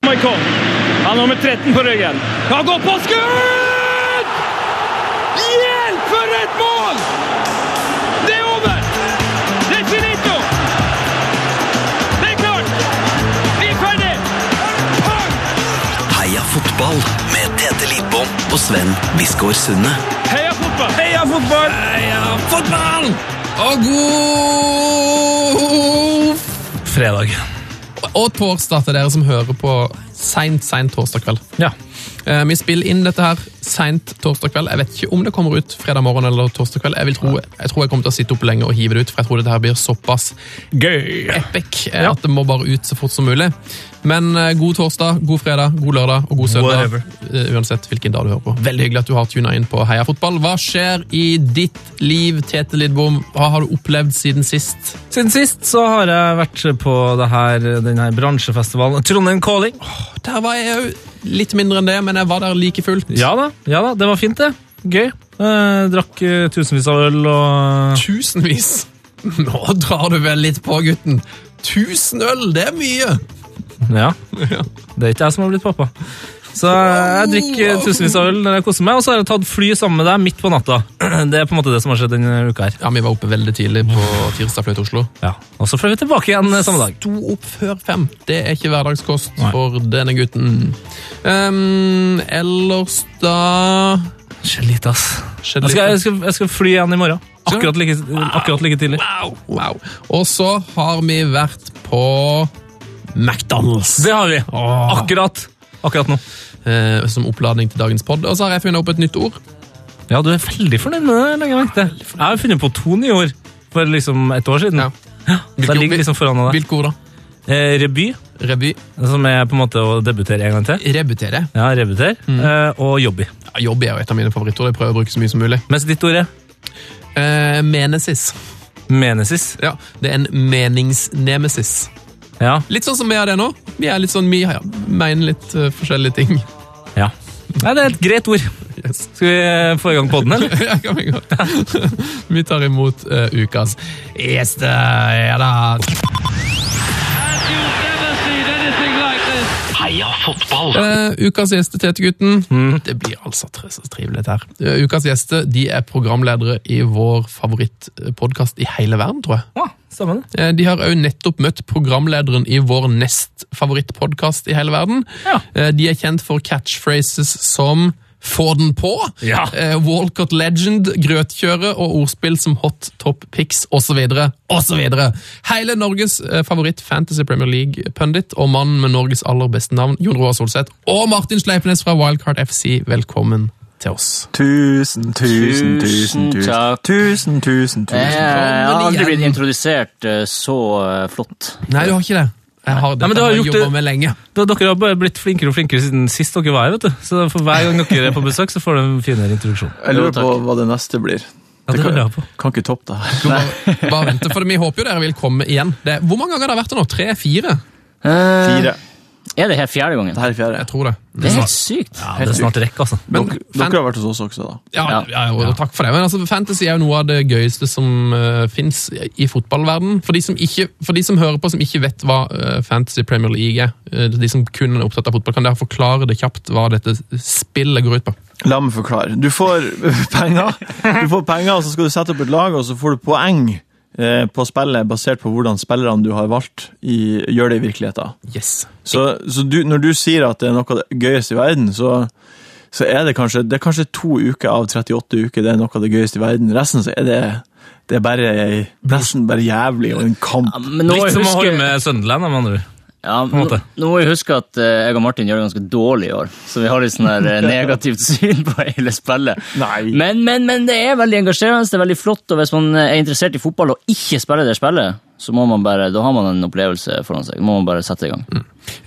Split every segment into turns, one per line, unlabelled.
Noikov. Han har nummer 13 på ryggen. Han går på skudd! Hjelp, for et mål! Det er over! Det er finito! Det er klart! Vi er ferdig! Pang!
Heia fotball med Tete Lidbom og Sven Biskår Sunde.
Heia fotball!
Heia fotball!
Heia fotball! Og god fredag.
Og torsdag til dere som hører på seint, seint torsdag kveld.
Ja.
Eh, Vi spiller inn dette her seint torsdag kveld. Jeg vet ikke om det kommer ut fredag morgen eller torsdag kveld. Jeg, vil tro, jeg tror jeg kommer til å sitte oppe lenge og hive det ut, for jeg tror dette her blir såpass
Gøy!
epic eh, at det må bare ut så fort som mulig. Men eh, god torsdag, god fredag, god lørdag og god søndag.
Whatever.
eh, Uansett hvilken dag du hører på. Veldig hyggelig at du har tuna inn på Heia fotball. Hva skjer i ditt liv, Tete Lidbom? Hva har du opplevd siden sist?
Siden sist så har jeg vært på det her, den her bransjefestivalen Trondheim Calling.
Der var jeg jo litt mindre enn det, men jeg var der like fullt.
Ja da, ja da, det var fint, det. Gøy. Eh, drakk eh, tusenvis av øl og
Tusenvis! Nå drar du vel litt på, gutten. Tusen øl, det er mye!
Ja. Det er ikke jeg som har blitt pappa. Så eh, jeg drikker eh, tusenvis av øl når jeg koser meg, og så har jeg tatt fly sammen med deg midt på natta. Det er på en måte det som har skjedd denne uka her.
Ja, Vi var oppe veldig tidlig på tirsdag, fløy til Oslo.
Ja. Og så fløy vi tilbake igjen eh, samme dag.
Sto opp før fem. Det er ikke hverdagskost
Nei.
for denne gutten. Um, ellers da
Skjedd litt, ass.
skjedde
Jeg skal, jeg,
litt.
skal, jeg skal fly igjen i morgen.
Skal du?
Akkurat like, akkurat like tidlig.
Wow, wow. Og så har vi vært på McDonald's.
Det har vi.
Åh.
Akkurat. Akkurat nå.
Eh, som oppladning til dagens pod. Og så har jeg funnet opp et nytt ord.
Ja, du er veldig fornøyd med det. legger Jeg merke til. Jeg har funnet på to nye ord for liksom et år siden.
Ja.
Så jeg ligger liksom foran deg.
Hvilke ord, da?
Eh, revy,
Revy.
som er på en måte å debutere en gang til.
Rebutere.
Ja, rebuter. Eh, og jobby.
Ja, Jobb er jo et av mine favorittord. Jeg prøver å bruke så mye som mulig.
Mens ditt ord er
Eh, menesis.
menesis.
Ja, Det er en meningsnemesis.
Ja.
Litt sånn som vi er det nå. Vi er litt sånn, vi ja, mener litt eh, forskjellige ting.
ja. Nei, det er et greit ord.
Yes.
Skal vi eh, få i gang podden, eller?
Ja, kan vi, godt. vi tar imot eh, ukas gjester. Ja da.
Have you ever seen anything like this?
Heia fotball! Mm.
Eh, ukas gjester, Tete-gutten. Det blir altså tre- så trivelig dette her. Eh, ukas gjester de er programledere i vår favorittpodkast i hele verden, tror jeg.
Ja, stemmer det.
Eh, De har òg nettopp møtt programlederen i vår nest favorittpodkast i hele verden.
Ja.
Eh, De er kjent for catchphrases som få den på,
Ja.
eh, Walcott Legend, grøtkjøre og ordspill som Hot Top Picks osv. osv. Hele Norges eh, favoritt Fantasy Premier League-pundit og mannen med Norges aller beste navn, Jon Roar Solseth, og Martin Sleipnes fra Wildcard FC, velkommen til oss.
Tusen,
Tusen
tusen, tusen, tusen.
takk. Eh,
Tusen, tusen,
Jeg
tusen.
har aldri blitt
igjen.
introdusert eh, så eh, flott.
Nei, du har ikke det. Jeg har, dette
men du har
har jeg
gjort
jobba
det-
med lenge.
Da, dere har bare blitt flinkere og flinkere siden sist dere var her. vet du. Så for hver gang dere er på besøk, så får dere en finere introduksjon.
Jeg lurer
Jo, takk.
på hva det neste blir.
Ja, det
kan,
lurer jeg på.
kan ikke toppe det her.
Bare, bare vente, for Vi håper jo dere vil komme igjen. Det, hvor mange ganger har det vært det nå? Tre? Fire?
Eh,
Fire.
Er det her fjerde gangen?
Det her er fjerde.
Jeg tror det.
Det er helt sykt.
Ja, det er snart rekk, altså.
Men fan,
Dere har vært hos oss også, da.
ja, ja, jo, takk for det. Men altså, Fantasy er jo noe av det gøyeste som uh, fins i fotballverden. For de, som ikke, for de som hører på som ikke vet hva eh, Fantasy Premier League er, eh, de som kun er opptatt av fotball, kan dere forklare det kjapt hva dette spillet går ut på?
La meg forklare. Du får penger, Du får penger, og så skal du sette opp et lag, og så får du poeng eh, på spillet basert på hvordan spillerne du har valgt, i, gjør det i virkeligheten.
Yes.
Så, så du, når du sier at det er noe av det gøyeste i verden, så, så er det kanskje Det er kanskje to uker av 38 uker det er noe av det gøyeste i verden. Resten så er det det er bare nesten bare jævlig og en kamp.
Ja, men nå må
Litt
jeg
som å holde
huske,
med Sunderland, da, med andre ord.
ja,
en
nå,
måte.
nå må jeg huske at eh, jeg og Martin gjør det ganske dårlig i år, så vi har litt sånn der eh, negativt syn på hele spillet.
Nei.
Men, men, men det er veldig engasjerende, det er veldig flott, og hvis man eh, er interessert i fotball og ikke spiller det spillet, så må man bare, da har man en opplevelse foran seg. Da må man bare sette i gang.
Mm.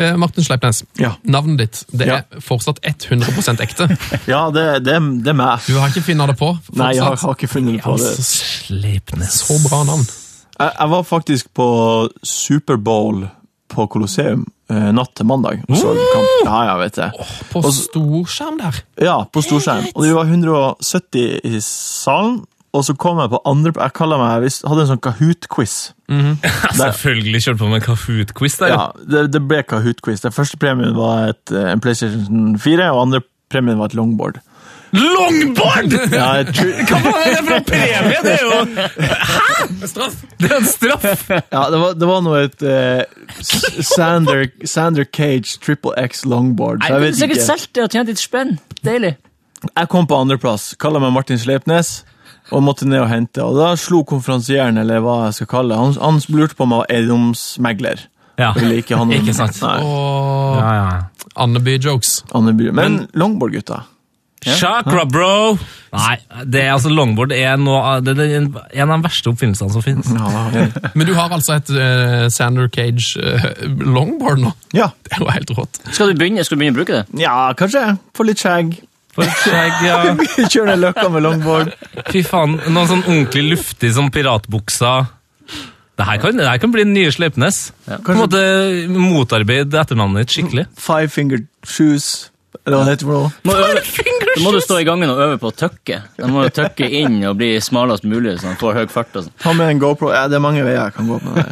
Eh, Martin Sleipnes,
Ja.
navnet ditt det
Ja.
er fortsatt 100 ekte.
Ja, det, det, det er meg.
Du har ikke funnet det på?
Nei, jeg har,
fortsatt.
har ikke funnet på det. Jeg,
Sleipnes.
Så bra navn.
jeg var faktisk på Superbowl på Colosseum eh, natt til mandag. og Så kamp. Ja, ja, vet jeg.
På storskjerm der.
Ja, på storskjerm. Og vi var 170 i salen, og så kom jeg på andre Jeg kaller meg, jeg hadde en sånn Kahoot-quiz.
Selvfølgelig kjørt på med en Kahoot-quiz der.
Ja, det, det ble Kahoot-quiz. Den første premien var et, eh, en PlayStation 4, og andre premien var et longboard.
Longboard!
Ja, jeg tror-
Hva faen er det for en premie? Det er jo Hæ? Straff. Det er en straff!
ja, det, var, det var noe et eh, S- Sander, Sander Cage Triple X longboard. Så jeg
Nei,
vet
du sikkert
ikke.
solgt det og tjent litt spenn. Deilig.
Jeg kom på andreplass, kaller meg Martin Sleipnes. Og måtte ned og hente, og da slo konferansieren, eller hva jeg skal kalle det, han, han lurte på om jeg var eiendomsmegler.
Ja.
Ville ikke ha noen-
Ikke sant.
Nei,
Og
Ja, ja.
Andeby-jokes.
Andeby. Men, longboard, gutta.
Chakra, bro! Nei, det er altså longboard er noe, av- det er en en av de verste oppfinnelsene som finnes.
Ja, ja.
Men du har altså et eh, Sander Cage eh, longboard nå.
ja.
Det er jo helt rått.
Skal du begynne, skal du begynne å bruke det?
ja, kanskje. Få litt skjegg.
For skjegg, ja.
Kjør ned løkka med longboard.
Fy faen, noen sånn ordentlig luftig som piratbuksa. Det her kan, det her kan bli den nye Sleipnes. På en måte motarbeid etternavnet ditt skikkelig.
Five Finger Shoes, eller hva det heter for noe.
Må øve, da må du stå i gangen og øve på å tøkke. Da må du tøkke inn og bli smalest mulig, så han får høy fart. og sånn.
Ta med en GoPro. Ja, det er mange veier jeg kan gå på. det.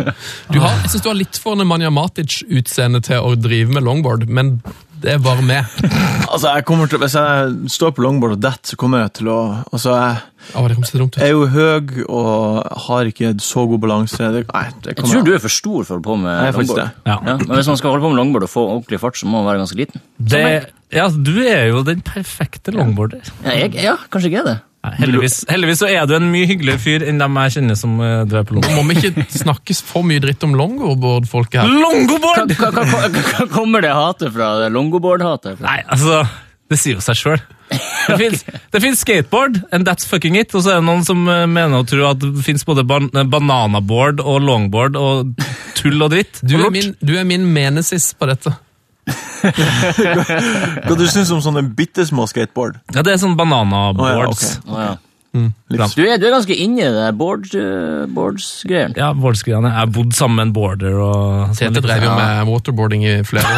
Du har, jeg syns du har litt for Nemanja Matic-utseende til å drive med longboard, men det er bare meg.
Altså, jeg kommer til, Hvis jeg står på longboard og detter, så kommer jeg til å altså, Jeg
Å, det kom så dumt ut.
er jo høy og har ikke så god balanse. Det, nei, det
Jeg
kommer
tror du er for stor for å holde på med
Jeg er faktisk
longboard.
det.
Ja.
Ja, men hvis man skal holde på med longboard og få ordentlig fart, så må man være ganske liten.
Det, ja, altså, du er jo den perfekte longboarder.
Ja, jeg, ja kanskje ikke er det.
Nei, Heldigvis, heldigvis så er du en mye hyggeligere fyr enn dem jeg kjenner som eh, drev på longboard.
Må vi ikke snakke for mye dritt om longboard-folket her?
Hva,
Longoboard!
hva, hva, hva, hva kommer det hatet fra? Det Longoboard-hatet? fra?
Nei, altså, det sier jo seg sjøl. Det fins- det fins skateboard, and that's fucking it. Og så er det noen som eh, mener og tror at det fins både ban eh, bananaboard og longboard og tull og dritt.
Du
og
er
lort.
min, du er min menesis på dette.
Hva du syns om sånne bitte små skateboard?
Ja, det er sånn bananaboards.
Å,
Å,
ja.
Litt-
Du, er, du er ganske inne i det der board, eh, boards-greien.
Ja, boardsgreiene. Jeg har bodd sammen med en border og sånn
Tete drev jo med waterboarding i flere år.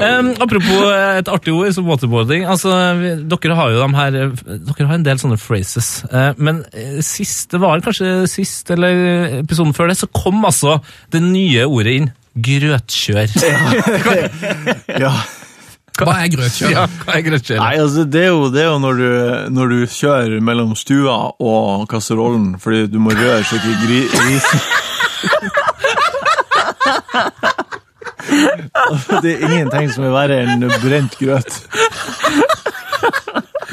Em, apropos eh, et artig ord som waterboarding. Altså, vi, dere har jo de her eh, Dere har en del sånne phrases. Eh, men eh, sist, det var kanskje sist, eller episoden før det, så kom altså det nye ordet inn. Grøtkjør.
Ja.
Hva er grøtkjør?
Ja, hva er grøtkjør?
Nei, altså, det er jo, det er jo når, du, når du kjører mellom stua og kasserollen fordi du må røre skikkelig gri, gris. Det er ingenting som er verre enn brent grøt.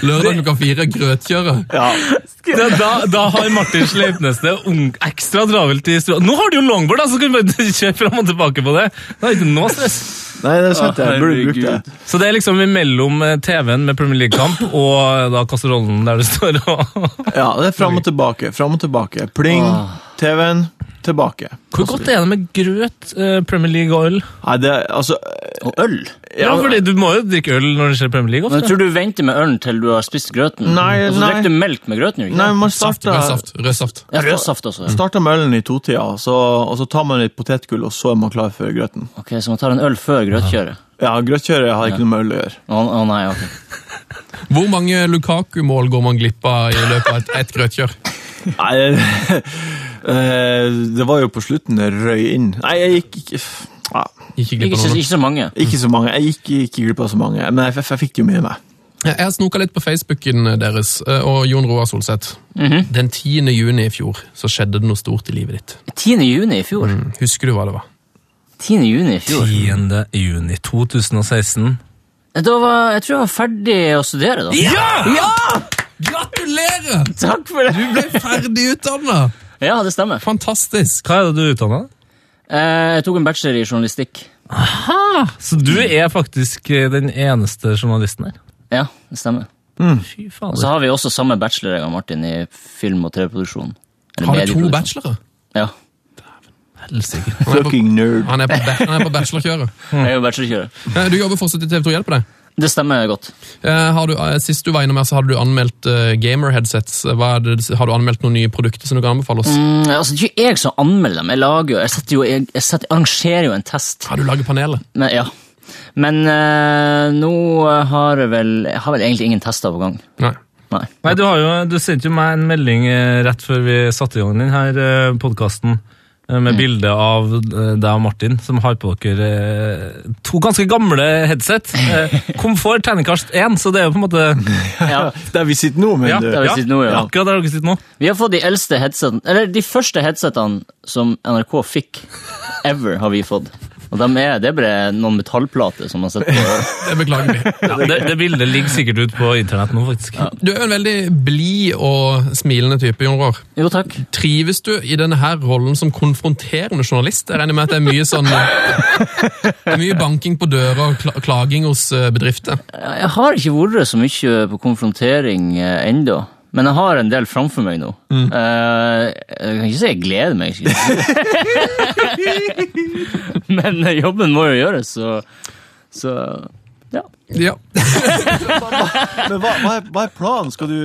Lørdag klokka fire, grøtkjøret.
Ja,
Da, da, da har Martin Sleipnes det ung- ekstra travelt i stua. Nå har du jo longboard, da, så kan du bare kjøre fram og tilbake på det. Det er ikke noe stress.
Nei, det er sant. Jeg burde brukt det.
Så det er liksom imellom eh, TV-en med Premier League-kamp og eh, da kasserollen der du står og
Ja, det er Fram og tilbake, fram og tilbake. Pling, TV-en, tilbake.
Hvor godt er det med grøt, eh, Premier League og øl?
Nei, det er altså Og øl?
Ja, fordi Du må jo drikke øl når det skjer Premier League.
Men
ofte.
jeg tror du venter med ølen til du har spist grøten,
altså, Nei,
og så
nei.
drikker du melk med grøten. jo, Ikke?
Nei, man
Saft,
starta
rød saft. Rød saft.
Ja, rød saft også. Ja.
Starta med ølen i totida, og så, og så tar man litt potetgull, og så er man klar for grøten.
Ok, Så man tar en øl før grøtkjøret?
Ja, Grøtkjøret har ikke noe med øl å gjøre.
Å å, nei, ok.
Hvor mange Lukaku-mål går man glipp av i løpet av et, et grøtkjør?
Nei, eh, det var jo på slutten det røy inn. Nei, jeg gikk ikke ja,
Ikke glipp
Ikke,
av
så-
noen.
ikke så mange.
Ikke så mange. Jeg gikk ikke glipp av så mange, men jeg, jeg, jeg fikk jo med meg.
Jeg har snoka litt på Facebooken deres eh, og Jon Roar Solseth. Den 10. juni i fjor så skjedde det noe stort i livet ditt. Mm.
10. juni i fjor.
Husker du hva det var?
10. juni i fjor.
10. juni 2016.
Da var, jeg tror jeg var ferdig å studere da.
Ja!
Gratulerer!
Takk for det!
Du ble ferdig utdanna!
Ja, det stemmer.
Fantastisk.
Hva er det du er utdanna?
Eh, Jeg tok en bachelor i journalistikk.
Så du er faktisk eh, den eneste journalisten her.
Ja, det stemmer.
Fy
Og så
fader.
har vi også samme bachelor jeg og Martin i film- og TV-produksjon. Eller
Har du to
medieproduksjon.
bachelorer?
Ja.
Helsike.
Han er på,
Fucking nerd.
han er på, ba- han er på bachelorkjøret.
Jeg er jo bachelorkjører.
Eh, Du jobber fortsatt i TV2 Hjelp deg.
Det stemmer godt.
Eh, Har du, eh, sist du var innom her, så hadde du anmeldt eh, gamer-headsets. Hva er det- Har du anmeldt noen nye produkter som du kan anbefale oss?
Mm, altså, det er ikke jeg som anmelder dem. Jeg lager jo, jeg, setter jo, jeg, jeg setter, arrangerer jo en test.
Har du laget panelet?
Men, ja. Men eh, nå har jeg vel Jeg har vel egentlig ingen tester på gang.
Nei.
Nei.
Nei, du, har jo, du sendte jo meg en melding eh, rett før vi satte i gang denne podkasten, med bilde av eh, deg og Martin, som har på dere eh, to ganske gamle headset. Eh, Komfort terningkast 1, så det er jo på en måte
Ja,
Der vi sitter nå, men
Ja,
du
der vi sitter nå, ja.
akkurat der dere sitter nå.
Vi har fått de eldste headsetene, eller de første headsetene som NRK fikk ever, har vi fått. Og dem er, det er bare noen metallplater som man setter på.
Det er beklagelig.
Ja, det, det bildet ligger sikkert ut på internett nå, faktisk.
Du er jo en veldig blid og smilende type, Jon Roar.
Jo, takk.
Trives du i denne her rollen som konfronterende journalist? Jeg regner med at det er mye sånn Det er mye banking på døra og kla- klaging hos eh, bedrifter.
Jeg har ikke vært så mye på konfrontering eh, ennå. Men jeg har en del framfor meg nå. Eh, jeg kan ikke si jeg gleder meg. ikke? Men eh, jobben må jo gjøres, så, så ja.
Ja.
Men hva, hva, er, hva er planen? Skal du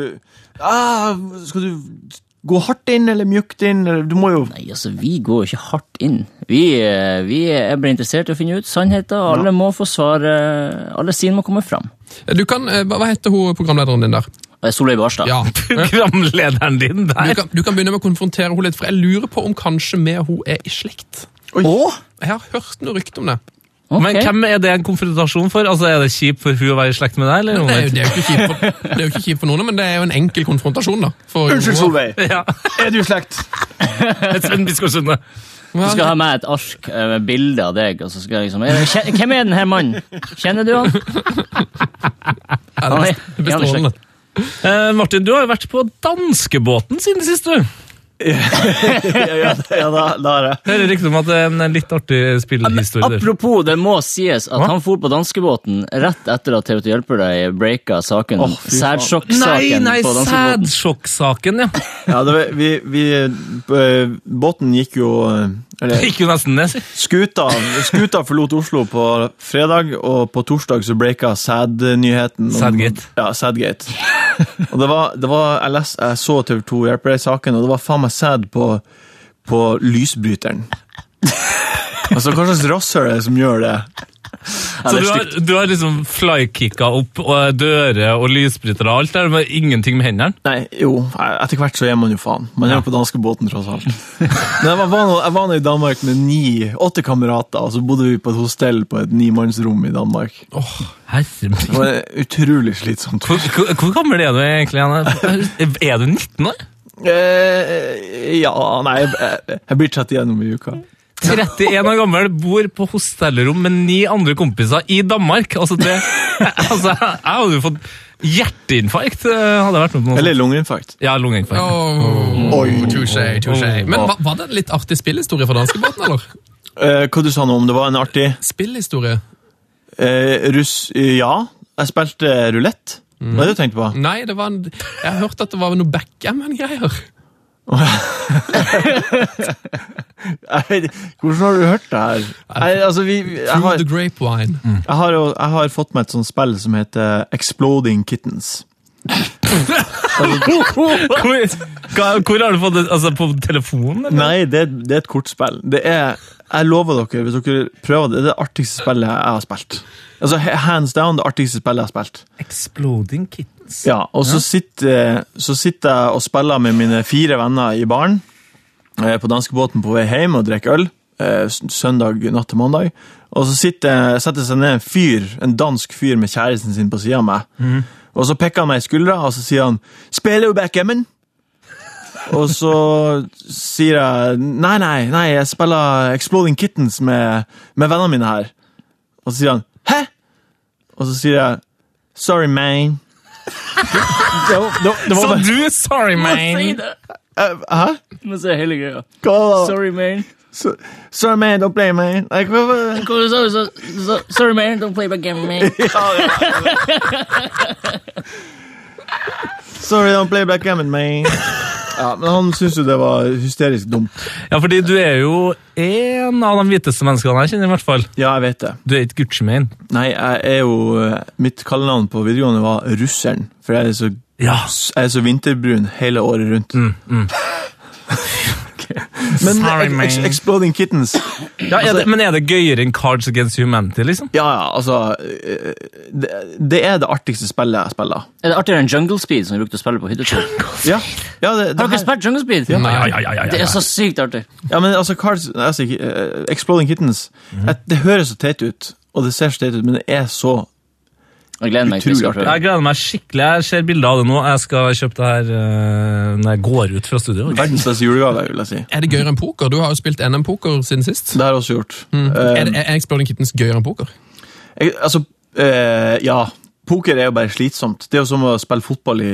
ah, Skal du gå hardt inn, eller mjukt inn? Eller, du må jo
Nei, altså, vi går jo ikke hardt inn. Vi, eh, vi er bare interessert i å finne ut sannheten. Alle må få svar. eh, Alle sine må komme fram.
Du kan, eh, hva hva heter hun programlederen din der?
Eh, Solveig Barstad.
Ja.
Programlederen din
Du
der.
kan, du kan begynne med å konfrontere henne litt, for jeg lurer på om kanskje vi og hun er i slekt.
Oi.
Jeg har hørt noe rykte om det.
Ok.
Men hvem er det en konfrontasjon for? Altså, Er det kjipt for hun å være i slekt med deg?
Det er,
eller
jo,
omvendt?
det, er jo ikke kjipt for, det er jo ikke kjipt for noen, men det er jo en enkel konfrontasjon, da. For
Unnskyld,
Jon Roar.
Solveig!
Ja,
Er du i slekt?
Sven Biskår Sunde.
Du
Vel,
skal ha med et ark eh, med bilde av deg, og så skal jeg liksom eh, kjen- Hvem er den her mannen? Kjenner du han?
ja, det
Han
er
er-
best- det er
han er i slekt.
bestrålende.
Eh, Martin, du har jo vært på danskebåten siden sist, du.
Ja, ja da, da er jeg.
Hører rykter om at det er en litt artig spillhistorie. der.
Apropos, det må sies at
Hva?
han for på danskebåten rett etter at TV til Hjelper deg breaka saken.
Å, fy faen.
Nei,
Sædsjokk-saken
nei,
på danskebåten.
sædsjokksaken, ja.
Ja, det, var- vi, vi, eh, båten gikk jo eh,
Det
Eller
gikk jo nesten ned. si.
skuta, skuta forlot Oslo på fredag, og på torsdag så breaka sædnyheten. om-
Sædgate.
Ja, Sædgate. Og det var, det var jeg, les, jeg så TV 2 hjelper deg i saken, og det var faen meg sæd på, på lysbryteren. altså, hva slags rasshøl er det som gjør det?
Så
det er
du har, du har liksom flykicka opp og eh, dører og lysbrytere og alt der, men ingenting med hendene?
Nei, jo, etter hvert så er man jo faen. Man er jo på danskebåten, tross alt. Men jeg var, var nå- jeg var nå i Danmark med ni, åtte kamerater, og så bodde vi på et hostell på et nimannsrom i Danmark.
Herre
Det var utrolig slitsomt.
Hvor, hvor, hvor gammel er du egentlig? Anne? Er du 19 år?
Eh, ja, nei, jeg, jeg blir 31 om ei uke.
31 år gammel, bor på hostellrom med ni andre kompiser i Danmark. Altså, det, altså jeg hadde jo fått hjerteinfarkt, eh, hadde jeg vært med på noe. sånt.
Eller lungeinfarkt.
ja, lungeinfarkt.
Åh,
Oi.
touché, touché. Men hva- var det en litt artig spillhistorie fra danskebåten, eller?
Eh, hva du sa nå om det var en artig
Spillhistorie?
eh, russ... Ja, jeg spilte rulett. Hva er det du tenkte på?
Nei, det var en, jeg har hørt at det var noe backgammon-greier.
Jeg vet ikke, Hvordan har du hørt det her? Nei, altså, vi, vi- jeg
Through
har,
the grapevine.
Jeg har, jo, jeg har fått meg et sånt spill som heter Exploding Kittens.
Hvor, hva- hvor har du fått det? Altså, på telefonen? Eller?
Nei, det, det er et kortspill. Det er, jeg lover dere, hvis dere prøver det, det er det artigste spillet jeg har spilt. Altså, he- Hands down, det artigste spillet jeg har spilt.
Exploding Kittens.
Ja, og så sitter, så sitter jeg og spiller med mine fire venner i baren eh, på danskebåten på vei hjem og drikker øl. eh, s- Søndag natt til mandag. Og så sitter, setter seg ned en fyr, en dansk fyr med kjæresten sin på sida av meg. Og så pekker han meg i skuldra, og så sier han 'Spiller du backgammon?' og så sier jeg 'Nei, nei, nei, jeg spiller Exploding Kittens med, med vennene mine her'. Og så sier han 'Hæ?' Og så sier jeg 'Sorry, man'. Det var, det, var- det var
Så
bare-
du er sorry,
Si
man!
det!
Hæ?
Må si hele greia.
Hva da?
Sorry, man.
So- Sorry, man, don't blame me. Like, hva- hva-
Hva sa du? Så- så- Sorry, man. Don't play back game, man.
Sorry, don't play backgammon, man. Ja, men han syntes jo det var hysterisk dumt.
Ja, fordi du er jo en av de hviteste menneskene jeg kjenner, i hvert fall.
Ja, jeg vet det.
Du er ikke Gucci-man.
Nei, jeg er jo eh, Mitt kallenavn på videregående var Russeren, for jeg er så,
Ja.
jeg er så vinterbrun hele året rundt. Men
Mm, Sorry,
ex- ex
man.
Exploding Kittens
Ja, er
Altså-
det, men er det gøyere enn Cards Against Humanity, liksom?
Ja, ja, altså eh, det, det er det artigste spillet jeg spiller.
Er det artigere enn Jungle Speed, som vi brukte å spille på hyttetur?
Ja, ja, det, det
Har dere
her,
spilt Jungle Speed?
Nei.
Ja, ja, ja, ja, ja.
Det er så sykt artig.
ja men altså, Cards, altså ikke, eh, Exploding Kittens at Det høres så teit ut, og det ser så teit ut, men det er så
Jeg gleder meg til vi skal
Utrolig
prøve.
Jeg gleder meg skikkelig. Jeg ser bilder av det nå. Jeg skal kjøpe det her eh, når jeg går ut fra studio.
verdens beste julegave, vil jeg si.
Er det gøyere enn poker? Du har jo spilt NM-poker siden sist.
Det har jeg også gjort. Eh,
Er, det- er Exploding Kittens gøyere enn poker?
jeg, altså, eh, ja. Poker er jo bare slitsomt. Det er jo som å spille fotball i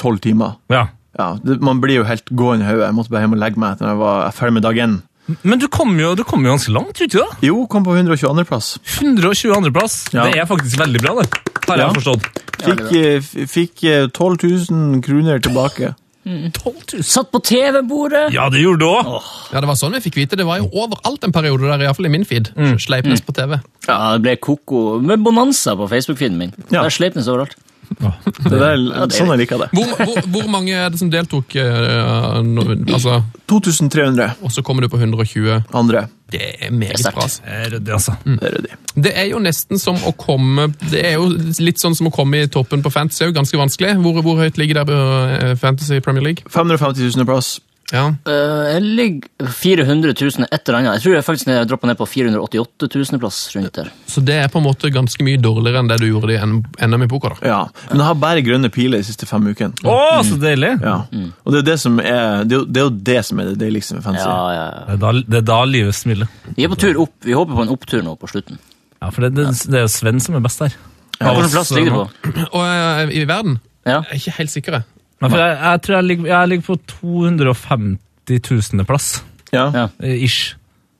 tolv timer.
Ja.
Ja, det, Man blir jo helt gående i hodet. Jeg måtte bare hjem og legge meg når jeg var ferdig med dag én.
Men du kom jo, du kom jo ganske langt uti, da.
Jo, kom på 122.-plass.
122. plass.
Ja.
Det er faktisk veldig bra, det. Har jeg
Ja.
forstått.
Fikk, eh, f- fikk eh, 12 000 kroner tilbake.
12 000.
Satt på TV-bordet!
Ja, det gjorde du òg.
Ja, det var sånn vi fikk vite. Det var jo overalt en periode der, iallfall i min feed. Sleipnes på TV.
Ja, det ble koko med bonanza på Facebook-feeden min.
Ja.
Der sleip den så overalt.
Det der,
det er
sånn jeg liker det.
Hvor, hvor, hvor mange er det som deltok? eh, nå, altså,
2300
og så kommer du på 120.
andre.
Det er meget
sterkt.
bra. ass.
Ryddig, altså.
Mm.
Det er ryddig.
Det er jo nesten som å komme Det er jo litt sånn som å komme i toppen på Fantasy. Det er jo ganske vanskelig. Hvor, hvor høyt ligger der eh, Fantasy Premier League?
550 000 plass.
Ja.
Øh, jeg ligger 400 000 et eller annet. Jeg tror jeg faktisk jeg droppa ned på 488 000 plass rundt der.
Så det er på en måte ganske mye dårligere enn det du gjorde i N- NM i poker. da.
Ja. Men jeg har bare grønne piler de siste fem ukene.
Å,
Mm.
så deilig!
Ja. Og det er, det, som er, det, er jo, det er jo det som er det deiligste med fancy.
Ja, ja,
Det
ja.
er da, det er da livet smiler.
Vi er på tur opp. Vi håper på en opptur nå på slutten.
Ja, for det, det, det er jo Sven som er best her.
Hvilken plass ligger du på?
Og eh, i verden?
Ja.
Jeg er ikke helt sikker. jeg.
Ja, for jeg, jeg tror jeg ligger, jeg ligger på 250 000. plass,
Ja.
Ja.
eh,
Mm.
ish.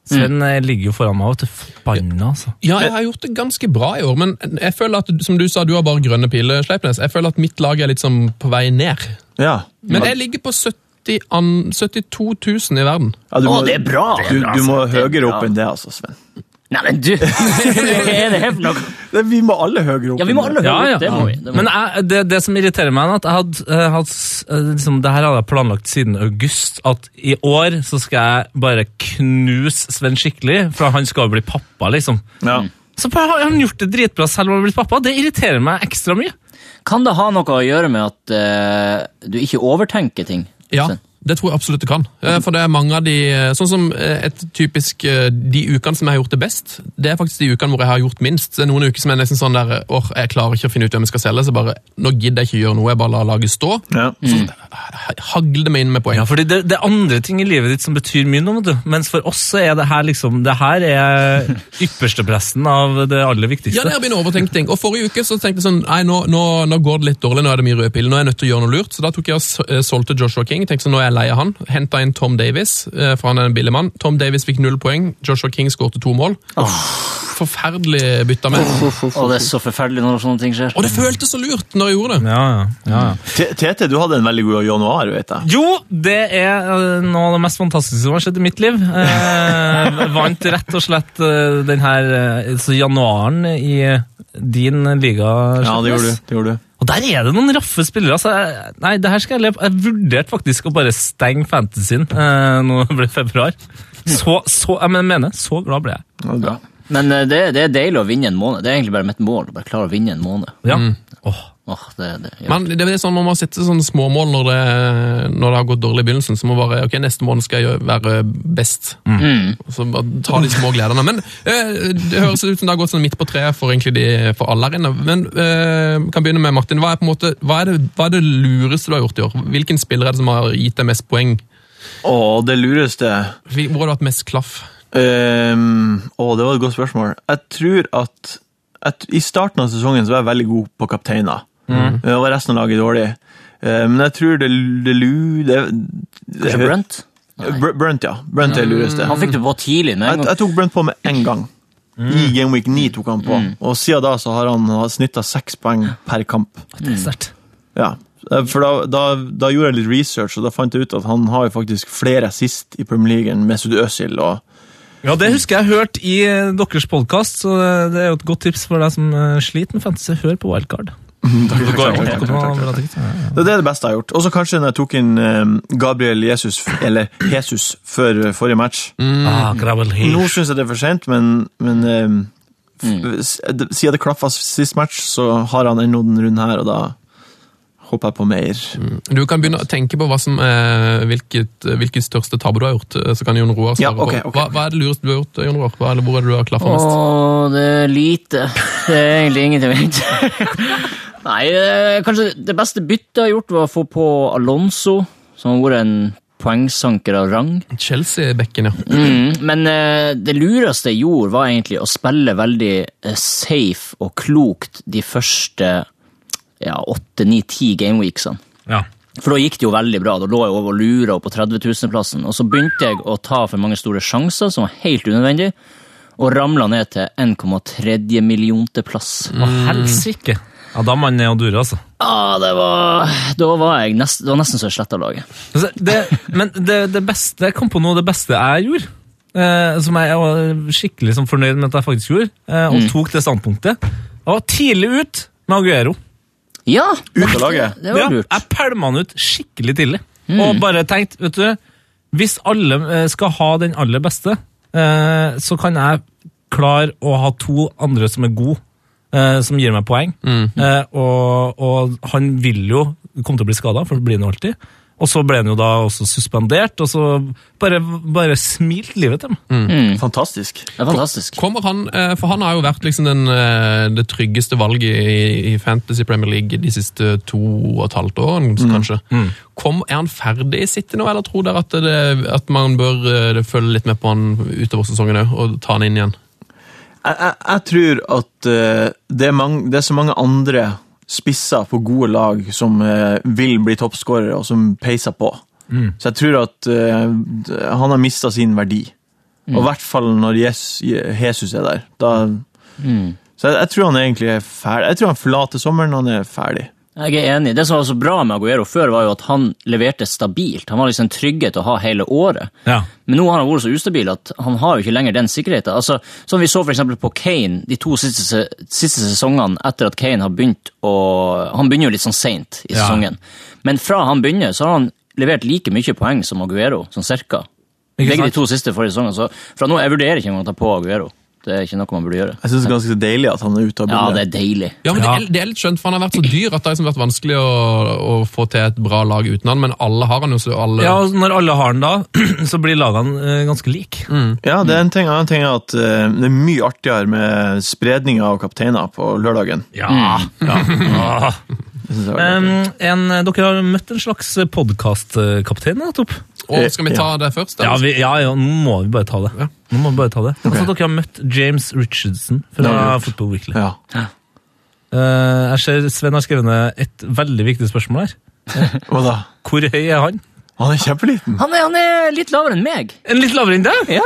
Sven eh, ligger jo foran meg, vet du. Forbanna, altså.
Ja, jeg har gjort det ganske bra i år, men jeg føler at, som du sa, du har bare grønne piler, Sleipnes. Jeg føler at mitt lag er litt sånn på vei ned.
Ja.
Men jeg ligger på 70 an, 72 000 i verden.
Ja, du
Å,
må-
det er bra! altså.
Du, du må
Det er
høyere
bra.
opp enn det, altså, Sven.
Nei, men du! Hva er det her for noe?
Det, vi må alle høyere opp.
Ja, vi må
enn
alle
det.
Ja,
høyere
ja.
opp. Det må vi. Det må
Men
vi.
jeg, det, det som irriterer meg, er at jeg hadde, eh, hatt s- eh, liksom, det her hadde jeg planlagt siden august. At i år så skal jeg bare knuse Sven skikkelig, for han skal jo bli pappa, liksom.
Ja.
Mm.
Så bare har han gjort det dritbra selv om han har blitt pappa. Det irriterer meg ekstra mye.
Kan det ha noe å gjøre med at eh, du ikke overtenker ting?
Ja,
Sven?
det tror jeg absolutt det kan. Eh, For det er mange av de eh, Sånn som eh, et typisk eh, De ukene som jeg har gjort det best, det er faktisk de ukene hvor jeg har gjort minst. Det er noen uker som er nesten sånn der eh, Åh, jeg klarer ikke å finne ut hvem jeg skal selge, så bare Nå gidder jeg ikke gjøre noe, jeg bare lar laget stå.
Ja.
Ha- Hagle det meg inn med poeng.
Ja, fordi det, det er andre ting i livet ditt som betyr mye nå, vet du. Mens for oss så er det her liksom Det her er ypperstepresten av det aller
Ja,
viktigste.
det er å begynne å overtenke ting. Og Forrige uke så tenkte jeg sånn Nei, nå, nå, nå går det litt dårlig, nå er det mye røde piller, nå er jeg nødt til å gjøre noe lurt. Så da tok jeg og s- eh, solgte Joshua King. tenkte sånn, Nå er jeg lei av han. Henta inn Tom Davis, eh, for han er en billig mann. Tom Davis fikk null poeng, Joshua King skårte to mål. Forferdelig bytta med.
Å, det er så forferdelig når sånne ting skjer.
Og det føltes så lurt når jeg gjorde det.
Ja, ja, ja, ja.
T- Tete, du hadde en veldig god januar, vet jeg.
Jo, det er eh, noe av det mest fantastiske som har skjedd i mitt liv. Eh, vant rett og slett eh, den her eh, altså januaren i eh, din liga.
Ja, det gjorde
Slettnes.
du. Det gjorde du.
Og der er det noen raffe spillere. Altså, jeg, nei, det her skal jeg leve. Jeg vurderte faktisk å bare stenge fantasyen eh, nå ble det februar. Så, så, jeg men- mener, så glad ble jeg.
Ja, det er bra.
Men eh, det, det er deilig å vinne en måned. Det er egentlig bare mitt mål. å Bare klare å vinne en måned.
Ja.
Mm.
Åh.
Åh, det, det, ja.
Men det er sånn, Man må sette sånne småmål når det, når det har gått dårlig i begynnelsen. Så må man bare, ok, Neste måned skal jeg gjøre- være best.
Mm.
Og Så bare ta de små gledene. Men eh, Det høres ut som det har gått sånn midt på treet for, egentlig de, for alle her inne. Men eh, kan begynne med Martin. Hva er, på en måte, hva, er det, hva er det lureste du har gjort i år? Hvilken spiller er det som har gitt deg mest poeng?
Å, det lureste
Hvil- Hvor har du hatt mest klaff?
Ehm, Å, det var et godt spørsmål. Jeg tror at, at i starten av sesongen så var jeg veldig god på kapteiner.
Mm.
Da var resten av laget dårlig. Eh, men jeg tror det, det lu... Det, det,
Kanskje Brunt?
Br- Brunt, ja. Brunt er det lureste.
Han fikk det på tidlig med en
Jeg,
gang. Mm.
jeg tok Brunt på med én gang. I Game Week 9 tok han på. Og siden da så har han snitta seks poeng per kamp.
Det er sterkt.
Ja. Eh, For da, da, da gjorde jeg litt research, og da fant jeg ut at han har jo faktisk flere assist i Premier League enn Mesut Özil. Og
Ja, det husker jeg hørt
eh,
i eh, deres podkast, så det er jo et godt tips for deg som eh, sliter med fantasy. Hør på Wildcard. Det går
takk,
opp
takk,
nå,
takk, takk,
bra
takk.
dikt. Ja, ja.
Det er det beste jeg har gjort. Og så kanskje når jeg tok inn eh, Gabriel Jesus, eller Jesus, før eh, forrige match.
Ah, Gravel Hill.
Nå syns jeg det er for sent, men, men eh, f- s- d- siden det klaffa sist match, så har han ennå den runden her, og da håper jeg på mer.
Du kan begynne å tenke på hva som er, hvilket, hvilket største tabbe du har gjort. eh, Så kan Jon Roar svare
Ja, ok,
på.
ok.
Hva, hva er det lureste du har gjort, Jon Roar? Hva, eller hvor er det du har klaffa mest?
Åh, det er lite. Det er egentlig ingenting annet. Nei, eh, kanskje det beste byttet jeg har gjort, var å få på Alonso, som har vært en poengsanker av rang.
Chelsea-bekken, ja.
Mm, men eh, det lureste jeg gjorde, var egentlig å spille veldig eh, safe og klokt de første ja, åtte, ni, ti gameweeksene.
Ja.
For da gikk det jo veldig bra. Da lå jeg over og lura på 30 000-plassen. Og så begynte jeg å ta for mange store sjanser, som var helt unødvendig, og ramla ned til 1,3 millionte plass.
Mm.
Å, helsike! Ja, da er man ned og durer, altså.
Ah, det var Da var jeg nest, det var nesten så jeg sletta laget.
Altså, Det, men det, det beste, jeg kom på noe av det beste jeg gjorde, eh, som jeg var skikkelig sånn fornøyd med at jeg faktisk gjorde, eh, og tok det standpunktet. Jeg var tidlig ut med Aguero.
Ja!
Ut av laget.
Det var lurt.
jeg pælma han ut skikkelig tidlig, og bare tenkt, vet du, hvis alle eh, skal ha den aller beste, eh, så kan jeg klare å ha to andre som er gode, eh, som gir meg poeng. Eh, og, og han vil jo komme til å bli skada, for det blir han jo alltid. Og så ble han jo da også suspendert, og så bare, bare smilt livet til meg.
Fantastisk.
Det er fantastisk.
Kommer han, eh, for han har jo vært liksom den, eh, det tryggeste valget i, i Fantasy Premier League de siste to og et halvt årene,
Mm.
kanskje. Kom, er han ferdig i City nå, eller tror dere at, det, at man bør eh, følge litt med på han utover sesongen òg, og ta han inn igjen?
Jeg, jeg, jeg tror at eh, det, er mange, det er så mange andre spisser på gode lag som eh, vil bli toppskårere, og som peiser på. Så jeg tror at eh, d- han har mista sin verdi. Og i hvert fall når Jesus, Jesus er der. Da, Så jeg, jeg tror han egentlig er ferdig. Jeg tror han forlater sommeren, han er ferdig.
Jeg er enig. Det som var så bra med Aguero før, var jo at han leverte stabilt. Han var liksom en trygghet å ha hele året.
Ja.
Men nå har han vært så ustabil at han har jo ikke lenger den sikkerheten. Altså, som vi så for eksempel på Kane de to siste, se- siste sesongene etter at Kane har begynt å Han begynner jo litt sånn seint i
Ja.
sesongen, men fra han begynner, så har han levert like mye poeng som Aguero, sånn cirka.
Ikke
Begge de
sant?
to siste forrige sesongene. Så fra nå jeg vurderer ikke engang å ta på Aguero. Det er ikke noe man burde gjøre.
Jeg syns det er ganske deilig at han er ute av
Ja,
bildet.
det er deilig.
Ja, men
Ja.
Det, er, det er litt skjønt, for han har vært så dyr at det har liksom vært vanskelig å, å få til et bra lag uten han, men alle har han jo, så alle
ja, og når alle har den da, så blir lagene eh, ganske like.
Ja, det er en ting, annen ting er at eh, det er mye artigere med spredning av kapteiner på lørdagen.
Ja. ja. Ah.
Det synes jeg var
Um,
litt-
en, dere har møtt en slags podkastkaptein nettopp?
Og skal vi ta det først?
Ja,
eller?
vi, ja, ja, nå må vi bare ta det. Nå må vi bare ta det. Altså, dere har møtt James Richardson fra
Ja.
Football Weekly.
ja.
Eh, jeg ser Sven har skrevet ned et veldig viktig spørsmål her.
Hva da?
Hvor høy er han?
Han er kjempeliten.
Han er, han er litt lavere enn meg.
En litt lavere enn deg!
Ja.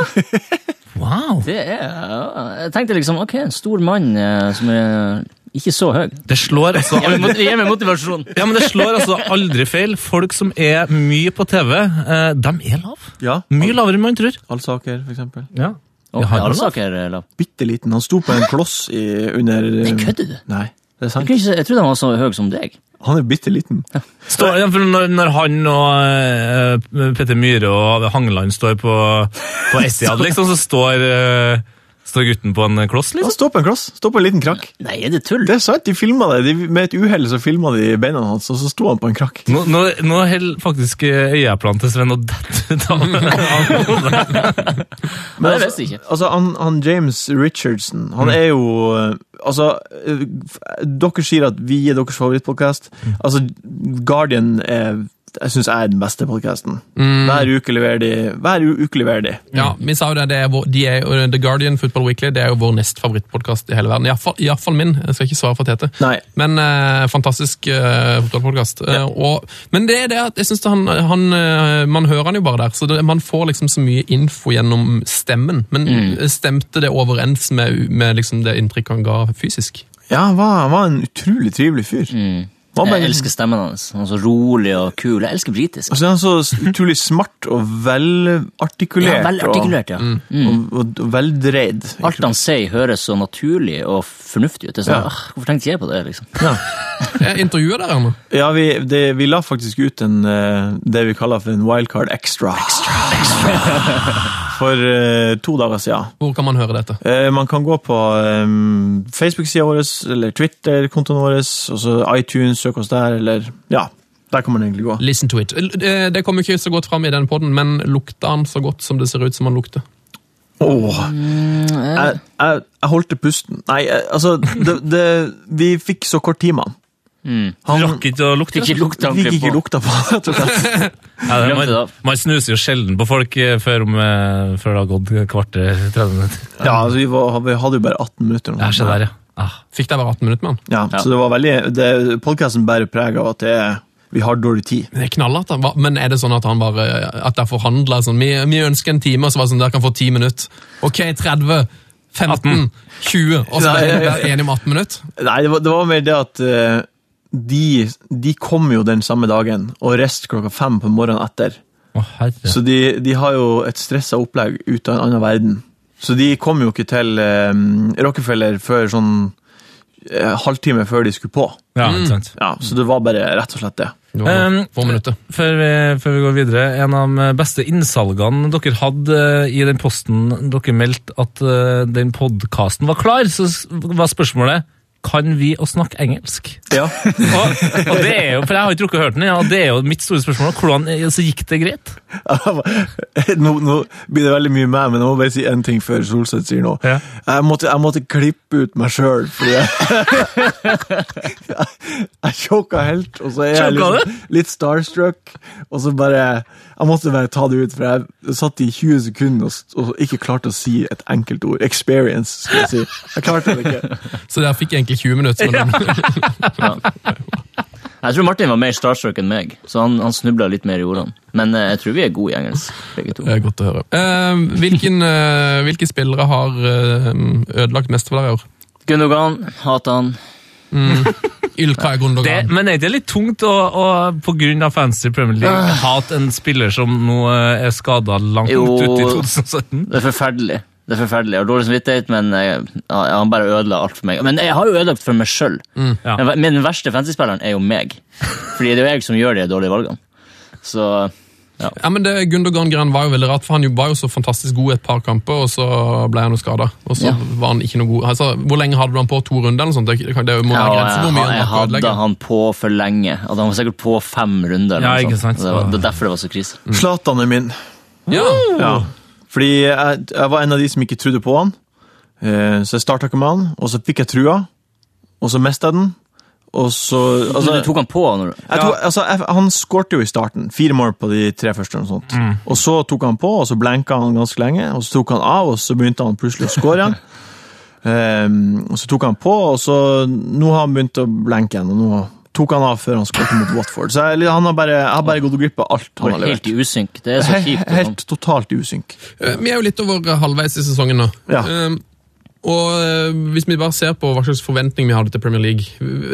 Wow!
Det er ja. Jeg tenkte liksom, ok, en stor mann eh, som er ikke så høy.
Det slår altså
Gi meg mot- gi meg motivasjon.
Ja, men det slår altså aldri feil. Folk som er mye på TV, eh, de er lav.
Ja.
Mye lavere enn man tror.
Alsaker, for eksempel.
Ja.
Oh,
Jeg har den, da.
Alsaker, Lav.
Bitte liten. Han sto på en kloss i, under
Nei, kødder du?
Nei, det er
Jeg,
sant.
kunne ikke, jeg trodde han var så høy som deg.
Han er bitte liten.
Står, ja, for når, når han og eh, Petter Myhre og Hangeland står på, på Etihad, liksom, så står, eh, står gutten på en kloss,
Han
liksom.
står på en kloss. Står på en liten krakk.
Nei, er det tull?
Det er sant, de filma det. De, med et uhell så filma de beina hans, og så sto han på en krakk.
Nå, nå, nå holder faktisk eh, øyeplanen til Sven å dette ut av av hodet.
Nei, det
altså-
visste jeg ikke.
Altså, han, han James Richardson, han er jo eh, Altså, eh, f- dere sier at vi er deres favorittpodkast. Altså, Guardian er jeg syns jeg er den beste podkasten. Hver uke leverer de. Hver u- uke leverer de.
Ja, vi sa jo det, det er vår, de er, jo- The Guardian Football Weekly det er jo vår nest favorittpodkast i hele verden. Iallfall min. Jeg skal ikke svare for Tete.
Nei.
Men eh, fantastisk eh, fotballpodkast. Eh, og- Men det er det at jeg synes det han, han eh, Man hører han jo bare der, så det, man får liksom så mye info gjennom stemmen. Men stemte det overens med, med liksom det inntrykket han ga fysisk?
Ja, han var, han var en Altså, utrolig trivelig fyr. Var bare-
Mm. Jeg elsker stemmen hans. Han er så rolig og kul. Jeg elsker britisk.
Og så er han så utrolig smart og velartikulert.
Ja, veldig artikulert, ja.
Og, Mm. og, og, og veldreid.
Alt han sier, høres så naturlig og fornuftig ut. Det er sånn,
Ja.
«Åh, Hvorfor tenkte ikke jeg på det? liksom?
Jeg intervjuer dere nå.
Ja, vi, det, vi la faktisk ut en, eh, det vi kaller for en wildcard extra. For eh, to dager siden.
Hvor kan man høre dette?
Eh, man kan gå på um, Facebook-sida vår, eller Twitter-kontoen vår, og så iTunes, søk oss der, eller Ja, der kan man egentlig gå.
Listen to it. L- eh, Det det kom ikke så godt fram i den podden, men lukta han så godt som det ser ut som han lukter?
Åh, jeg, jeg, jeg holdt til pusten. Nei, eh, altså det, det, Vi fikk så kort tid med han.
Han
Mm.
Han
rakk ikke å lukte.
Fikk ikke lukta
fikk
ordentlig
ikke
på.
lukta på han, rett og slett.
Ja, det,
Glemte det, da.
man, man snuser jo sjelden på folk eh, før, om, eh, før det har gått et kvarter 30 minutter.
Ja, altså, vi, var, vi hadde jo bare 18 minutter. nå.
Ja, se der, ja. Ah.
Fikk dere være 18 minutter med han?
Ja, så det var veldig Podkasten bærer preg av at det, er- vi har dårlig tid.
Det er knallhardt. han var- Men er det sånn at han bare At dere forhandla sånn vi, vi ønsker en time, og så var det sånn dere kan få 10 minutter. Ok, 30. 15, 20, og så
Nei, ja, ja.
er vi enige om 18 minutter?
Nei, det var, det var mer det at eh, de, de kom jo den samme dagen, og rest klokka fem på morgenen etter.
Å, herre.
Så de, de har jo et stressa opplegg ut av en annen verden. Så de kom jo ikke til eh, Rockefeller før sånn eh, halvtime før de skulle på.
Ja, ikke sant.
Ja, Så det var bare rett og slett det.
Det var
Um,
få minutter.
Før vi, før vi går videre, en av de beste innsalgene dere hadde eh, i den posten dere meldte at eh, den podkasten var klar, så s- var spørsmålet kan vi å snakke engelsk?
Ja,
Og, og det er jo, for Jeg har ikke rukket å høre den, ja, og det er jo mitt store spørsmål. Hvordan eh, så gikk det greit?
nå, nå blir det veldig mye meg, men jeg må bare si én ting før Solseth sier noe.
Ja.
Jeg, måtte, jeg måtte klippe ut meg sjøl, fordi jeg Jeg choka helt, og så er jeg
Choka
litt, litt starstruck, og så bare Jeg måtte bare ta det ut, for jeg satt i 20 sekunder og, s- og ikke klarte å si et enkelt ord. Experience, skal jeg si. Jeg klarte det ikke.
Så dere fikk egentlig 20 minutter. Men den,
Jeg tror Martin var mer starstruck enn meg, så han, han snubla litt mer i ordene. Men eh, jeg tror vi er gode i engelsk, begge to.
Det er godt å høre. Eh, hvilken, eh, hvilke spillere har eh, ødelagt mest for deg i år?
Gundogan, hater han.
Ylka er
Det,
Gundogan.
men er ikke det litt tungt å, å pga. fancy Premier League hate en spiller som nå eh, er skada langt
Jo.
ut i 2017?
Det er forferdelig. Det er forferdelig. Jeg har dårlig samvittighet, men eh, ja, han bare ødela alt for meg. Men jeg har jo ødelagt for meg sjøl.
ja.
Men men den verste fancy-spilleren er jo meg. Fordi det er jo jeg som gjør de dårlige valgene. Så
Ja, men det Gundogan-greien var jo veldig rart, for han jo var jo så fantastisk god i et par kamper, og så ble han jo skada. Og så
Ja.
var han ikke noe god. Altså, hvor lenge hadde du han på? To runder eller noe sånt? Det, det, det må
ja,
være
og
grenser hvor
jeg,
mye han
jeg
orker å
hadde
ødelegge.
han på for lenge. Altså, han var sikkert på fem runder. eller
Ja,
noe
ikke
sånt.
sant,
Det, var,
så-
det er derfor det var så krise.
Zlatan er min.
Ja.
Ja. Fordi jeg, jeg var en av de som ikke trodde på han. Eh, Så jeg starta ikke med han, og så fikk jeg trua, og så mista jeg den. Og så altså,
Men du tok han på når du
jeg tror, altså, jeg, Han skårte jo i starten. Fire mål på de tre første. Og sånt.
Mm.
Og så tok han på, og så blenka han ganske lenge. Og så tok han av, og så begynte han plutselig å skåre igjen. Ehm, og så tok han på, og så Nå har han begynt å blenke igjen. Og nå tok han av før han skåret mot Watford. Så jeg, han har bare, jeg har bare gått glipp av alt han
var
har
helt
levert.
i usynk. Det er så
He-
kjipt. og sånn.
Helt totalt i usynk.
Eh, Vi er jo litt over eh, halvveis i sesongen nå.
Ja.
Eh, og eh, hvis vi bare ser på hva slags forventning vi hadde til Premier League,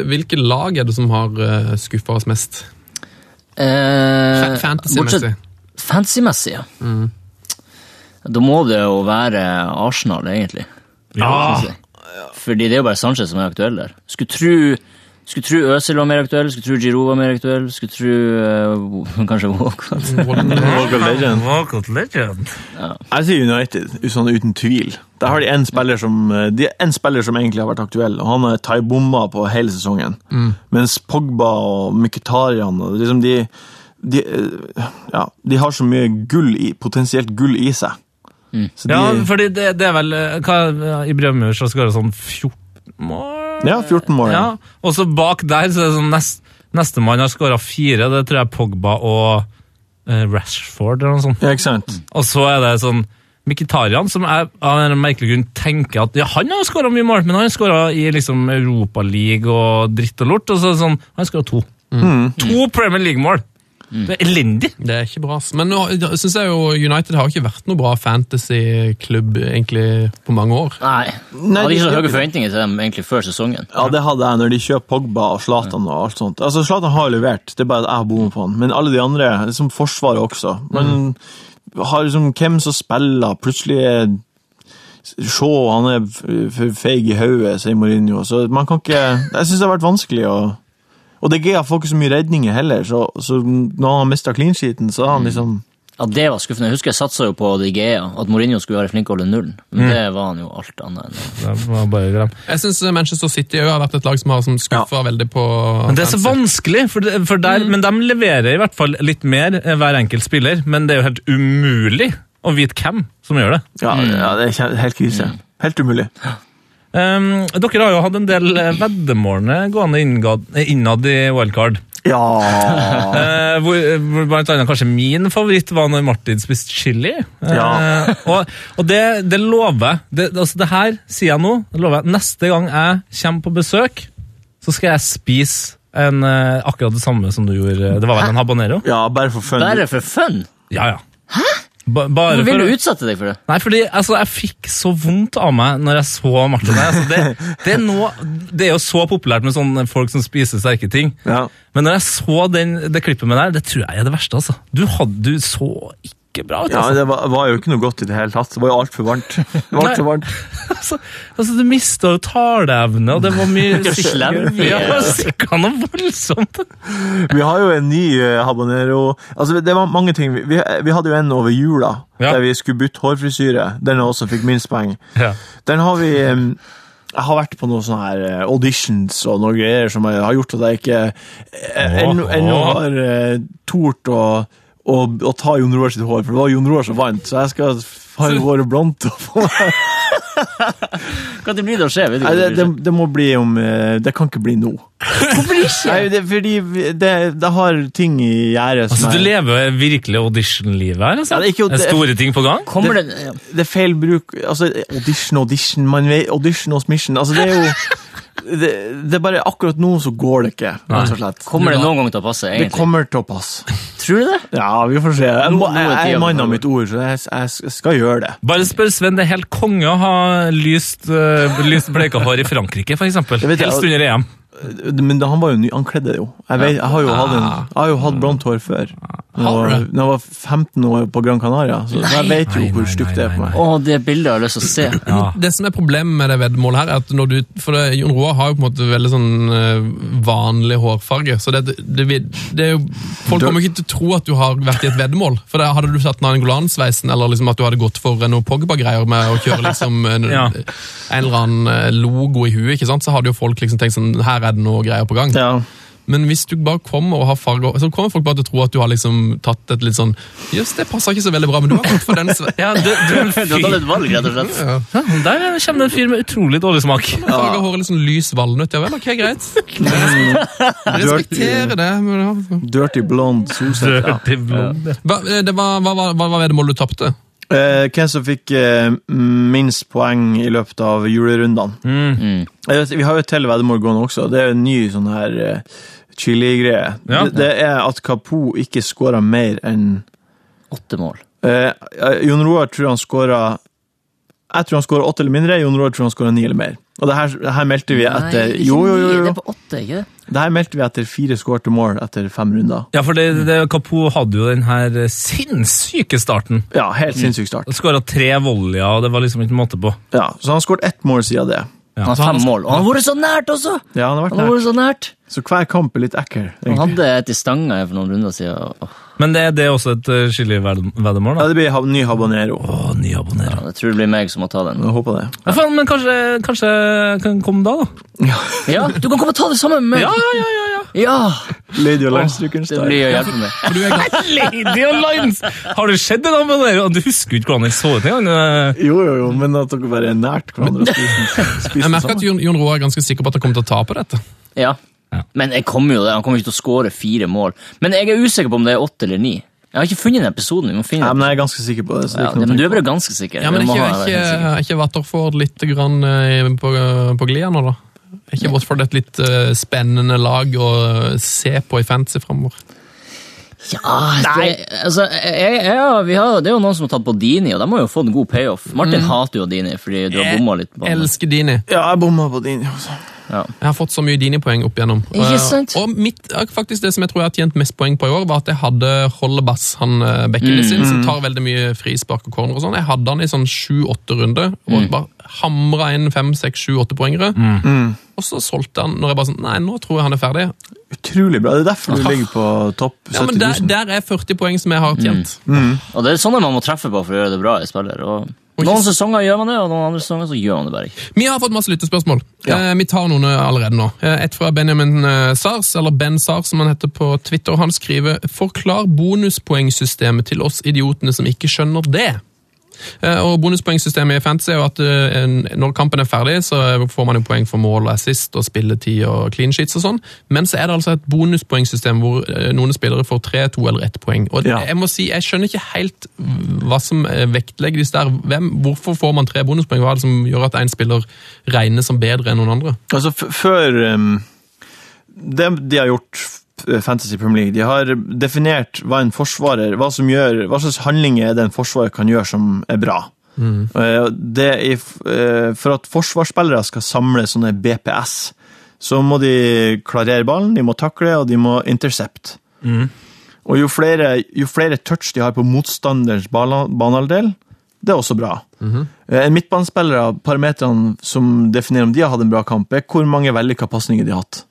hvilke lag er det som har uh, skuffa oss mest?
Eh,
Fa- Fantasy-messig.
bortsett- Fancy-messig, ja. Da må det jo være Arsenal, egentlig.
Ja.
Synes jeg. Fordi det er jo bare Sanchez som er aktuell der. Skulle tro, skulle tro Øzil var mer aktuell, skulle tro Giroud var mer aktuell, skulle tro eh, kanskje Walcott.
Mm.
Walk of Legend.
Walcott legend.
Jeg sier United, sånn uten tvil. Der har de en spiller som eh, De er en spiller som egentlig har vært aktuell, og han er taibomma på hele sesongen. Mens Pogba og Mkhitaryan og liksom de, de eh, Ja, de har så mye gull i, potensielt gull i seg. Så de,
Ja,
ja,
fordi det, det er vel eh, hva, Ibrahimovic har skåra sånn 14 mål?
14 mål.
Ja, og så bak der så er det sånn nest, Nestemann har skåra fire, det tror jeg er Pogba og eh, Rashford eller noe sånt.
Ja, ikke sant?
Og så er det sånn Mkhitaryan, som jeg av en merkelig grunn tenker at ja, han har skåra mye mål, men han skåra i liksom Europaligaen og dritt og lort, og så er det sånn Han skåra to. To Premier League-mål! Du er elendig!
Det er ikke bra. ass. Men nå syns jeg jo United har ikke vært noe bra fantasyklubb egentlig på mange år.
Nei. Jeg hadde ikke så høye forventninger til dem egentlig før sesongen.
Ja, det hadde jeg når de kjøper Pogba og Zlatan og alt sånt. Altså, Zlatan har levert, det er bare at jeg har bommet på han. Men alle de andre, liksom Forsvaret også. Man har liksom hvem som spiller, plutselig er Shaw, han er f- for feig i hodet, sier Mourinho. Så man kan ikke Jeg syns det har vært vanskelig å Og De Gea får ikke så mye redninger heller, så, så når han har mista clean sheeten, så har han liksom
Ja, det var skuffende. Jeg husker jeg satsa jo på De Gea, at Mourinho skulle være flink til å holde nullen. Men det var han jo alt annet enn.
Det var bare gram.
Jeg syns Manchester City også har vært et lag som har som skuffa veldig på
Men det er så
fantasy.
vanskelig, for, det- for der, men de leverer i hvert fall litt mer eh, hver enkelt spiller, men det er jo helt umulig å vite hvem som gjør det.
Ja, ja det er kje- helt krise. Helt umulig.
Ehm, dere har jo hatt en del eh, veddemålene gående inngad- eh, innad i wildcard.
Ja
Eh, hvor, eh, hvor blant annet kanskje min favoritt var når Martin spiste chili. Eh,
Ja.
og og det, det lover jeg. Det, altså det her sier jeg nå. Det lover jeg. Neste gang jeg kommer på besøk, så skal jeg spise en, eh, akkurat det samme som du gjorde. Det var vel en habanero?
Ja, bare for fun.
Bare for fun!
Ja, ja. Ba, bare
Hvorfor
for,
vil du utsette deg for det?
Nei, fordi altså, jeg fikk så vondt av meg når jeg så Martin. her. Altså, det, det, er noe, det er jo så populært med sånne folk som spiser sterke ting.
Ja.
Men når jeg så den, det klippet med deg, det tror jeg er det verste. altså. Du, hadde, du så ikke bra ut.
Ja,
altså.
det var, var jo ikke noe godt i det hele tatt. Det var jo altfor varmt. Det var alt for varmt.
Altså, altså, Du mista jo taleevne, og det var mye
slem.
Ja, sikka noe voldsomt.
Vi har jo en ny eh, habanero Altså, Det var mange ting. Vi, vi, vi hadde jo en over jula
Ja.
der vi skulle bytte hårfrisyre. Den også fikk minst poeng.
Ja.
Den har vi eh, Jeg har vært på noen sånne her eh, auditions og noen greier som har har gjort at jeg ikke eh, ennå ennå har eh, tort å, å, å ta Jon Roar sitt hår, for det var Jon Roar som vant, så jeg skal ha håret blondt. og få
Når blir det å skje? Vet du,
Nei, det,
hva
det,
det,
det må bli om eh, Det kan ikke bli nå. Hvorfor ikke? Nei, det, fordi vi- det, det har ting i gjerdet som
Altså, Du
er-
lever virkelig audition-livet her. altså.
Ja, det er ikke-
det er store ting på gang.
Kommer det, ja.
det er feil bruk altså, Audition, audition, man vet, audition hos mission. Altså, det er jo det, det er bare akkurat nå så går det ikke, rett og slett.
Kommer det noen gang til å passe,
Det
egentlig?
kommer til å passe.
Tror du det?
Ja, vi får se. Jeg, må,
Nå- nå er
jeg, jeg
tiden
er mann av
over.
mitt ord, så jeg, jeg skal gjøre det.
Bare spør Sven, det er helt konge å ha lyst, uh, lyst bleika hår i Frankrike, f.eks.
vet jeg,
Helst
og-
under EM.
Men da, han var jo ny, han kledde det jo. Jeg, vet, jeg har jo hatt, en, jeg har jo hatt blondt hår før. Når
Har
jeg,
du?
når jeg var 15 år på Gran Canaria, så jeg vet jo
Nei, nei,
hvor stygt det er
nei,
på meg.
Å, det bildet har jeg lyst til å se.
Ja.
Det som er problemet med det veddemålet her, er at når du, for det, Jon Roar har jo på en måte veldig sånn eh, vanlig hårfarge, så det, det, vil- det er jo, folk kommer jo ikke til å tro at du har vært i et veddemål, for da hadde du satt Nangolan-sveisen, eller liksom at du hadde gått for noen Pogba-greier med å kjøre liksom en,
Ja.
en eller annen eh, logo i huet, ikke sant, så hadde jo folk liksom tenkt sånn, her er det noe greier på gang.
Ja.
Men hvis du bare kommer og har farger, så kommer folk bare til å tro at du har liksom tatt et litt sånn, jøss, det passer ikke så veldig bra, men du har gått for den sveisen.
Ja, du, du, er en
Du har tatt
fyr.
et valg, rett og slett.
Der kommer det en fyr med utrolig dårlig smak.
Farger håret litt sånn lys valnøtt, ja vel, ok, greit. Respektere det. Men, ja.
Dirty blonde solsett. Ja.
Dirty blonde.
hva, eh, det var, hva, hva, hva var veddemålet du tapte?
Eh, hvem som fikk eh, minst poeng i løpet av julerundene.
Mm.
Mm.
Jeg vet, vi har jo et til veddemål gående også. Det er en ny sånn her eh, chili-greie.
Ja.
Det, det er at Kapo ikke skåra mer enn
Åtte mål.
eh, eh, Jon Roar tror han skåra Jeg tror han skåra åtte eller mindre, Jon Roar tror han skåra ni eller mer. Og det her, det her meldte vi etter
ikke
Jo, jo, jo.
ni, Det er
jo.
på åtte, ikke det?
Det her meldte vi etter fire skårte mål etter fem runder.
Ja, for det, det, Kapo hadde jo den her eh, sinnssyke starten.
Ja,
Mm.
helt sinnssyk start.
Skåra tre volleyer, og det var liksom ikke måte på.
Ja, så han har skåret ett mål siden det.
Han har fem mål. Og han har vært så nært også!
Ja, han har vært
Han har
nær.
vært så nært.
Så hver kamp er litt ekkel.
Han
egentlig.
hadde et i stanga her for noen runder siden. og- åh,
Men det, det er også et eh, chili-veddemål, da.
Ja, det blir hab- ny habanero.
Å, ny abonner.
Jeg tror det blir meg som må ta den.
Jeg håper det.
Ja, faen, men kanskje, kanskje jeg kan komme da, da?
Ja, du kan komme og ta det sammen med meg!
Ja, ja, ja! ja.
Ja!
Lady og landstrykeren
Det blir å hjelpe meg.
For du er glad.
Lady og Lines! Har du sett den abonneren? Du husker jo ikke hvordan den så ut engang. eh.
Jo, jo, jo, men at dere bare er nært hverandre og spiser, spiser
Jeg merker at
sammen.
Jon, Jon Roar er ganske sikker på at han kommer til å tape dette.
Ja.
Ja.
Men jeg kommer jo det. han kommer ikke til å skåre fire mål. Men jeg er usikker på om det er åtte eller ni. Jeg har ikke funnet den episoden. vi må finne
Nei,
den.
men jeg er ganske sikker på det. Så det
Ja,
er ikke noe
men du
å
er bare ganske sikker.
Ja, men
Du
er
må
ikke,
ha
er
det, helt
ikke,
sikker.
er ikke Watterford litt grann eh, på, på glia nå, da? Er ikke Watford et litt eh, spennende lag å se på i fantasy framover?
Ja, det, altså, jeg, jeg, ja, vi har, det er jo noen som har tatt på Dini, og de har jo fått en god payoff. Martin hater jo Dini fordi du har bomma litt på han.
Elsker Dini.
Ja, jeg bomma på din. altså. Også.
Jeg har fått så mye Dini-poeng opp igjennom.
Ikke
Eh,
sant?
Og mitt, eh, faktisk det som jeg tror jeg har tjent mest poeng på i år, var at jeg hadde Hollebass, han eh,
Mm.
bekken sin, som tar veldig mye frispark og corner og sånn. Jeg hadde han i sånn sju-åtte runder, og
Mm.
bare hamra inn fem, seks, sju-åtte poengere. Og så solgte han når jeg bare sånn Nei, nå tror jeg han er ferdig.
Utrolig bra. Det er derfor du ligger på topp 70
Ja, men
000.
der, der er 40 poeng som jeg har tjent.
Og det er sånne man må treffe på for å gjøre det bra i spiller. Og noen sesonger gjør man det, og noen andre sesonger så gjør man det bare ikke.
Vi har fått masse lyttespørsmål. Eh, vi tar noen eh, allerede nå. Eh, et fra Benjamin eh, Sars, eller Ben Sars som han heter på Twitter. Han skriver «Forklar bonuspoengsystemet til oss idiotene som ikke skjønner det». Eh, og bonuspoengsystemet i Fantasy er jo at eh, en- når kampen er ferdig, så får man jo poeng for mål og assist og spilletid og clean sheets og sånn, men så er det altså et bonuspoengsystem hvor eh, noen spillere får tre, to eller ett poeng. Og
Ja.
jeg må si, jeg skjønner ikke helt hva som eh, vektlegges der. Hvem, hvorfor får man tre bonuspoeng? Hva er det som gjør at en spiller regnes som bedre enn noen andre?
Altså, f før um, det de har gjort f- Fantasy Premier League, de har definert hva en forsvarer, hva som gjør, hva slags handlinger er det en forsvarer kan gjøre som er bra. Eh, og Det er, f- eh, for at forsvarsspillere skal samle sånne BPS, så må de klarere ballen, de må takle, og de må intercept. Og jo flere, jo flere touch de har på motstanderens bana- banehalvdel, det er også bra. Eh, En midtbanespiller av parametrene som definerer om de har hatt en bra kamp, er hvor mange vellykka pasninger de har hatt.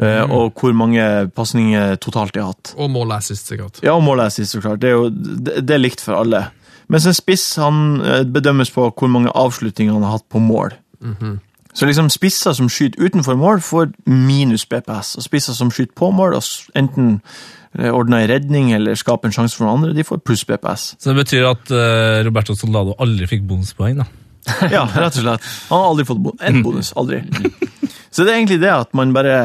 Eh, Og hvor mange pasninger totalt de har hatt.
Og målet er sist, sikkert.
Ja, og målet er sist, så klart. Det er, jo, det, det er likt for alle. Mens en spiss han eh, bedømmes på hvor mange avslutninger han har hatt på mål. Så liksom spisser som skyter utenfor mål, får minus BPS. Og spisser som skyter på mål, og s- enten eh, ordner en redning eller skaper en sjanse for noen andre, de får pluss BPS.
Så det betyr at eh, Roberto Soldado aldri fikk bonuspoeng, da.
Ja, rett og slett. Han har aldri fått bo en bonus. Aldri. Så det er egentlig det at man bare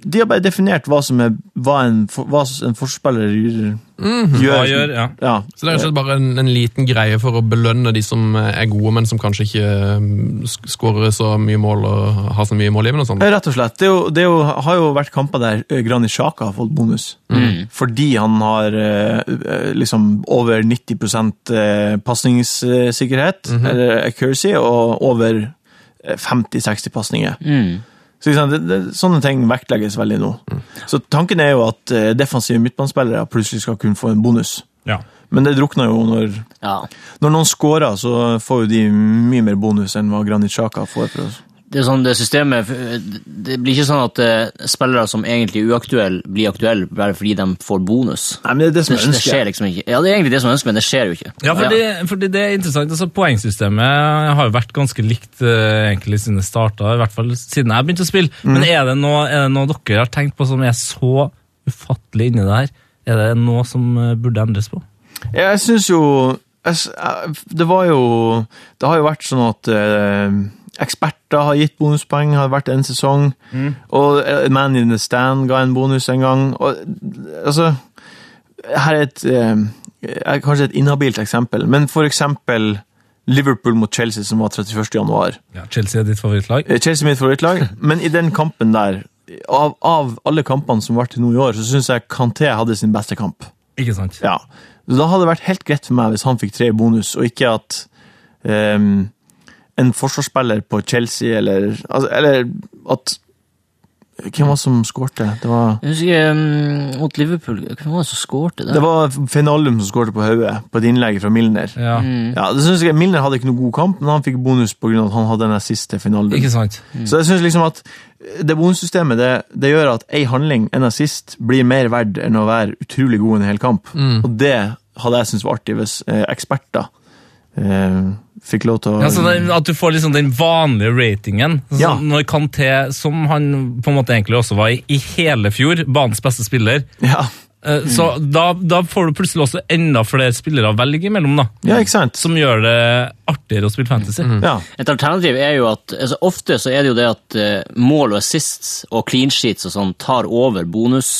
De har bare definert hva som er hva en, for- hva en forspiller gjør.
Mhm, Hva gjør, ja.
Ja.
Så det er rett og slett bare en, en liten greie for å belønne de som eh, er gode, men som kanskje ikke eh, sk- skårer så mye mål og har så mye mål i og sånn.
Rett og slett. Det, er jo, det er jo, har jo vært kamper der eh, Granit Xhaka har fått bonus.
Mhm.
Fordi han har eh, eh, liksom over 90 eh, pasningssikkerhet,
Mhm.
eller accuracy, og over eh, 50-60 pasninger. Så liksom, det, det, sånne ting vektlegges veldig nå. Så tanken er jo at eh, defensive midtbanespillere plutselig skal kunne få en bonus.
ja.
Men det drukner jo når,
Ja.
når noen scorer, så får jo de mye mer bonus enn hva Granit Xhaka får. for oss.
Det er sånn det systemet Det blir ikke sånn at eh, spillere som egentlig er uaktuelle, blir aktuelle bare fordi de får bonus.
Nei, men det er det som
Det,
er
det
ønsket.
skjer liksom ikke. Ja, det er egentlig det som er ønsket, men det skjer jo ikke.
Ja, fordi, fordi det er interessant. altså Poengsystemet har jo vært ganske likt eh, egentlig siden det starta, i hvert fall siden jeg begynte å spille. Men er det, noe, er det noe dere har tenkt på som er så ufattelig inni det her? Er det noe som eh, burde endres på?
Ja, Jeg syns jo jeg s- jeg- Det var jo Det har jo vært sånn at eh, eksperter har gitt bonuspoeng, har vært en sesong. Og eh, Man in the Stand ga en bonus en gang. Og, eh, altså Her er et eh, er kanskje et inhabilt eksempel, men for eksempel Liverpool mot Chelsea, som var 31. januar.
Ja, Chelsea er ditt favorittlag.
Eh, Chelsea er mitt favorittlag, men i den kampen der, av, av alle kampene som var til nå i år, så syns jeg Kanté hadde sin beste kamp.
Ikke sant?
Ja. Så da hadde det vært helt greit for meg hvis han fikk tre i bonus, og ikke at ehm, en forsvarsspiller på Chelsea eller altså, Eller at Hvem var det som skårte? Det var,
Jeg husker eh, mot Liverpool Hvem var det som skårte
det
der?
var Finalum som skårte på hodet, på et innlegg fra Milner.
Ja,
Ja, det synes jeg Milner hadde ikke noen god kamp, men han fikk bonus pga. at han hadde den siste finalen.
Ikke sant?
Så jeg synes liksom at det bonussystemet det, det gjør at ei handling, en assist, blir mer verd enn å være utrolig god i en hel kamp.
Mm.
Og det hadde jeg syntes var artig hvis eh, eksperter eh, fikk lov til å
Ja, så det, at du får liksom den vanlige ratingen. Så
Ja.
Når Kanté, som han på en måte egentlig også var i, i hele fjor, banens beste spiller,
ja. Mm.
eh, så da, da får du plutselig også enda flere spillere å velge imellom, da.
ja, ikke sant? Mm.
som gjør det artigere å spille fantasy.
Ja.
Et alternativ er jo at altså, Ofte så er det jo det at eh, mål og assists og clean sheets og sånn tar over bonus.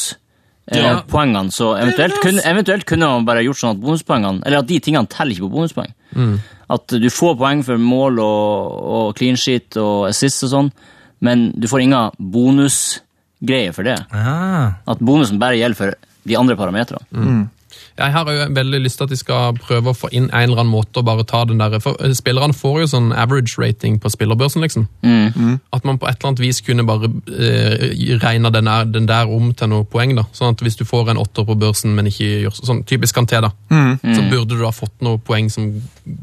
eh,
Ja.
Poengene, så eventuelt kunne, eventuelt kunne man bare gjort sånn at bonuspoengene Eller at de tingene teller ikke på bonuspoeng.
Mm.
At du får poeng for mål og, og clean sheet og assist og sånn, men du får ingen bonusgreier for det.
Ah,
At bonusen bare gjelder for de andre parametrene.
Mm.
Jeg har jo veldig lyst til at de skal prøve å få inn en eller annen måte å bare ta den der, for eh, Spillerne får jo sånn average rating på spillerbørsen, liksom.
Mm.
Mm.
At man på et eller annet vis kunne bare eh, regne den der, den der om til noe poeng. da. Sånn at hvis du får en åtter på børsen, men ikke gjør så- sånn typisk Kanté, da, så burde du ha fått noe poeng som,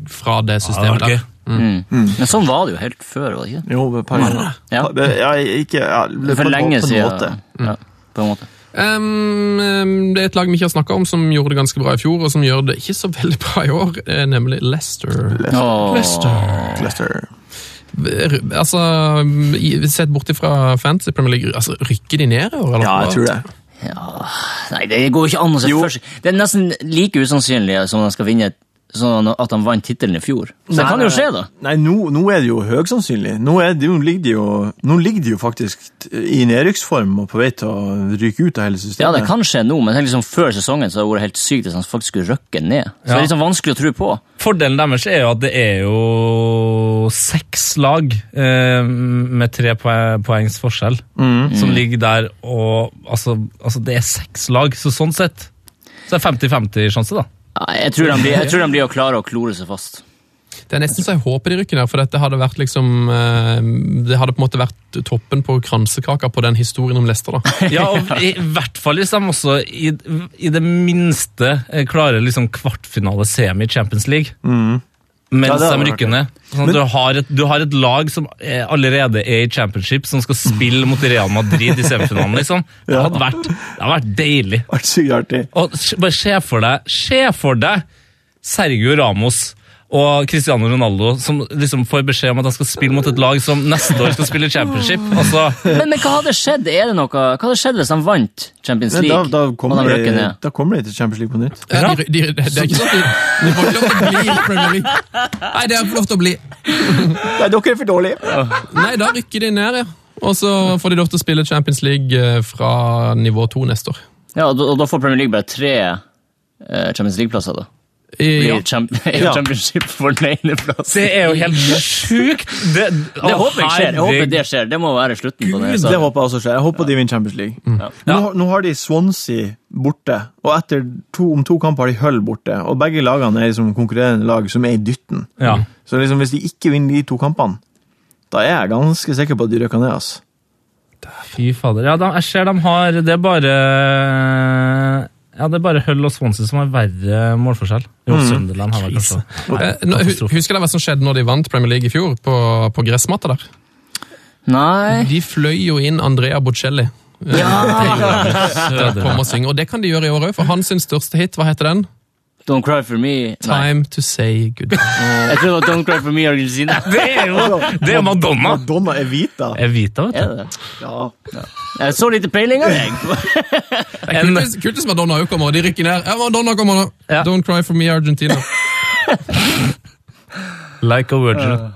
fra Mm. det systemet
det
der.
er gøy.
Mm. Men sånn var det jo helt før, var det ikke?
Jo, et par ganger.
Ja.
Pa- Ja, ikke ja,
det?
på-
For lenge
på en måte. Mm.
siden. Ja, på en måte.
Ehm, ehm, det er et lag vi ikke har snakka om, som gjorde det ganske bra i fjor, og som gjør det ikke så veldig bra i år, eh, nemlig Leicester.
Åh.
Leicester.
R- Altså, i- Sett bort ifra Fantasy Premier League, altså, rykker de ned i år? eller?
Ja, jeg tror det.
Ja, nei, det går jo ikke an å se for seg. Det er nesten like usannsynlig som de skal vinne sånn at de vant tittelen i fjor. Så det
Nei,
kan
nei,
jo skje,
nei.
da.
Nei, nå, nå er det jo høysannsynlig. Nå, er det, jo- ligger de jo, nå ligger de jo faktisk t- i nedrykksform og på vei til å ryke ut av hele systemet.
Ja, det kan skje nå, men liksom før sesongen så har det vært helt sykt hvis han faktisk skulle røkke ned. Så det
Ja.
er litt sånn vanskelig å tro på.
Fordelen deres er jo at det er jo seks lag eh, med tre poe- poengs forskjell
Mm.
som ligger der og altså, altså, det er seks lag, så sånn sett så er det 50-50 sjanse, da.
Nei, jeg tror de blir, jeg tror de blir å klare å klore seg fast.
Det er nesten så jeg håper de rykker ned, for dette hadde vært liksom ehm, Det hadde på en måte vært toppen på kransekaka på den historien om Leicester, da.
Ja, og i hvert fall hvis de også i, i det minste eh, klarer liksom kvartfinale-semi i Champions League.
Mm. Ja,
Mens
det hadde
de
vært
rykker ned. Sånn at du, har et, du har et lag som eh, allerede er i championship, som skal spille mot Real Madrid i semifinalen. liksom. Det hadde vært, det hadde vært deilig.
vært sykt artig.
Og s- bare se for deg, se for deg Sergio Ramos og Cristiano Ronaldo som liksom får beskjed om at han skal spille mot et lag som neste år skal spille championship. Altså,
Men, men hva hadde skjedd? Er det noe? Hva hadde skjedd hvis de vant Champions
Men
League?
da, da,
og
kommer
de røkker
de,
ned?
da kommer de til Champions League på nytt.
Ja, de, de, det er ikke sånn at de, de får ikke lov til å bli i Premier League. Nei, det er lov til å bli.
Nei, dere er for dårlige!
Nei, da rykker de ned, ja. Og så får de lov til å spille Champions League eh, fra nivå to neste år.
Ja, og da, og da får Premier League bare tre eh, Champions League-plasser, da.
I-
Ja. Champ
Ja.
Championship for den ene plassen.
det er jo helt sjukt! Det,
Det håper jeg skjer. Jeg håper det skjer. Det må være slutten på det.
Det
Så.
håper jeg også skjer. Jeg håper de vinner Champions League. Nå, har- nå har de Swansea borte, og etter to, om to kamper har de Hull borte. Og begge lagene er liksom konkurrerende lag som er i dytten.
Ja.
Så liksom, hvis de ikke vinner de to kampene, da er jeg ganske sikker på at de røkker ned. altså. ass.
Fy fader. Ja, da, jeg ser de har Det er bare ja, det er bare Hull og Swansea som har verre målforskjell. Jo, Sunderland har vel kanskje Nei,
Eh, nå, hu-
katastrofe.
husker dere hva som skjedde når de vant Premier League i fjor, på, på gressmatta der?
Nei
De fløy jo inn Andrea Bocelli. eh, til å komme og synge, og det kan de gjøre i år òg, for hans sin største hit, hva heter den?
Don't cry for me. Nei.
Time to say goodbye.
Jeg tror det var Don't cry for me, Argentina.
Det er jo det er jo Madonna!
Madonna Evita!
Evita, vet
Er
du.
det det?
Ja.
Jeg så lite peiling av deg.
Det er kult hvis- Kult hvis Madonna òg kommer, og de rykker ned. Ja, Madonna kommer nå!
Ja.
Don't cry for me, Argentina.
Like a virgin.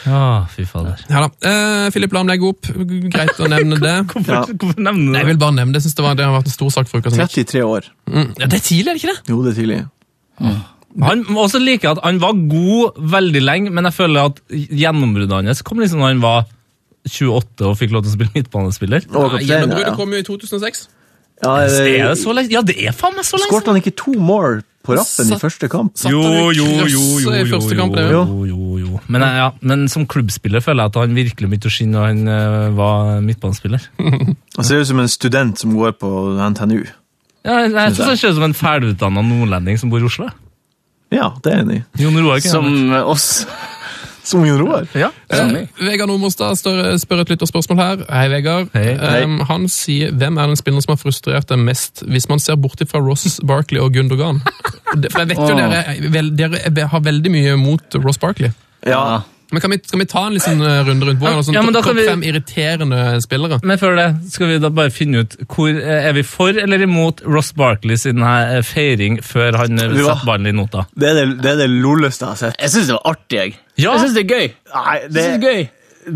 Ja, fy fader.
Ja da. Eh, Philip Lahm legger opp. Greit å nevne det.
Ja.
Hvorfor, hvorfor nevner du
Jeg
det?
vil bare nevne det. Jeg synes det, var, det har vært en stor sak for uka som gikk.
33 år.
Ja, det er tidlig, er det ikke det?
Jo, det er tidlig.
Han må også like at han var god veldig lenge, men jeg føler at gjennombruddet hans kom liksom da han var 28 og fikk lov til å spille midtbanespiller.
Og
Ja,
kaptein,
Gjennombruddet
ja.
kom jo i 2006.
Ja,
Er det så lenge? Ja, det er faen meg så lenge!
Skårte han ikke to mål på rappen i
Satt-
første kamp?
Satt han i krysset i første kamp, det,
jo.
jo, jo, jo. Men, eh, ja, men som klubbspiller føler jeg at han virkelig begynte å skinne da han eh, var midtbanespiller.
Han ser ut som en student som går på NTNU.
Ja, jeg, jeg synes han ser ut som en ferdigutdanna nordlending som bor i Oslo.
Ja, det er jeg enig i.
Jon Roar kan
Som oss.
Som Jon Roar.
ja.
Som
Eh, Vegard Omerstad stør- spør et lytterspørsmål her. Hei, Vegard.
Hei.
Hei.
Um, han sier hvem er den spilleren som har frustrert deg mest, hvis man ser bort fra Ross Barkley og Gundogan? Det- For jeg vet jo
Åh.
dere, er vel, dere er- har veldig mye mot Ross Barkley.
Ja.
Men kan vi, kan vi ta en liten eh, runde rundt bordet?
Ja,
og Sånn,
ja, men da
topp
kan
topp
vi-
fem irriterende spillere.
Men før det skal vi da bare finne ut hvor eh, er vi for eller imot Ross Barkley sin her eh, feiring før han eh,
Du, hva?
satte ballen i nota.
Det er det, det, er det lolleste jeg har sett.
Jeg syns det var artig, jeg.
Ja.
Jeg syns det er gøy. Jeg
Nei, det,
synes det er gøy.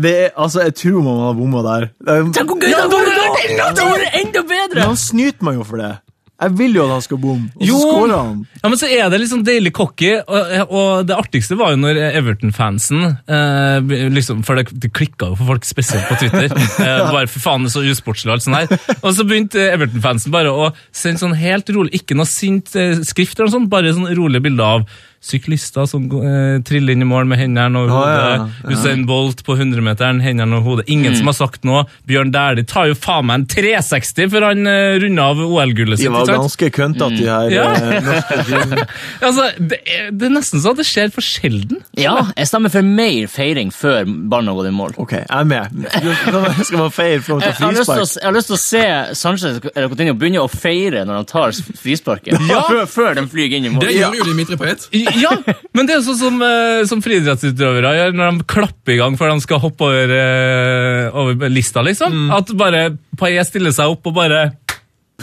det er, altså, jeg tror man har bomma der. Det er-
Tenk hvor gøy det hadde vært! Det hadde vært enda bedre!
Men han snyter meg jo for det. Jeg vil jo at han skal bomme, og så
Jo.
skårer han.
Ja, men så er det liksom deilig cocky, og, og det artigste var jo når Everton-fansen eh, liksom, For det, det klikka jo for folk, spesielt på Twitter. Eh, bare for faen, det er så usportslig og alt sånt her. Og så begynte eh, Everton-fansen bare å sende sånn helt rolig, ikke noe sint eh, skrift, eller noe sånt, bare sånn rolige bilder av syklister som eh, triller inn i mål med hendene og hodet.
ja, ja. Mm.
Usain Bolt på 100-meteren, hendene og hodet. Ingen som har sagt noe. Bjørn Dæhlie tar jo faen meg en 360 før han eh, runder av OL-gullet sitt.
De var
ikke sant?
ganske køntete, de her.
Ja.
eh, norske teamene.
Altså, det, er, det er nesten sånn at det skjer for sjelden.
Ja, jeg stemmer for mer feiring før ballen har gått i mål.
Ok, jeg er med. Du- Skal man feire for å ta
Jeg, jeg, har lyst til å,
frispark?
s- jeg har lyst til å se Sanchez eller Coutinho begynne å feire når han tar frisparket. før, før den flyr inn i mål.
Det gjør jo Dimitri Payet.
I- Ja, men det er jo sånn som, eh, som friidrettsutøvere gjør når de klapper i gang før de skal hoppe over, eh, over lista, liksom. At bare Paillet stiller seg opp og bare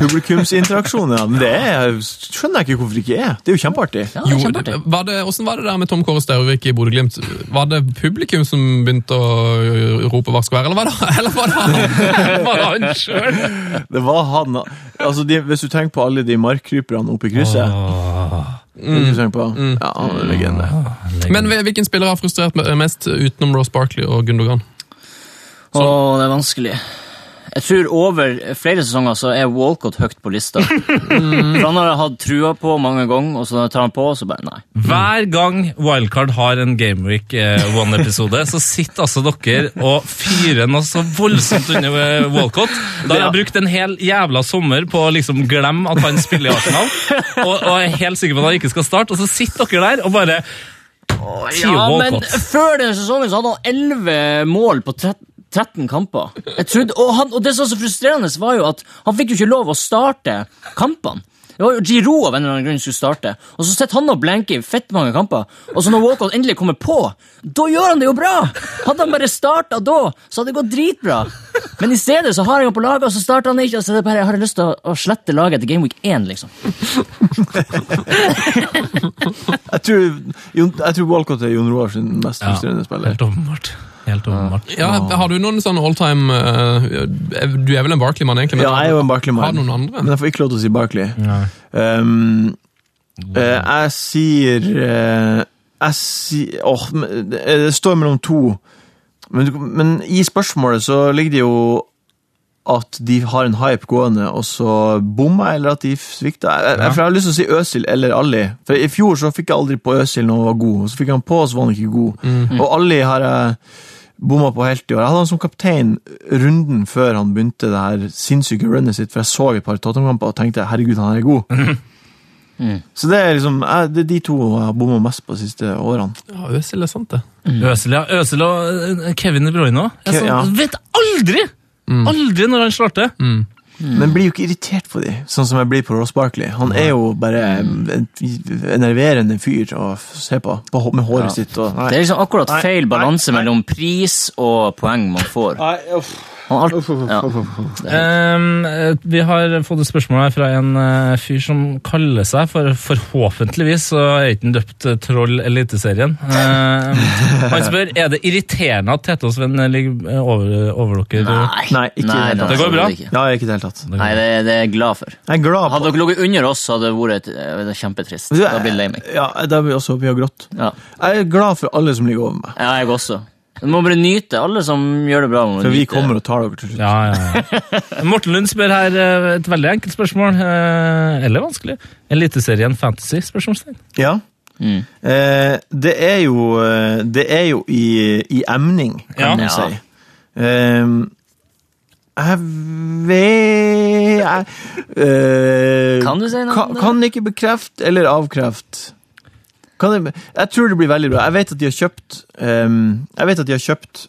Publikumsinteraksjon, ja. Men det er, skjønner jeg ikke hvorfor det ikke er. Det er jo kjempeartig.
Ja,
Jo,
kjempeartig.
var det, hvordan var det der med Tom Kåre Staurvik i Bodø-Glimt? Var det publikum som begynte å rope 'varsko her', eller var det, eller var det han?
Bare han sjøl!
Det var han altså de, Hvis du tenker på alle de markkryperne oppe i krysset mm. du tenker på? Ja, han er en legende.
Men hvilken spiller har frustrert me- mest utenom Ross Barkley og Gundogan?
Å, det er vanskelig. Jeg tror over flere sesonger så er Walcott høyt på lista. For han har jeg hatt trua på mange ganger, og så tar han på, og så bare nei.
Hver gang Wildcard har en Gameweek eh, One-episode, så sitter altså dere og fyrer noe så voldsomt under eh, Walcott. Da har jeg brukt en hel jævla sommer på å liksom glemme at han spiller i Arsenal, og, og er helt sikker på at han ikke skal starte, og så sitter dere der og bare Tio
Ja, men
Walcott.
før denne sesongen så hadde han 11 mål på 13 13 kamper. Jeg trodde, og, han, og det som var så frustrerende, var jo at han fikk jo ikke lov å starte kampene. Det var jo Giro av en eller annen grunn skulle starte, og så sitter han og blenker i fett mange kamper. Og så når Walcott endelig kommer på, da gjør han det jo bra! Hadde han bare starta da, så hadde det gått dritbra. Men i stedet så har han jo på laget, og så starter han ikke. Og så er det bare, jeg har lyst til å, å slette laget etter Gameweek 1, liksom.
Jeg tror, Jon- jeg tror Walcott er Jon Roar sin mest frustrerende spiller.
Helt åpenbart. Helt åpenbart.
Ja, Har du noen sånne alltime eh, Du er vel en Barkley-mann, egentlig? men
Ja, jeg er jo
Har
en
du
Barkley-mann,
noen
men
andre?
jeg får ikke lov til å si Barkley. Um, eh, jeg sier eh, Jeg sier Åh, men det det står mellom to. Men, du- men i spørsmålet så ligger det jo at de har en hype gående, og så bommer jeg, eller at de svikter. Jeg, jeg, for jeg har lyst til å si Øsil eller Alli. For I fjor så fikk jeg aldri på Øsil når han var god, og så fikk han på, og så var han ikke god. Og Alli har jeg bomma på helt i år. Jeg hadde han som kaptein runden før han begynte det her sinnssyke runnet sitt, for jeg så et par Tottenham-kamper og tenkte herregud, han her er god. Så det er liksom jeg, det er de to jeg har bomma mest på de siste årene.
Ja, Øsil er sant, det.
Mm. Øsel, ja. Øsel og eh, Kevin De Bruyne òg.
Ke- ja. Mm.
Vet aldri! Aldri når han slår til.
Mm.
Men blir jo ikke irritert på de, sånn som jeg blir på Ross Barkley. Han er jo bare en enerverende fyr å f- se på, på hå- med håret sitt og
Det er
Nei.
liksom akkurat
Nei,
feil
nei,
balanse
nei.
mellom pris og poeng man får. Han har alt- ja.
Ehm, eh, vi har fått et spørsmål her fra en eh, fyr som kaller seg for Forhåpentligvis så er ikke han døpt eh, Troll Eliteserien. Ehm, han spør er det irriterende at Tete og Sven ligger eh, over, over dere.
Nei, ikke i det hele tatt.
Det går bra.
absolutt ikke.
Ja, ikke i det hele tatt.
Nei, det, det er jeg glad for.
Jeg er glad
Hadde
på
dere ligget under oss, hadde det vært eh, det er kjempetrist. Da blir det lei meg.
Ja, da blir jeg også vi har grått.
Ja.
Jeg er glad for alle som ligger over meg,
ja, jeg også. Du må bare nyte. Alle som gjør det bra, må
for vi
nyte.
kommer og tar dere til slutt.
Ja, ja, ja. Morten Lund spør her eh, et veldig enkelt spørsmål. eh, Eller vanskelig. Eliteserien Fantasy? spørsmålstegn.
Ja.
Mm.
Eh, det er jo eh, Det er jo i, i emning, kan
Ja.
man
Ja.
si. Ehm, jeg vet jeg, eh,
Kan du si noe om
Kan,
det?
kan ikke bekrefte eller avkrefte. Kan jeg, jeg tror det blir veldig bra. Jeg vet at de har kjøpt ehm, Jeg vet at de har kjøpt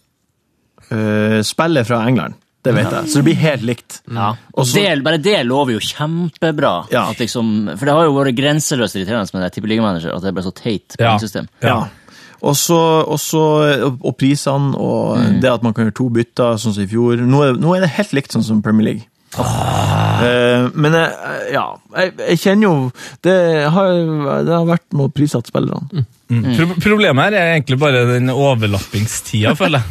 eh, spillet fra England. Det vet jeg. Så det blir helt likt.
Ja.
Og så-
det, bare det lover jo kjempebra.
Ja.
At liksom, for det har jo vært grenseløst irriterende med det tippeligamanager, at det er bare så teit
Ja.
poengsystem.
Ja. Og så, og, så, og- og prisene, og
Mm.
det at man kan gjøre to bytter, sånn som i fjor. Nå er, nå er det helt likt sånn som Premier League. Eh, men jeg, ja, jeg, jeg kjenner jo Det har, det har vært noe
Mm.
prissatt spillerne.
Mm. Pro problemet her er egentlig bare den overlappingstida, føler jeg.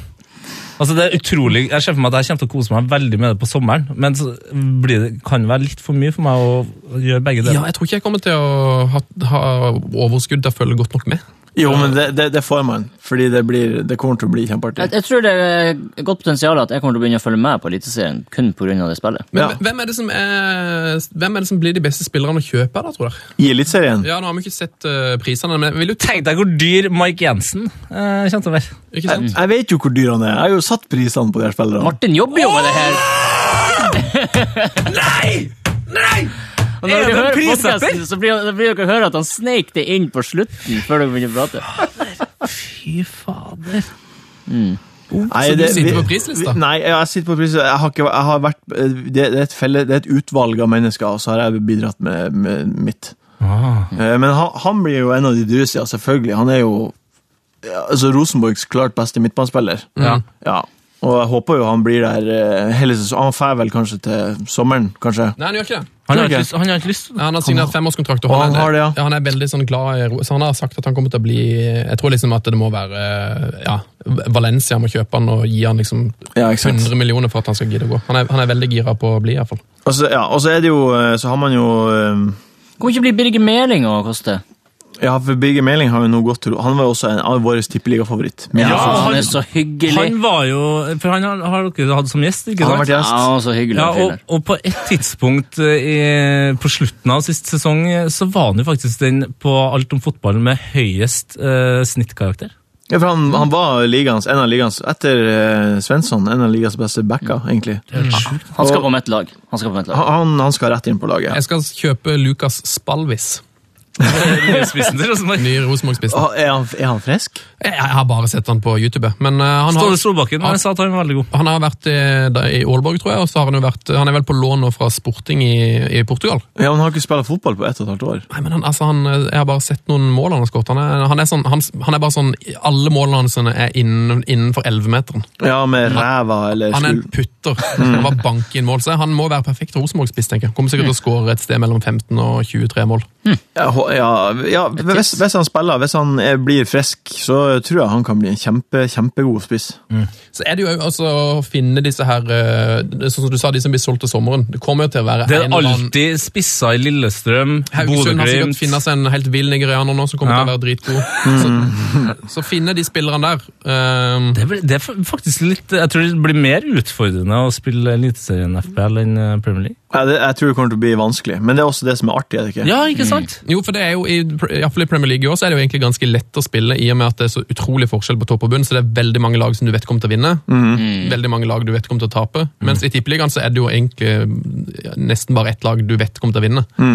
Altså det er utrolig, Jeg ser for meg at jeg kommer til å kose meg veldig med det på sommeren, men så blir det, kan det være litt for mye for meg å gjøre begge
Ja,
deler.
jeg tror ikke jeg kommer til å ha, ha overskudd til å følge godt nok med.
Jo, men det, det, det får man, fordi det, blir, det kommer til å bli kjempeartig.
Jeg, jeg tror det er godt potensial at jeg kommer til å begynne å følge med på Eliteserien kun pga. det spillet.
Men
Ja.
hvem, er det som er, hvem er det som blir de beste spillerne å kjøpe, da, tror dere?
I Eliteserien?
Ja, nå har vi ikke sett eh, prisene, men jeg vil jo tenke,
Tenk deg hvor dyr Mike Jensen eh, kommer til å være.
ikke sant?
Jeg vet jo hvor dyr han er. Jeg har jo satt prisene på de her spillerne.
Martin jobber jo med det her! Nei! Nei! Og
Er
når
det
dere
en
hører
prissetter?
podcasten, så blir, da blir dere høre at han sneik det inn på slutten før dere begynner å prate.
Fy fader.
Nei,
Så du
det-
sitter
vi-
på prislista?
vi- Nei, ja, jeg sitter på prislista. Jeg har ikke, jeg har vært, eh, det, det, er et felle, det er et utvalg av mennesker, og så har jeg bidratt med, med mitt.
Ah.
Eh, Men han, han blir jo en av de dyreste, ja, selvfølgelig. Han er jo ja, altså Rosenborgs klart beste midtbanespiller.
Mm.
Ja.
Ja. Og jeg håper jo han blir der eh, hele sesongen. Han drar vel kanskje til sommeren, kanskje.
Nei, han gjør ikke det.
Han har
Ok.
ikke lyst. Han har ikke lyst.
Ja, Han har signert femårskontrakt, og
Å,
han,
han har
er,
det, ja.
ja, han er veldig sånn glad i ro. Så han har sagt at han kommer til å bli Jeg tror liksom at det må være ja, Valencia må kjøpe han og gi han liksom
Ja, ikke sant?
100 millioner for at han skal gidde å gå. Han er, han er veldig gira på å bli, iallfall.
Og så, ja, og så er det jo eh, Så har man jo eh,
Kommer ikke bli Birger Meling å koste?
Ja, for Birger Meling har jo nå gått til Han var jo også en av våre tippeligafavoritt. Men
Ja,
han-
han er så hyggelig.
Han var jo For han har, har dere hatt som gjest, ikke
han har
sant?
vært
ja,
gjest.
han er så hyggelig.
Ja,
han fyren
og,
der.
og på et tidspunkt eh, i, på slutten av sist sesong eh, så var han jo faktisk den på alt om fotball med høyest eh, snittkarakter.
Ja, for han, han var ligaens, en av ligaens, etter eh, Svensson, en av ligaens beste backer, egentlig.
Han skal
Og-
på mitt lag. Han skal på mitt lag.
Han, han skal rett inn på laget.
Jeg skal kjøpe Lucas Spalvis,
Spissen til altså, Rosenborg.
ny Rosenborg-spissen.
Ah, Er han, er han frisk?
Jeg, jeg har bare sett han på YouTube, men eh, han har
Ståle Solbakken han sa at han var veldig god.
han har vært i, da, i Aalborg, tror jeg, og så har han jo vært Han er vel på lån nå fra Sporting i, i Portugal.
Ja, men Han har ikke spilt fotball på ett og et halvt år.
Nei, men han, altså, han, jeg har bare sett noen mål han har skåret. Han, er- han, er sånn, han, han er bare sånn Alle målene hans sånn, er innen, innenfor 11-meteren.
Ja, Med ræva eller
Han er en
skul-
putter. Han var bank inn mål, så han må være perfekt Rosenborg-spiss, tenker jeg. Kommer sikkert til å skåre et sted mellom 15 og 23 mål.
Ja, hå- ja, ja hvis, hvis han spiller, hvis han er, blir frisk, så tror jeg han kan bli en kjempe, kjempegod spiss.
Så er det jo altså å finne disse her eh, det- Sånn som du sa, de som blir solgt til sommeren. Det kommer jo til å være
Det
en
er
eller annen-
alltid spissa i Lillestrøm,
Haugesund har sikkert
Bodø-Glimt.
finnet seg en helt vill nigerianer nå som kommer
Ja.
til å være dritgod. Så, så finne de spillerne der. eh,
Det, blir- det er faktisk litt Jeg tror det blir mer utfordrende å spille Eliteserien FPL enn eh, Premier League.
Jeg, det, jeg tror det kommer til å bli vanskelig, men det er også det som er artig. er det ikke?
Ja, ikke sant?
Mm. Jo, for det er jo, i, i hvert fall i Premier League i år, så er det jo egentlig ganske lett å spille, i og med at det er så utrolig forskjell på topp og bunn, så det er veldig mange lag som du vet kommer til å vinne,
Mm.
veldig mange lag du vet kommer til å tape, mens i tippeligaen så er det jo egentlig ja, nesten bare ett lag du vet kommer til å vinne.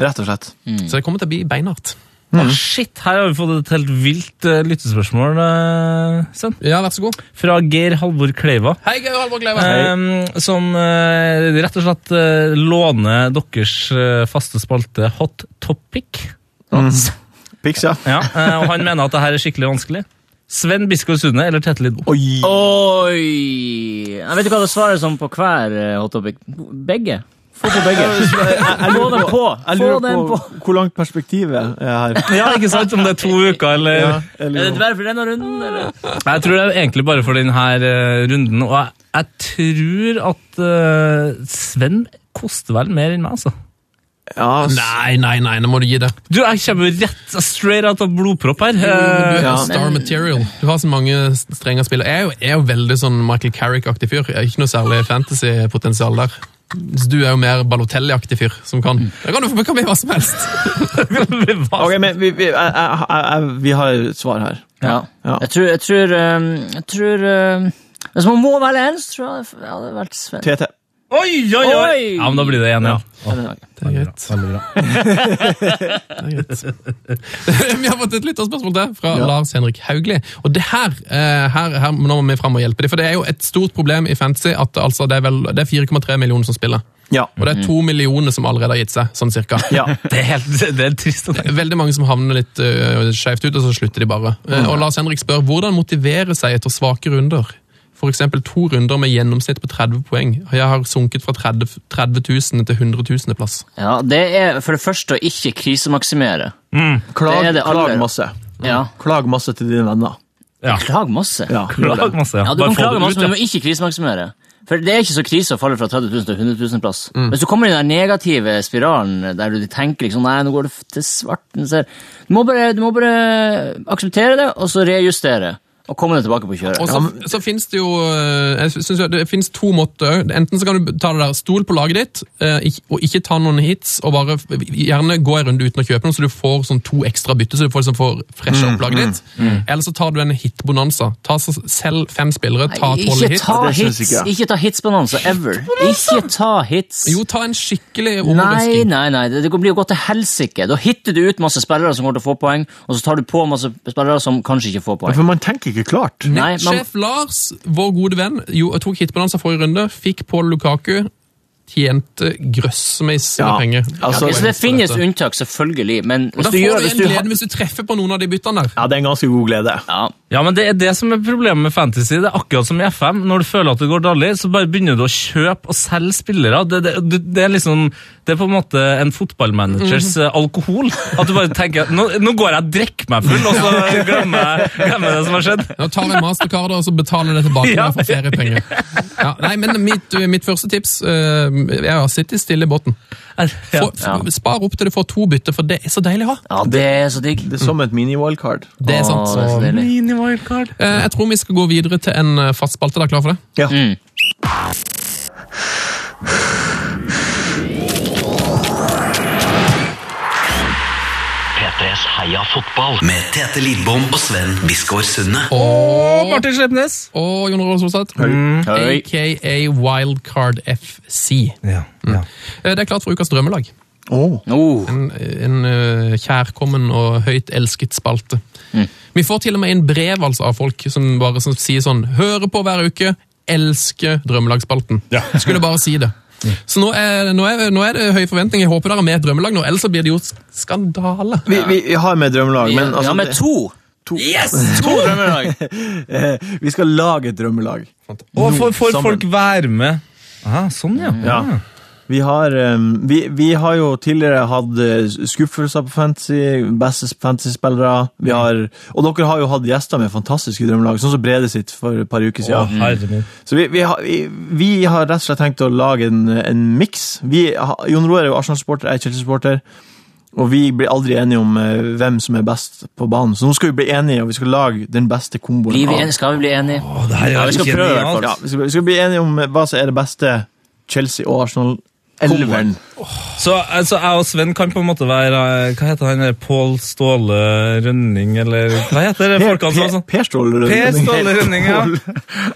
Rett og slett.
Så det kommer til å bli beinhardt.
Å, shit, her har vi fått et helt vilt eh, lyttespørsmål, eh, Sven.
Ja, vær så god.
Fra Geir Halvor Kleiva.
Hei, Geir Halvor Kleiva.
Eh, som eh, rett og slett eh, låner deres eh, faste spalte Hot Topic.
Pics, ja.
Ja, eh, og han mener at det her er skikkelig vanskelig. Sven Biskår Sunde eller Tete Lidbo?
Oi!
Oi! Jeg vet ikke hva det svarer som på hver eh, hot topic. Begge. Få på begge. Få dem på!
Jeg
Få
lurer
dem
på
på!
hvor langt perspektivet er her.
Ja, ikke sant? Om det er to uker, eller
Ja,
Er det
jeg lurer på-
dverg for denne runden, eller?
Nei, Jeg tror det er egentlig bare for denne eh, runden, og jeg, jeg tror at eh, Sven koster vel mer enn meg, altså.
Ja, s-
Nei, nei, nei, nå må du gi det.
Du, jeg kommer jo rett straight out av blodpropp her.
Du
Eh,
er
Ja.
star material. Du har så mange strenger spillere. Jeg er jo, jeg er jo veldig sånn Michael Carrick-aktig fyr. Jeg har ikke noe særlig fantasy-potensial der. Så du er jo mer Balotelli-aktig fyr, som kan Da kan du få kan bli hva som helst.
hva-
Ok, men vi, vi, jeg, jeg, jeg, jeg, vi har et svar her.
Ja.
Ja.
Jeg tror Jeg tror, um, jeg tror um, Hvis man må velge en, så tror jeg det hadde vært Sven.
TT.
Oi, oi, oi!
Oi!
Ja, men da blir det én, ja.
Det er greit. Det er greit. vi har fått et lytterspørsmål til fra
Ja.
Lars Henrik Haugli. Og det her, eh, her, her nå må vi fram og hjelpe dem, for det er jo et stort problem i fantasy at det, altså, det er, vel- det er 4,3 millioner som spiller.
Ja.
Og det er to millioner som allerede har gitt seg, sånn cirka.
ja.
Det er, helt, det er trist å tenke.
Veldig mange som havner litt uh, skjevt ut, og så slutter de bare. Eh, og Lars Henrik spør hvordan motivere seg etter svake runder. F.eks. to runder med gjennomsnitt på 30 poeng. Jeg har sunket fra 30, 30 000 til 100 000 plass.
Ja, det er for det første å ikke krisemaksimere.
Klag,
Det er det aller-
klag masse.
Ja.
Klag masse til dine venner.
Ja.
Klag masse.
Ja.
Klag masse, ja.
Ja, du
Bare
kan
få
klage
det ut,
masse, men
ja.
du må ikke krisemaksimere. For det er ikke så krise å falle fra 30 000 til 100 000 plass. Hvis du kommer i den der negative spiralen der du tenker liksom, nei, nå går det f- til svarten ser. Du, må bare, du må bare akseptere det, og så rejustere. Og komme deg tilbake på kjøret.
Og så, så finnes det jo eh, jeg synes jo det finnes to måter òg. Enten så kan du ta det der stol på laget ditt, eh, ikk- og ikke ta noen hits, og bare f- gjerne gå en runde uten å kjøpe noe, så du får sånn to ekstra bytte, så du får, liksom, får fresha
Mm,
opp laget ditt. Eller så tar du en hitbonanza. Ta så, selg fem spillere, ta
Nei,
tolv
ikke
hits.
ta
Ja, det synes
hits!
ikke jeg.
Ikke ta hitsbonanza ever. Ikke ta hits!
Jo, ta en skikkelig
Nei,
overrasking.
nei, nei, det det blir å gå til helsike. Da hitter du ut masse spillere som kommer til å få poeng, og så tar du på masse spillere som kanskje ikke får
Ja,
poeng.
For man tenker ikke klart.
Nei, man,
Sjef Lars, vår gode venn, jo, tok hitbonanza forrige runde, fikk Paul Lukaku, tjente grøssemeis med
Ja,
penger.
altså-
Ja,
så det finnes
dette.
unntak, selvfølgelig, men
Og
hvis
Da
du
får
gjør
du
hvis
en
du
glede hvis du treffer på noen av de byttene der.
Ja, det er en ganske god glede.
Ja,
Ja, men det er det som er problemet med fantasy. Det er akkurat som i FM. Når du føler at det går dårlig, så bare begynner du å kjøpe og selge spillere. Det, det, det, det er liksom Det er på en måte en fotballmanagers eh, alkohol. At du bare tenker at nå, nå går jeg og drikker meg full, og så glemmer jeg glemmer jeg det som har skjedd.
Nå tar jeg mastercard og så betaler jeg det tilbake når jeg får feriepenger. Ja, nei, men mitt, mitt første tips eh, Jeg har sittet stille i båten.
Ja.
Få- f- Spar opp til du får to bytter, for det er så deilig å ha.
ja det er så digg.
Det er som et mini-wildcard.
Det er sant.
Å, det er så deilig.
Mini-wildcard.
Eh, jeg tror vi skal gå videre til en eh, fast spalte. Er dere klar for det?
Ja.
Mm.
P3s Heia fotball med Tete Lidbom og Sven Biskår Sunde.
Og Martin Slepnes.
Og Jon Roald Solstad,
Høy.
aka Wildcard FC.
Ja, ja.
Eh, det er klart for ukas drømmelag.
Åh.
Oh.
En, en eh, kjærkommen og høyt elsket spalte. Vi får til og med inn brev altså, av folk som bare som sier sånn Hører på hver uke, elsker drømmelagsspalten. Skulle bare si det. Så nå er, nå, er, nå er det høy forventning. Jeg håper dere er med i et drømmelag nå, ellers så blir det jo skandale.
Vi, vi, vi har med drømmelag, men
ja,
altså,
med to!
to.
Yes! To drømmelag!
eh, vi skal lage et drømmelag.
Og får, får
Sammen.
folk være med? Ah, sånn, ja.
Ja. Vi har, em, vi, vi har jo tidligere hatt eh, skuffelser på fantasy, beste fantasy-spillere.
Mm.
Vi har, og dere har jo hatt gjester med fantastiske drømmelag, sånn som Brede sitt for et par uker
Å,
siden.
herre min.
Så vi, vi, har, vi, vi har rett og slett tenkt å lage en, en miks. Vi har- Jon Roar er jo Arsenal-supporter, jeg er Chelsea-supporter. Og vi blir aldri enige om eh, hvem som er best på banen. Så nå skal vi bli enige, og vi skal lage den beste komboen.
Blir vi
av-
enige? Skal vi bli enige?
Å, det her er
Ja, vi skal
genialt.
prøve i hvert fall.
Ja, vi, skal, vi skal bli enige om eh, hva som er det beste Chelsea og Arsenal-elveren.
Så altså, jeg og Sven kan på en måte være eh, Hva heter han? Pål Ståle Rønning, eller Hva heter det
Per-
folkene som er sånn?
Per- Per Ståle
Per Ståle Rønning, ja.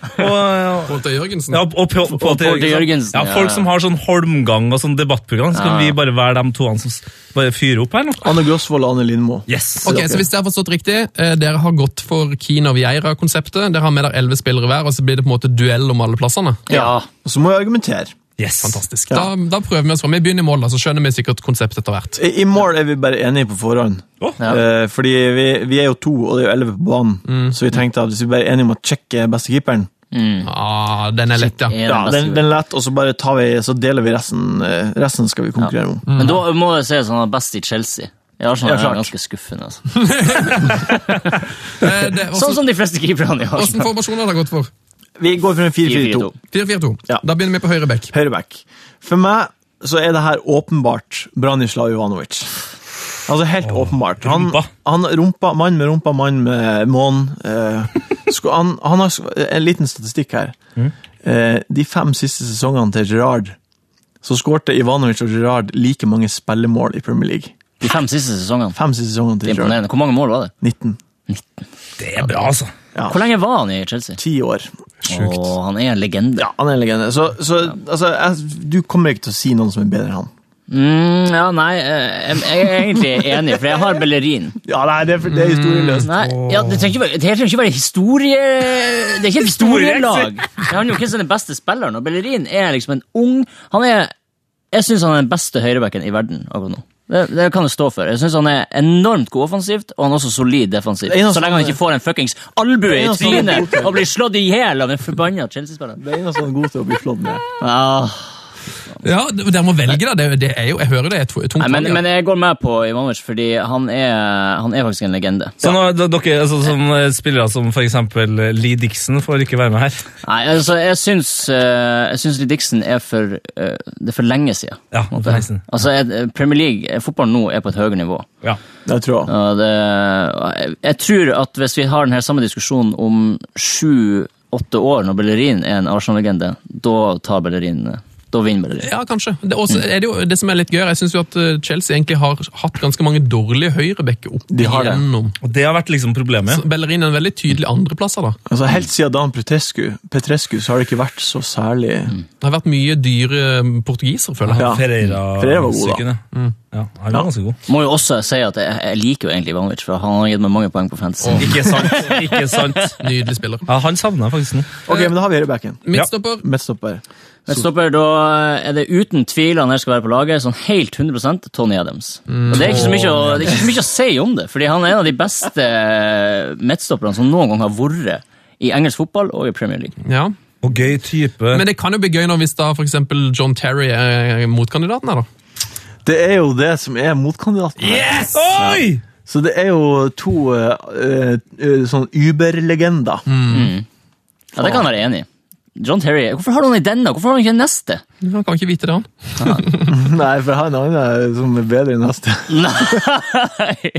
Og,
Pål T. Jørgensen.
ja, og Pål Pål
Pål T. Jørgensen,
Ja,
ja.
folk som har sånn Holmgang og sånn debattprogram. Skal
Ja.
vi bare være de to som s- bare fyrer opp her nå?
Anne Grosvold og Anne Lindmo.
Yes!
Ok, så Hvis jeg har forstått riktig, eh, dere har gått for Kina Vieira-konseptet. Dere har med dere elleve spillere hver, og så blir det på en måte duell om alle plassene.
Ja.
Og så må jeg argumentere.
yes.
Fantastisk. Da, da prøver vi oss fram. Vi begynner i mål, da, så skjønner vi sikkert konseptet etter hvert.
I, I mål er vi bare enige på forhånd.
Å,
Ja.
Eh, fordi vi, vi er jo to, og det er jo elleve på banen. Så vi tenkte at hvis vi bare er enige om å sjekke beste keeperen
Ah, den er lett, ja.
Er
ja,
den beste
den, den er lett, og så bare tar vi, så deler vi resten. eh, Resten skal vi konkurrere om.
Men da må jeg si sånn at best i Chelsea. I Arsenal
Ja,
er
klart.
det ganske skuffende. Altså.
Eh, det-
Sånn
Hvordan
som de fleste keeperne i
hvordan
Arsenal.
formasjon har dere gått for?
Vi går for en 4-4-2.
4-4-2.
4-4-2.
Ja.
Da begynner vi på høyre bekk.
Høyreback. For meg så er det her åpenbart Branislav Ivanovic. Altså helt åpenbart. Han,
rumpa.
han rumpa, mann med rumpa, mann med månen. Eh, sku- han, han har sk- en liten statistikk her. Eh, de fem siste sesongene til Gerard så skårte Ivanovic og Gerard like mange spillemål i Premier League.
De fem siste sesongene.
Fem siste sesongene
Det
til
er
Gerard.
imponerende. Hvor mange mål var det?
19.
Det er bra, altså.
Ja.
Hvor lenge var han i Chelsea?
Ti år.
Og han er en legende.
Ja, han er en legende. Så, så altså, jeg, du kommer ikke til å si noen som er bedre enn han.
Mm, ja, nei, eh, jeg jeg er egentlig enig, for jeg har Bellerin.
Ja, nei, det er, det er historieløst.
Nei, ja, det trenger ikke være, det her trenger ikke være historie... Det er ikke et historielag. Det handler jo om hvem som er den beste spilleren, og Bellerin er liksom en ung... Han er... Jeg synes han er den beste høyrebacken i verden akkurat nå. Det, det kan jeg stå for. Jeg synes han er enormt god offensivt, og han er også solid defensivt.
Det eneste
Så lenge han ikke får en sånn fuckings albue i
eneste han er god
trynet
til.
og blir slått ihjel av en forbannet Chelsea-spiller.
Det er en som er god til å bli slått med.
Ja,
Ja, d- dere må velge, da. Det, det er jo, jeg hører det er et tungt
Nei, men,
valg. ja.
men jeg går med på Ivanovic, fordi han er, han er faktisk en legende.
Så nå, d- dere, altså, sånn, eh, spillere som for eksempel eh, Lee Dixon får ikke være med her.
Nei, altså, jeg syns, eh, jeg syns Lee Dixon er for, eh, det er for lenge siden.
Ja,
på en måte.
for lenge siden.
Altså, jeg, Premier League, eh, fotballen nå, er på et høyere nivå.
Ja.
Det tror jeg.
Og det, og jeg, jeg tror at hvis vi har den her samme diskusjonen om sju-åtte år, når Bellerin er en Arsenal-legende, da tar Bellerin eh, Da vinner Bellerin.
Ja, kanskje. Det, også, er det, jo, det som er litt gøyere, jeg syns jo at eh, Chelsea egentlig har hatt ganske mange dårlige høyrebacker opp
De har det.
igjennom.
Og det har vært liksom problemet.
Så Bellerin er en veldig tydelig andreplasser, da.
Altså, helt siden Dan Petrescu, Petrescu så har det ikke vært så særlig
Det har vært mye dyre eh, portugiser, føler jeg.
Ja.
Ferreira
Ferreira var god, da.
stykken, ja. Ja, han var ganske god.
Må jo også si at jeg, jeg liker jo egentlig Ivanovic, for han har gitt meg mange poeng på fantasy.
Ikke sant. ikke sant.
Nydelig spiller.
Ja, han savner jeg faktisk nå.
Ok, men da har vi Rebekken.
Midtstopper.
Midtstopper.
Men stopper, da er det uten tvil han her skal være på laget, sånn helt 100 Tony Adams. Og det er, ikke så mye å, det er ikke så mye å si om det, fordi han er en av de beste eh, midtstopperne som noen gang har vært i engelsk fotball og i Premier League.
Ja.
Og gøy type.
Men det kan jo bli gøy nå hvis da for eksempel John Terry er motkandidaten her, da.
Det er jo det som er motkandidaten. her.
Oi!
Så det er jo to eh, eh, sånn Uber-legender.
Ja, Det kan jeg være enig i. John Terry, hvorfor har du han i denne? Hvorfor har han ikke den neste?
Han kan ikke vite det, han.
Nei, for jeg har en annen som er bedre enn neste.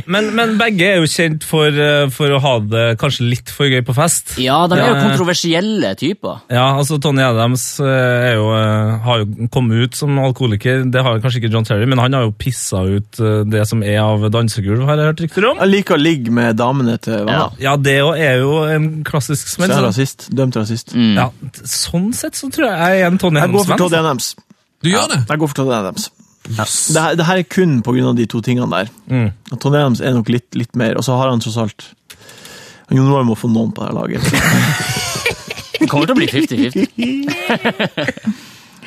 Men, men begge er jo kjent for, eh, for å ha det kanskje litt for gøy på fest.
Ja, de er
Ja,
jo
ja.
kontroversielle typer.
Ja, altså Tony Adams eh, er jo, eh, har jo kommet ut som alkoholiker. Det har jo kanskje ikke John Terry, men han har jo pissa ut eh, det som er av dansegulv, har jeg hørt rykter om.
Jeg liker å ligge med damene til
Ja.
venner.
Ja, det jo er jo en klassisk
Så
smell.
jeg er
Så,
rasist. Dømt rasist.
ja, t- sånn sett så tror jeg jeg er en Tony altså.
Jeg går for Todd
Adams-venn.
Adams.
Du gjør det?
Jeg går for Todd Adams. Det, her, det her er kun på grunn av de to tingene der.
Mm.
Og Todd Adams er nok litt, litt mer, og så har han tross alt Jon Roar må få noen på det her laget.
Det kommer til å bli 50-50.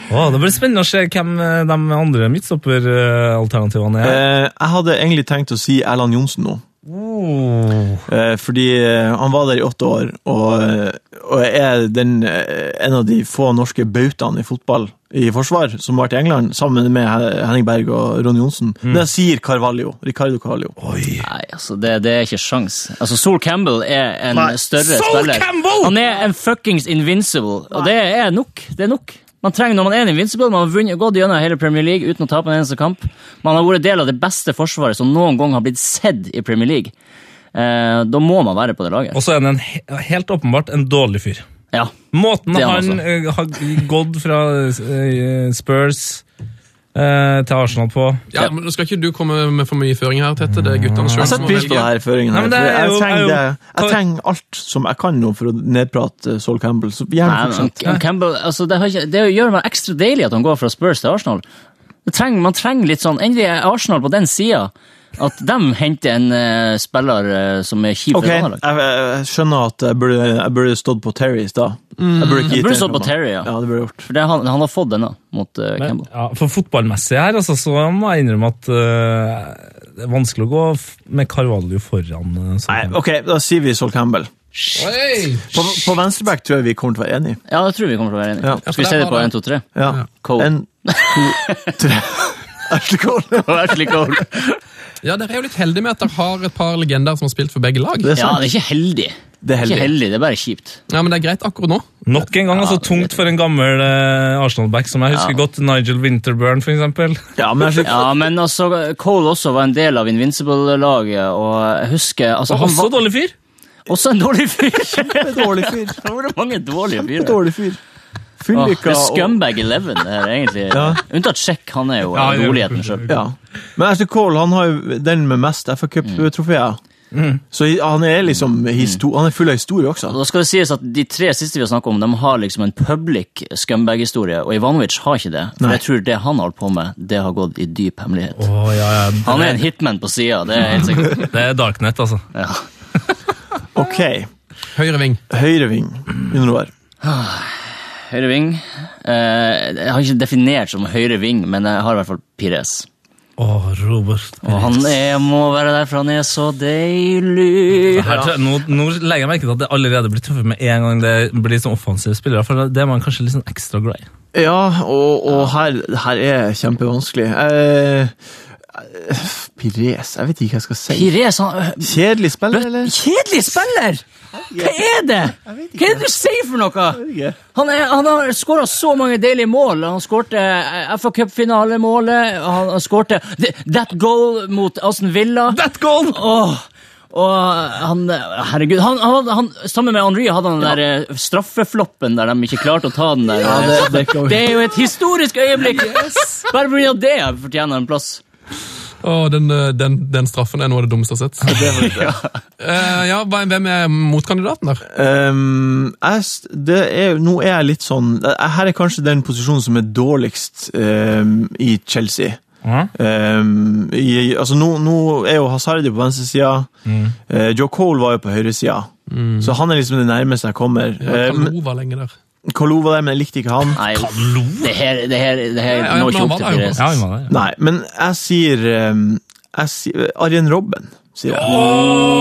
Å, det blir spennende å se hvem eh, de andre midtstopperalternativene er.
Eh, jeg hadde egentlig tenkt å si Erland Johnsen nå.
Oh.
Eh, fordi eh, han var der i åtte år, og, eh, og er den, eh, en av de få norske bautaene i fotball i forsvar, som var til England, sammen med Hen- Henning Berg og Ronny Johnsen.
Mm.
Det sier Carvalho. Ricardo Carvalho.
Nei, altså, det, det er ikke sjans. Altså, Sol Campbell er en større
Sol
spiller.
Campbell!
Han er en fuckings invincible, og det er nok. Det er nok. Man trenger, Når man er en invincible, man har vunnet, gått gjennom hele Premier League uten å tape en eneste kamp. Man har vært del av det beste forsvaret som noen gang har blitt sett i Premier League. Eh, da må man være på det laget.
Og så er han en, he- helt åpenbart en dårlig fyr.
Ja.
Måten
Det er
han,
han
eh, har gått fra eh, Spurs eh, til Arsenal på
Ja, men Nå skal ikke du komme med for mye føring her, Tette. Det er guttene sjøl
Jeg setter pris på det her føringen
Nei,
her.
men det
for
er
Jeg
jo- er
trenger,
jo-
det. jeg trenger alt som jeg kan nå for å nedprate eh, Sol Campbell. Så gjerne
Nei, men,
fortsett.
han Campbell, altså, det, har ikke, det gjør meg ekstra deilig at han går fra Spurs til Arsenal. Det trenger, man trenger litt sånn Endelig er Arsenal på den sida. At de henter en eh, spiller eh, som er kjip
Ok,
for et
jeg,
annet lag.
jeg skjønner at jeg burde, jeg burde stått på Terry i stad.
Mm.
Jeg burde ikke gitt
burde
den
stått på
fra meg.
Terry, ja.
ja. det burde jeg gjort.
For det, han, han har fått denne mot eh,
Men,
Campbell.
ja, for fotballmessig her, altså, så må jeg innrømme at eh, det er vanskelig å gå f- med Carvalho foran. eh, sånn.
Nei, ok, da sier vi Sol Campbell. På, på venstreback tror jeg vi kommer til å være enige.
Ja, jeg tror vi kommer til å være enige.
Ja.
Skal vi
Ja, for
se
der
det på
var det-
1, 2, 3?
Ja.
Cole.
En, to, tre. Ashley Cole.
Ashley Cole.
Ja, Dere er jo litt heldige med at dere har et par legender som har spilt for begge lag.
Det er
Ja,
sant.
det er ikke heldig.
Det er
Ikke
heldig.
heldig, det er bare kjipt.
Ja, Men det er greit akkurat nå.
Nok en gang altså, tungt for en gammel eh, Arsenal-back som jeg husker
Ja.
godt. Nigel Winterburn, for eksempel.
Ja, men Ashley
Ja, men altså, Cole også var en del av Invincible-laget, og jeg husker altså,
Og
han
også
var
dårlig fyr.
også en dårlig fyr.
Cole er dårlig fyr.
Det var mange dårlige fyrer.
Dårlig fyr.
Åh,
Fullykka
det er Scumbag 11 det her, egentlig.
Ja.
Unntatt Sjekk, han er jo
Ja, det er jo-
roligheten sjøl.
Ja. Men Ashley Cole han har jo den med mest FA Cup-trofeer. Så hi- han er liksom histo han er full av historie også.
Da skal det sies at De tre siste vi har snakket om, de har liksom en public scumbag-historie, og Ivanovic har ikke det. For jeg tror det han har holdt på med, det har gått i dyp hemmelighet.
Å, ja, ja.
Han er en hitman på sida, det er helt sikkert.
Det er darknet, altså.
Ja.
Ok,
Høyre ving.
høyreving. Jon Roar.
Høyre ving. Eh, jeg har ikke definert som høyre ving, men jeg har i hvert fall Pires.
Å, Robert.
Og han er, må være der, for han er så deilig.
Her, tror jeg- nå, nå legger jeg merke til at det allerede blir tøffere med en gang det blir sånn offensive spillere, for det er man kanskje litt sånn ekstra glad i.
Ja, og, og her, her er kjempevanskelig. Eh, Pires, jeg vet ikke hva jeg skal si.
Pires, han
Kjedelig spiller, eller?
Kjedelig spiller! Hva er det?! Hva er det du sier for noe?!
ikke.
Han, er, han har skåra så mange deilige mål. Han skårte FA Cup-finalemålet, han han skårte that goal mot Aston Villa.
That goal!
Åh, og han Herregud. Han, han, han, sammen med Henry hadde han den der eh, straffefloppen der de ikke klarte å ta den der. eh,
Ja, det, det kan
Det er jo et historisk øyeblikk! Bare pga. det fortjener han plass.
Å, den, eh, den, den straffen er noe av det dummeste jeg har sett. Eh, ja, hva- Hvem er motkandidaten der?
Ehm, jeg, s- det er, jo- nå er jeg litt sånn jeg- Her er kanskje den posisjonen som er dårligst ehm, i Chelsea.
Mhm.
Ja.
Ehm, i, altså nå, nå er jo Hazardi på venstresida.
Mhm.
Eh, Joe Cole var jo på høyresida, så han er liksom det nærmeste jeg kommer.
Ja,
Ja,
Kalou var lenge der.
Kolo var der, men jeg likte ikke han.
Nei, det her, det her, det her
Ja, ja,
når
men
ikke
han var
opp til
der jo.
Pires.
Ja, vi må det.
Nei, men jeg sier, ehm, jeg sier Arjen Robben, sier jeg.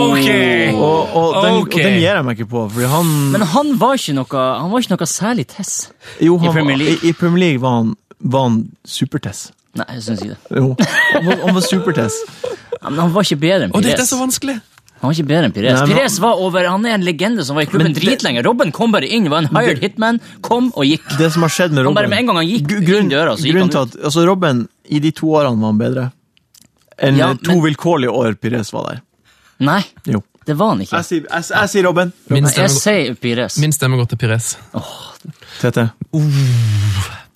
Ok!
Og, og, den,
Ok.
og den gir jeg meg ikke på, fordi han
Men han var ikke noe, han var ikke noe særlig tess.
Jo, han,
I Premier League.
var- I, i Premier League var han, var han supertess.
Nei, jeg synes ikke det.
Jo, han var, han var supertess.
Ja, Men han var ikke bedre enn
Å, dette er
Pires.
så vanskelig!
Han var ikke bedre enn Pires.
Nei, men-
Pires var over, han er en legende som var i klubben
Men det-
dritlenge. Robben kom bare inn, var en hired hitman, kom og gikk.
Det som har skjedd med
Han
Robben
bare med en gang han gikk
Gru- grunn-
inn døra, så gikk
grunnen
han
til at, altså Robben, i de to årene var han bedre. Enn
Ja,
to
men-
vilkårlige år Pires var der.
Nei,
Jo.
det var han ikke.
Jeg sier, jeg, jeg sier Robben.
Min
Jeg
stemme,
sier Pires.
min stemme går til Pires.
Tete.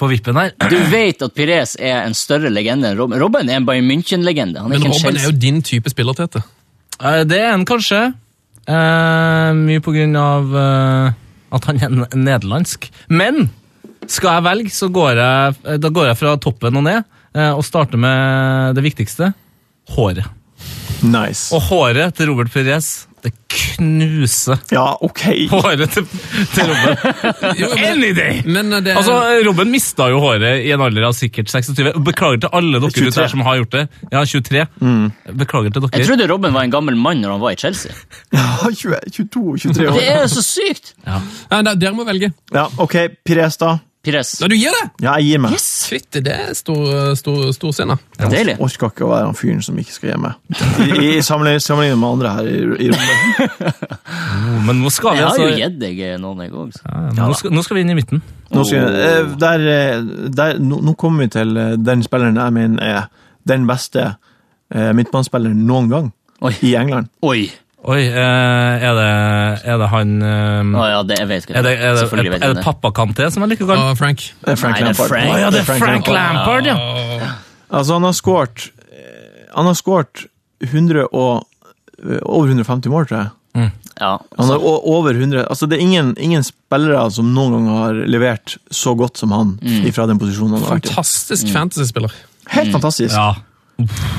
På vippen her.
Du vet at Pires er en større legende enn Robben. Robben er en Bayern München-legende. Han er
Men
ikke en
Robben er
Chelsea.
jo din type spiller, Tete.
Eh, Det er en kanskje. Eh, mye på grunn av eh, at han er n- nederlandsk. Men skal jeg velge, så går jeg, eh, da går jeg fra toppen og ned eh, og starter med det viktigste. Håret.
Nice.
Og håret til Robert Perez, det knuser
Ja, ok.
håret til, til Robben. Any day!
Men eh, det er
Altså, Robben mista jo håret i en alder av sikkert 26. Beklager til alle dere ute
23.
der som har gjort det. Ja, 23. Beklager til
Jeg
dere.
trodde Robben var en gammel mann når han var i Chelsea.
20, 22, 23
Det
år.
er jo så sykt!
Nei, nei, dere må velge.
Ja, ok, Pires da.
Pires.
Nei, du gir det!
Ja, jeg gir meg.
Fytti, det er stor, eh, stor, stor scene.
Deilig.
Orker ikke å være han fyren som ikke skal gi meg. I, i sammenligning sammenligning med andre her i, i rommet.
Men nå skal vi
Jeg har
altså
jo gitt deg noen, jeg òg.
Ja, nå, skal, nå skal vi inn i midten.
Nå, skal, jeg- eh, der, eh, der, nå, nå kommer vi til eh, den spilleren jeg mener er den beste eh, midtbanespilleren noen gang
Oi.
i England.
Oi!
Oi, eh, er, det, er det han eh,
Å ja, det, jeg vet ikke.
er, det, er, det, er,
Selvfølgelig vet jeg
det pappa Kanté som er like
Og
gal?
Frank.
Eh, Frank
Nei, det er
Lampard.
Frank. Å ja,
Det er Frank
Lampard,
Lampard.
ja.
Altså, han har skåret Han har skåret 100 og eh, over 150 mål, tror jeg.
Ja.
Han har o- over 100 Altså, det er ingen, ingen spillere som noen gang har levert så godt som han fra den posisjonen han har vært i.
Fantastisk fantasyspiller.
Helt fantastisk.
Ja.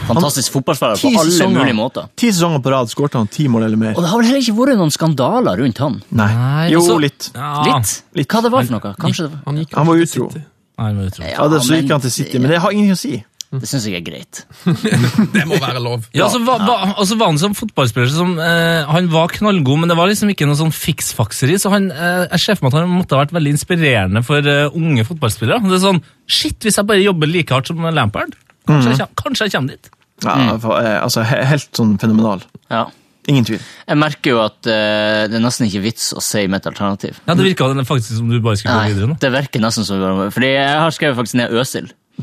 Fantastisk fotballspiller
Ti
på alle
sesonger.
mulige måter.
Ti sesonger på rad skårte han ti mål eller mer.
Og det har vel heller ikke vært noen skandaler rundt han?
Nei.
Nei,
Jo,
altså-
litt.
ja.
Ah, Litt?
litt.
Hva det var for noe? Kanskje det var
Han gikk
Han var
til
utro.
City.
Nei, men jeg tror-
Ja, det, så gikk han til City, men det har ingenting å si.
det syns jeg er greit.
Det må være lov.
Ja, altså, hva, hva, altså var han som fotballspiller som, eh, Han var knallgod, men det var liksom ikke noe sånn fiksfakseri. Så han, eh, jeg ser for meg at han måtte ha vært veldig inspirerende for eh, unge fotballspillere. Det er sånn, Shit, hvis jeg bare jobber like hardt som Lampard, kanskje, jeg, kjem- kanskje jeg kommer dit.
Ja, for, eh, altså, he- helt sånn fenomenal.
Ja.
Ingen tvil.
Jeg merker jo at eh, det er nesten ikke vits å si mitt alternativ.
Ja, Det virka faktisk som du bare skulle gå videre
Nei,
nå.
det virker nesten som Fordi jeg har skrevet faktisk ned Øsil.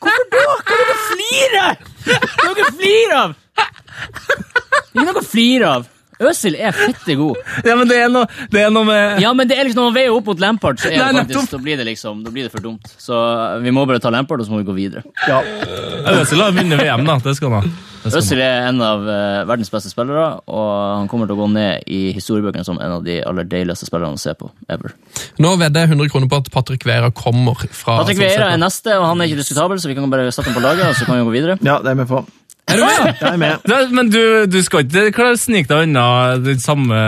Hvorfor da? Hva er det du flirer av? Det er ikke noe å flire av. Øsil er fette god.
Ja, men det er noe, det er noe med
Ja, men det er liksom, når man veier opp mot Lampard, så er
Nei,
det
nettopp.
faktisk, da blir det liksom, da blir det for dumt. Så eh, vi må bare ta Lampard, og så må vi gå videre.
Ja.
Øzil har vunnet VM, da. Det skal han ha. Det skal han ha.
Øzil er en av eh, verdens beste spillere, og han kommer til å gå ned i historiebøkene som en av de aller deiligste spillerne å se på ever.
Nå vedder jeg 100 kroner på at Patrick Vera kommer fra
Patrick Vieira er neste, og han er ikke diskutabel, så vi kan bare sette ham på laget, og så kan vi gå videre.
ja, det er jeg med på.
Er du med?
Jeg er med.
Ja, men du, du skal ikke klare å snike deg unna den samme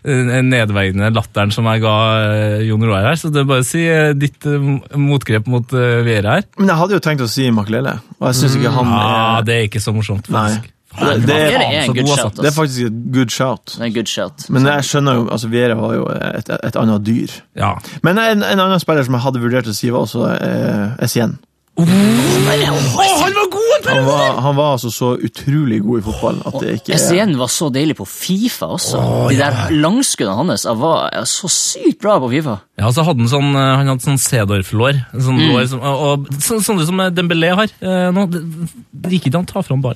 eh, nedverdigende latteren som jeg ga eh, Jon Roar her, så det er bare å si eh, ditt eh, motgrep mot eh, Viera her.
Men jeg hadde jo tenkt å si Makelele, og jeg syns ikke han
Ja,
er
det er ikke så morsomt,
Ah. Nei.
faktisk.
Det, det,
Det
er,
så
er en good
god,
shout.
det er
ass.
faktisk et good shout.
Det er en good shout.
Men jeg skjønner jo altså Vera var jo et, et annet dyr.
Ja.
Men en, en annen spiller som jeg hadde vurdert å si, var også eh, Essien.
han var god! Per!
Han var, han var altså så utrolig god i fotball at det ikke er
SCN var så deilig på Fifa også. De der langskuddene hans jeg var jeg var så sykt bra på Fifa.
Ja, så hadde han sånn, eh, han hadde sånn Sedorf-lår. Sånn
Mm.
lår som- og, og, så, sånne som eh, Dembélé har eh, nå. Det det gikk ikke an å ta fram bar.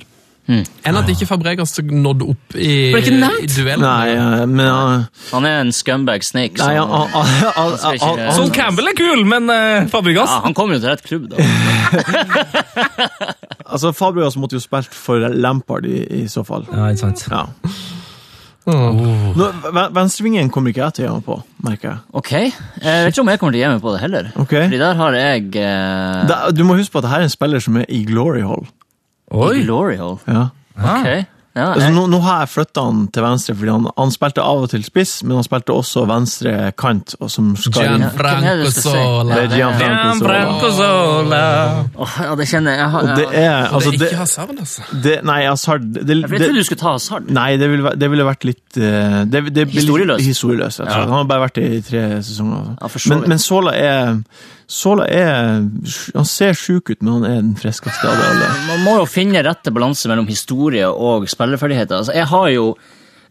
Enn at ikke Fabregas nådde opp i,
Ble ikke nevnt?
i duellen.
Nei, eh, men han
Han er en scumbag snake.
Nei, han, han, han, han,
skal ikke-
han, han,
Sånn Campbell er kul, men eh, Fabregas
ja, han kom jo til rett klubb, da.
altså Fabregas måtte jo spilt for Lampard i, i så fall.
Ja, ikke sant.
Ja.
Oh.
Åh.
Nå, ven- Venstrevingen kommer ikke jeg til å gjøre meg på, merker jeg.
Ok, Eh, Jeg vet ikke om jeg kommer til å gi meg på det heller.
Ok.
Fordi der har jeg eh,
Da, du må huske på at dette er en spiller som er i glory hall.
Oi!
Glory Hole.
Ja.
Ah.
Ok. Ja,
Altså,
jeg,
nå, nå har jeg flytta han til venstre, fordi han, han spilte av og til spiss, men han spilte også venstre kant. Og som skal,
Ja, hvem er
Gianfranco
det du skal si?
Sola.
det er Gianfranco
Gian
Zola.
Franco Zola.
Åh, ja, det kjenner jeg. jeg, har,
Og det
jeg,
er altså det,
ikke Hazard, altså.
det, Nei, Hazard det,
for jeg trodde
det,
du skulle ta hasard.
Nei, det ville, væ- det ville vært litt eh, det, det, blir litt
Historieløst.
historieløst, rett og slett. Han har bare vært det i tre sesonger. altså.
Ja, for så
men,
vidt.
men Sola er Sola er Han ser sjuk ut, men han er den friskeste av de alle.
Man må jo finne rette balanse mellom historie og spillerferdigheter. Altså, jeg har jo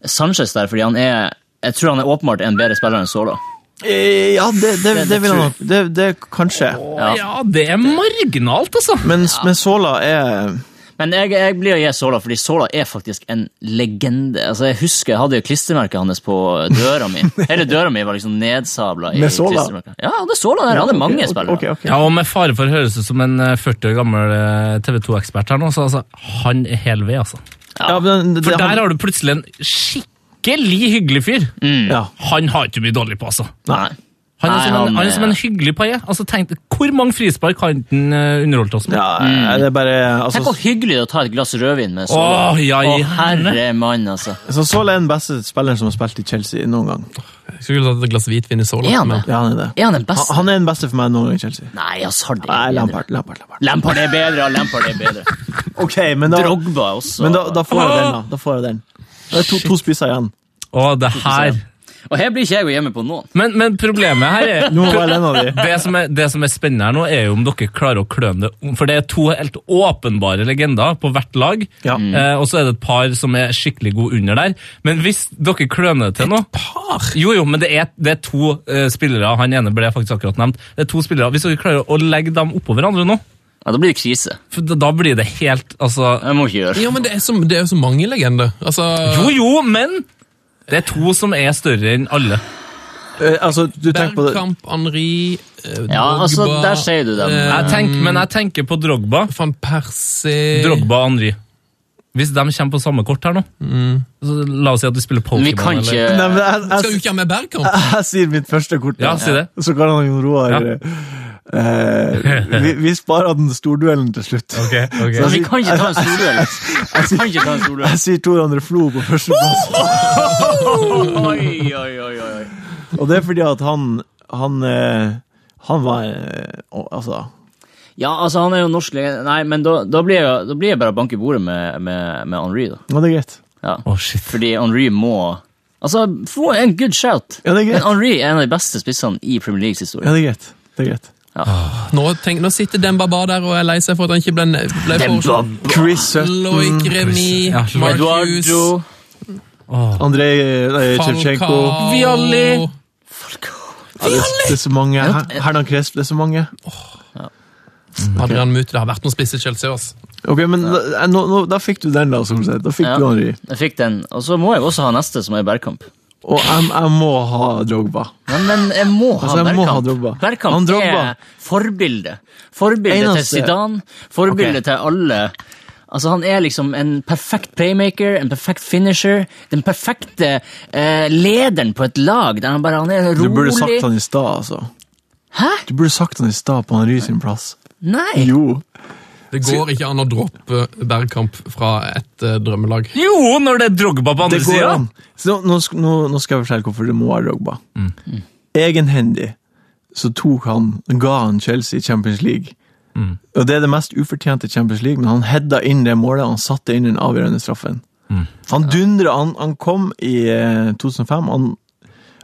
Sanchez der fordi han er Jeg tror han er åpenbart en bedre spiller enn Sola.
Eh, Ja, det, det, det,
det
vil
tror
han nok. Det, det kan skje.
Ja.
Ja, det er marginalt, altså.
Men, men Sola er
Men jeg, jeg blir å gi Sola, fordi Sola er faktisk en legende. Altså, Jeg husker jeg hadde jo klistremerket hans på døra mi. Hele døra mi var liksom nedsabla i
Med Sola?
klistremerker. Ja, han hadde Sola der. Han hadde mange spillere.
Ok, ok.
Ja, og Med fare for å høres ut som en eh, 40 år gammel eh, TV 2-ekspert her nå, så altså, han er hel ved, altså.
Ja, men det-
For
det- han-
der har du plutselig en skikkelig hyggelig fyr.
Ja.
Han har ikke mye dårlig på, altså.
Nei.
Han er,
Mm. Nei,
som, en,
han,
han er som en
eh,
hyggelig paie. Altså, tenk, hvor mange frispark har han eh, underholdt oss med?
Ja, eh,
Mm.
det er bare
Tenk
altså,
hvor hyggelig det er å ta et glass rødvin med Sola.
Åh, ja, i
Å, herre mann, altså.
så Sola er den beste spilleren som har spilt i Chelsea noen gang.
Jeg Skulle tatt et glass hvitvin i Sola.
Er han
men-
det?
Ja, han er det.
Er han den
Han,
beste?
han er den beste for meg noen gang i Chelsea.
Nei, Hazard er
Nei,
bedre.
Lampard, Lampard, Lampard.
Lampard er bedre, og Lampard er bedre.
Ok, men da,
Drogba også.
men da, da får jeg den, da. da får jeg den. Det er to, to spisser igjen.
Og det her
Og her blir ikke jeg å gjemme på noen.
Men, men problemet her er
Nå var den av de.
det som, er, det som er spennende her nå, er jo om dere klarer å kløne det om. For det er to helt åpenbare legender på hvert lag.
Ja.
Eh, og så er det et par som er skikkelig gode under der. Men hvis dere kløner det til nå Jo, jo, men det er, det er to eh, spillere. Han ene ble faktisk akkurat nevnt. Det er to spillere. Hvis dere klarer å legge dem oppå hverandre nå,
Ja, Da blir det krise.
for da- da blir det helt Altså
Jeg må ikke gjøre
Ja, men det er, så, det er jo så mange legender. Altså,
Jo, jo, men det er to som er større enn alle.
Eh, Altså, du tenker på det.
Bergkamp, Henri, eh, Drogba
Ja, altså, der sier du dem.
eh,
Jeg tenker, men jeg tenker på Drogba.
Van Persie
Drogba og Henry. Hvis de kommer på samme kort her nå,
Mm.
så la oss si at du spiller Pokémon.
Vi kan ikke
eller-
Nei, men jeg,
Skal jo
jeg,
ikke ha med Bergkamp?
jeg, sier mitt første kort.
Ja, si det.
Så kan han Jon Roar
Ja.
eh, vi, vi sparer den storduellen til slutt.
ok.
Altså, Vi kan ikke ta en storduell. Vi kan ikke ta en storduell.
Jeg sier Tor André Flo på førsteplass.
Oi, oi, oi, oi.
Og det er fordi at han Han, eh, han var eh, å, Altså
Ja, altså, han er jo norsk lege... Nei, men da, da, blir jeg, da blir jeg bare å banke i bordet med, med, med Henri, da.
Ja, det er greit.
Ja.
Å, shit.
Fordi Henri må Altså, få en good shout.
Ja, det er greit.
Men Henri er en av de beste spissene i Premier Leagues historie.
Ja, det er greit. Det er greit.
Nå, tenk, nå sitter Demba Ba der og er lei seg for at han ikke ble, ble foreslått.
Chris Sutton,
Loic Remy,
Ja, Loic.
Mark Hughes,
Eduardo
Andrej Chevchenko
Falcao
Vialli.
ja, det, det er så mange. Her- Hernan Cresp, det er så mange.
Adrian Muth. Det har vært noen spisse i Chelsea. ass.
Ok, men da, eh, nå, nå, da fikk du den, da, som sagt. Da fikk
Ja.
du Henri.
Jeg fikk den. Og så må jeg også ha neste, som er Bergkamp.
Og jeg, jeg må ha Drogba.
Men, men jeg må ha
Altså, jeg må
Bergkamp.
ha Drogba.
Bergkamp
Han Drogba.
er forbilde. Forbilde til
Eneste-
Zidane, forbilde
Ok.
til alle. Altså, han er liksom en perfekt playmaker, en perfekt finisher, den perfekte eh, lederen på et lag, der han bare han er rolig.
Du burde sagt han i stad, altså.
Hæ?
Du burde sagt han i stad på Henri sin plass.
Nei!
Jo.
Det går ikke an å droppe Bergkamp fra et eh, drømmelag.
Jo, når det er Drogba på andre
Det går
sida!
an. Så nå, nå, sk- nå, nå skal jeg fortelle hvorfor det må være Drogba.
Mm.
Egenhendig så tok han, ga han Chelsea Champions League
Mm.
Og Det er det mest ufortjente i Champions League, men han hedda inn det målet, han satte inn den avgjørende straffen.
Mm.
Han dundra, han, han kom i eh, 2005. Han,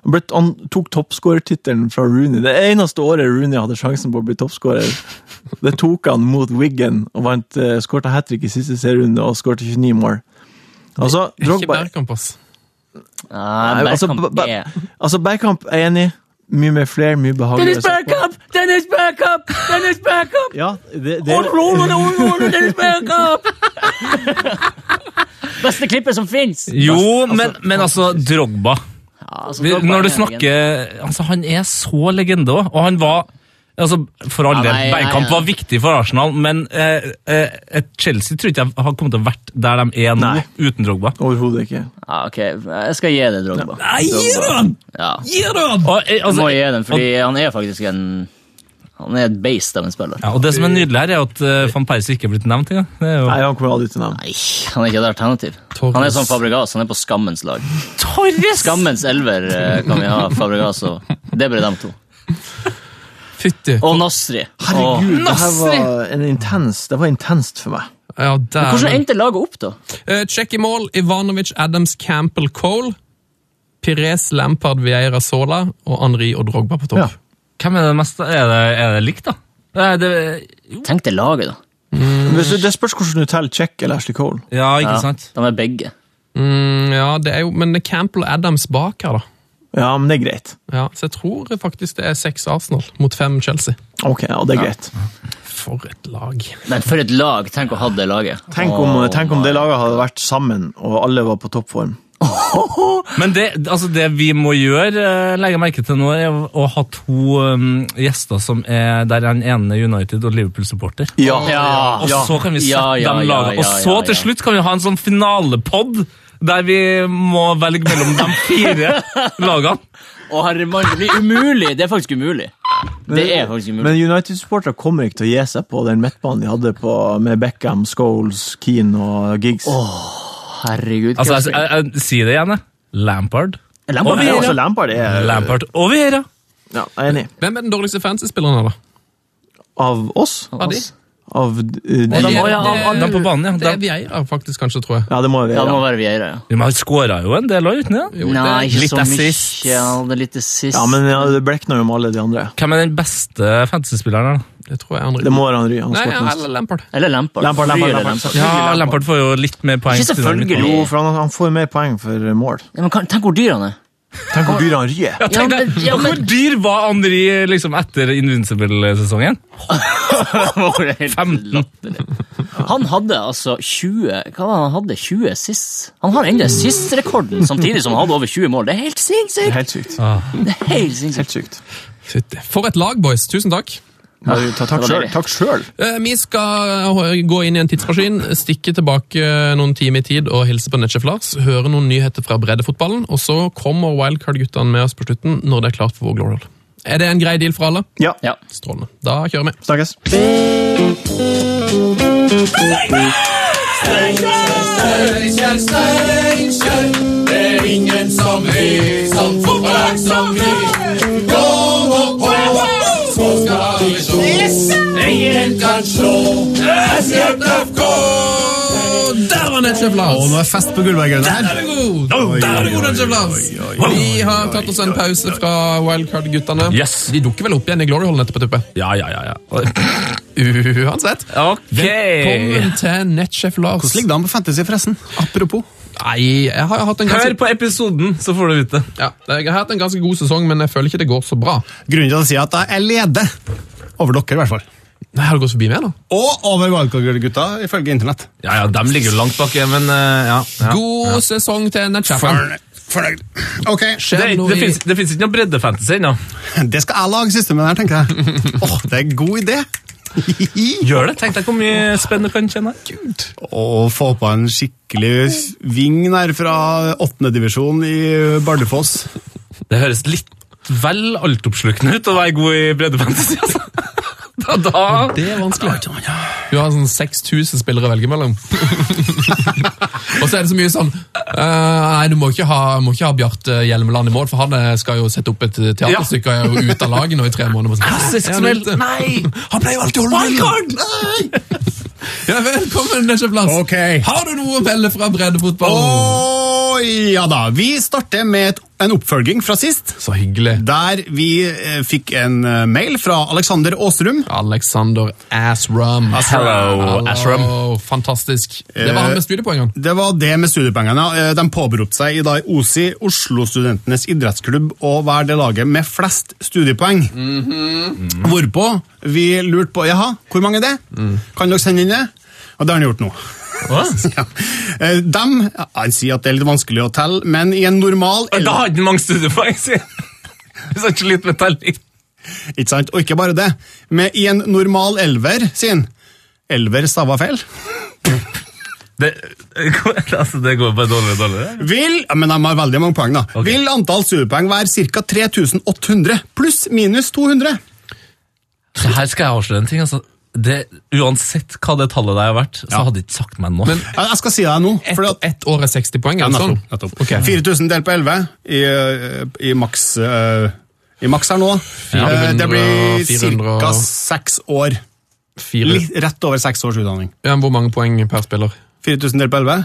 han, ble, han tok toppskårertittelen fra Rooney. Det eneste året Rooney hadde sjansen på å bli toppskårer, det tok han mot Wiggen og vant, eh, skårte hat trick i siste serierunde og skårte 29 mål. Altså,
Ikke
Drogba
Bergkamp, ass.
Nei,
altså,
Ah, Bergkamp
ba- ba-
er
altså, Bergkamp er enig. Mye med flere, mye behageligere.
Dennis Bergkamp! Dennis Bergkamp! Dennis Bergkamp!
Ja, det, det,
Old Roland, old Roland, Dennis Bergkamp! Beste klippet som fins!
Jo, men, men altså, Drogba
altså,
Vi- Når du snakker altså Han er så legende òg, og han var altså, For all
Ja,
del,
nei, nei,
Bergkamp
nei.
var viktig for Arsenal, men eh, eh, et Chelsea tror ikke jeg har kommet til å vært der de er nå,
Nei.
uten Drogba.
Overhodet ikke.
Ja, ok, Jeg skal gi det Drogba. Ja.
Og, eh, altså,
Må gi den, fordi han er faktisk en Han er et beist av en spiller.
ja, og det som er nydelig her, er at eh, van Persie ikke er blitt nevnt engang. Det er jo
Nei, han kommer aldri til navn.
Nei, han er ikke et alternativ. Han er som Fabregas, han er på skammens lag.
Torres!
Skammens elver eh, kan vi ha, Fabregas og Det blir dem to.
Fytti.
Og Nasri. Og,
Herregud, det her var en intens, det var intenst for meg.
Ja, der.
hvordan endte laget opp, da?
Eh, Check i mål, Ivanovic, Adams, Campbell, Cole. Pires, Lampard, Vieira, Sola og Henri og Drogba på topp.
Ja.
Hvem er det mest Er det, er det likt, da? Det, er- det,
Tenk deg laget, da. Mm.
Hvis du, det spørs hvordan du teller Check eller Ashley Cole.
ja, ikke
Ja,
sant?
De er begge.
Mm, ja, det er jo, men det er Campbell og Adams bak her, da.
Ja, men det er greit.
Ja, så jeg tror faktisk det er seks Arsenal mot fem Chelsea.
Ok, ja, det er greit.
For et lag.
Men for et lag! Tenk å ha det laget.
Tenk om, tenk om det laget hadde vært sammen, og alle var på toppform.
Men det, altså det vi må gjøre, eh, legge merke til nå, er å- å ha to um, gjester som er der den ene er United og Liverpool-supporter.
Ja.
Og
Ja.
så kan vi sette
Ja, ja,
dem
ja,
laget.
ja,
Og så
ja,
til
ja.
slutt kan vi ha en sånn finalepod der vi må velge mellom de fire lagene.
Å, herre mann, det blir umulig! Det er faktisk umulig. Det er faktisk umulig.
Men United-supportere kommer ikke til å gi seg på den midtbanen de hadde på, med Beckham, Scholes, Keane og Giggs.
Herregud.
Altså, jeg,
hvem-
jeg, jeg, si det igjen, jeg. Lampard.
Og
Lampard
det
er
er
også-
også Lampard er
Lampard og Vera.
Ja, jeg er enig.
Hvem er den dårligste fancy-spilleren her, da?
Av oss?
Av de?
Av eh,
De,
de?
må jo ha
de,
alle-
på banen, ja.
Det er
De,
Vieira, faktisk, kanskje, tror jeg.
Ja, det må jo
Ja, det
være.
må
ja.
være Vieira, ja.
Men han skåra jo en del òg, uten det?
Jo,
Nei,
det
ikke
litt
så
assist.
mye. Ja, det er litt assist.
Ja, men ja, det blekner jo med alle de andre.
Hvem er den beste fantasy-spilleren? her, da?
Det tror jeg Henri.
Det må være Henry. Han
Nei,
skåret
ja,
mest.
eller Lampard.
Eller Lampard.
Lampard,
Fryr
Lampard,
eller Lampard.
Lampard.
Ja, Lampard får jo litt mer poeng.
Ikke
til den.
selvfølgelig.
Jo, for han, han får mer poeng for eh, mål.
Ja, men kan- tenk hvor dyr han er.
Tenk hvor dyr han Henry er.
Ja,
Tenk deg,
men- ja,
Hvor
men-
dyr var Henri liksom, etter Invincible-sesongen?
Det var helt
15.
latterlig. Han hadde altså 20 Hva var det han hadde? 20 assists? Han har ennå assist-rekorden, samtidig som han hadde over 20 mål. Det er helt
Det er
sinnssykt!
Helt sykt.
Det er helt sinnssykt.
Helt sykt.
Fytti. For et lag, boys. Tusen takk.
Bare ta- Takk
det var
sjøl.
deilig.
Takk selv.
Eh, Vi skal eh, gå inn i en tidsmaskin, stikke tilbake eh, noen timer i tid og hilse på Netchef Lars, høre noen nyheter fra breddefotballen, og så kommer Wildcard-guttene med oss på slutten når det er klart for vår Glorial. Er det en grei deal for alle?
Ja.
Ja.
Strålende. Da kjører vi.
Snakkes.
Der var Netchef Lars!
nå er fest på gullveggen
Der er du god! Der er du god, Netchef Lars! Vi har tatt oss en pause fra Wildcard-guttene.
Yes.
De dukker vel opp igjen i Glory Hall etterpå, tipper jeg.
Ja, ja, ja. ja.
Uansett.
Ok.
Velkommen til Netchef Lars.
Hvordan ligger det an på fantasy, forresten? Apropos.
Nei, jeg har hatt en ganske...
Hør på episoden, så får du vite.
Ja, jeg har hatt en ganske god sesong, men jeg føler ikke det går så bra.
Grunnen til å si at jeg leder over dere, i hvert fall.
Nei, Har det gått forbi meg, da?
Og over Wildcard-gutta, ifølge internett.
Ja, ja, dem ligger jo langt bak, ja, men eh, ja. ja.
God sesong til Netchappen.
Fornøyd. Ok,
Det,
Skjer
er ikke-
noe
det,
i
finnes, det finnes ikke noe breddefantasy ennå.
det skal jeg lage siste med det her, tenker jeg. Åh, det er en god idé.
Gjør det? Tenk deg hvor mye spenn du kan kjenne.
Å få på en skikkelig ving der fra åttendedivisjon i Bardufoss.
Det høres litt vel altoppslukende ut å være god i breddefantasy, altså. da, da.
Det er vanskelig. Du har sånn 6000 spillere å velge mellom. og så er det så mye sånn eh, Nei, du må ikke ha, må ikke ha Bjarte Hjelmeland i mål, for han eh, skal jo sette opp et teaterstykke og er jo ute av laget nå i tre måneder. Sånn,
Klassisk
«Hæ, er han
smell.
ute?»
Nei!
Han pleier jo alltid å holde Wildcard! Ja, velkommen, Nesjeplass.
Ok.
Har du noe å melde fra breddefotballen?
Å, ja da. Vi starter med et, en oppfølging fra sist.
Så hyggelig.
Der vi eh, fikk en eh, mail fra Alexander Åsrum.
Alexander Asrum.
Hello,
Asrum. Fantastisk. Det var han med studiepoengene.
Det var det med studiepoengene. Eh, De påberopte seg i dag OSI, Oslo-studentenes idrettsklubb, å være det laget med flest studiepoeng.
Mhm.
Hvorpå vi lurte på jaha, hvor mange er det?
Mm.
Kan dere sende inn det? Og det har han gjort nå. ja. Eh, Dem, ja, Han sier at det er litt vanskelig å telle, men i en normal
Da har ikke mange studiepoeng, sier jeg. Hvis han sånn ikke litt metallic.
Ikke sant? Og ikke bare det. Med i en normal elver, sier han. Elver stava feil.
Det, altså, det går bare dårligere og dårligere.
Vil, ja, men de har veldig mange poeng da. Vil antall studiepoeng være ca. 3800 pluss minus 200?
Så her skal jeg avsløre en ting. altså. Det, uansett hva det tallet der har vært, så hadde jeg ikke sagt meg nå.
Ja, Jeg skal si deg nå.
Ett
fordi at-
ett år er 60 poeng, er det sånn?
nettopp, nettopp. 4000 delt på 11 i, eh, i maks eh, i maks her nå. Eh, det
400,
blir
400.
ca. seks år.
Fire.
Litt, rett over seks års utdanning.
Ja, men hvor mange poeng per spiller?
4000 delt på 11,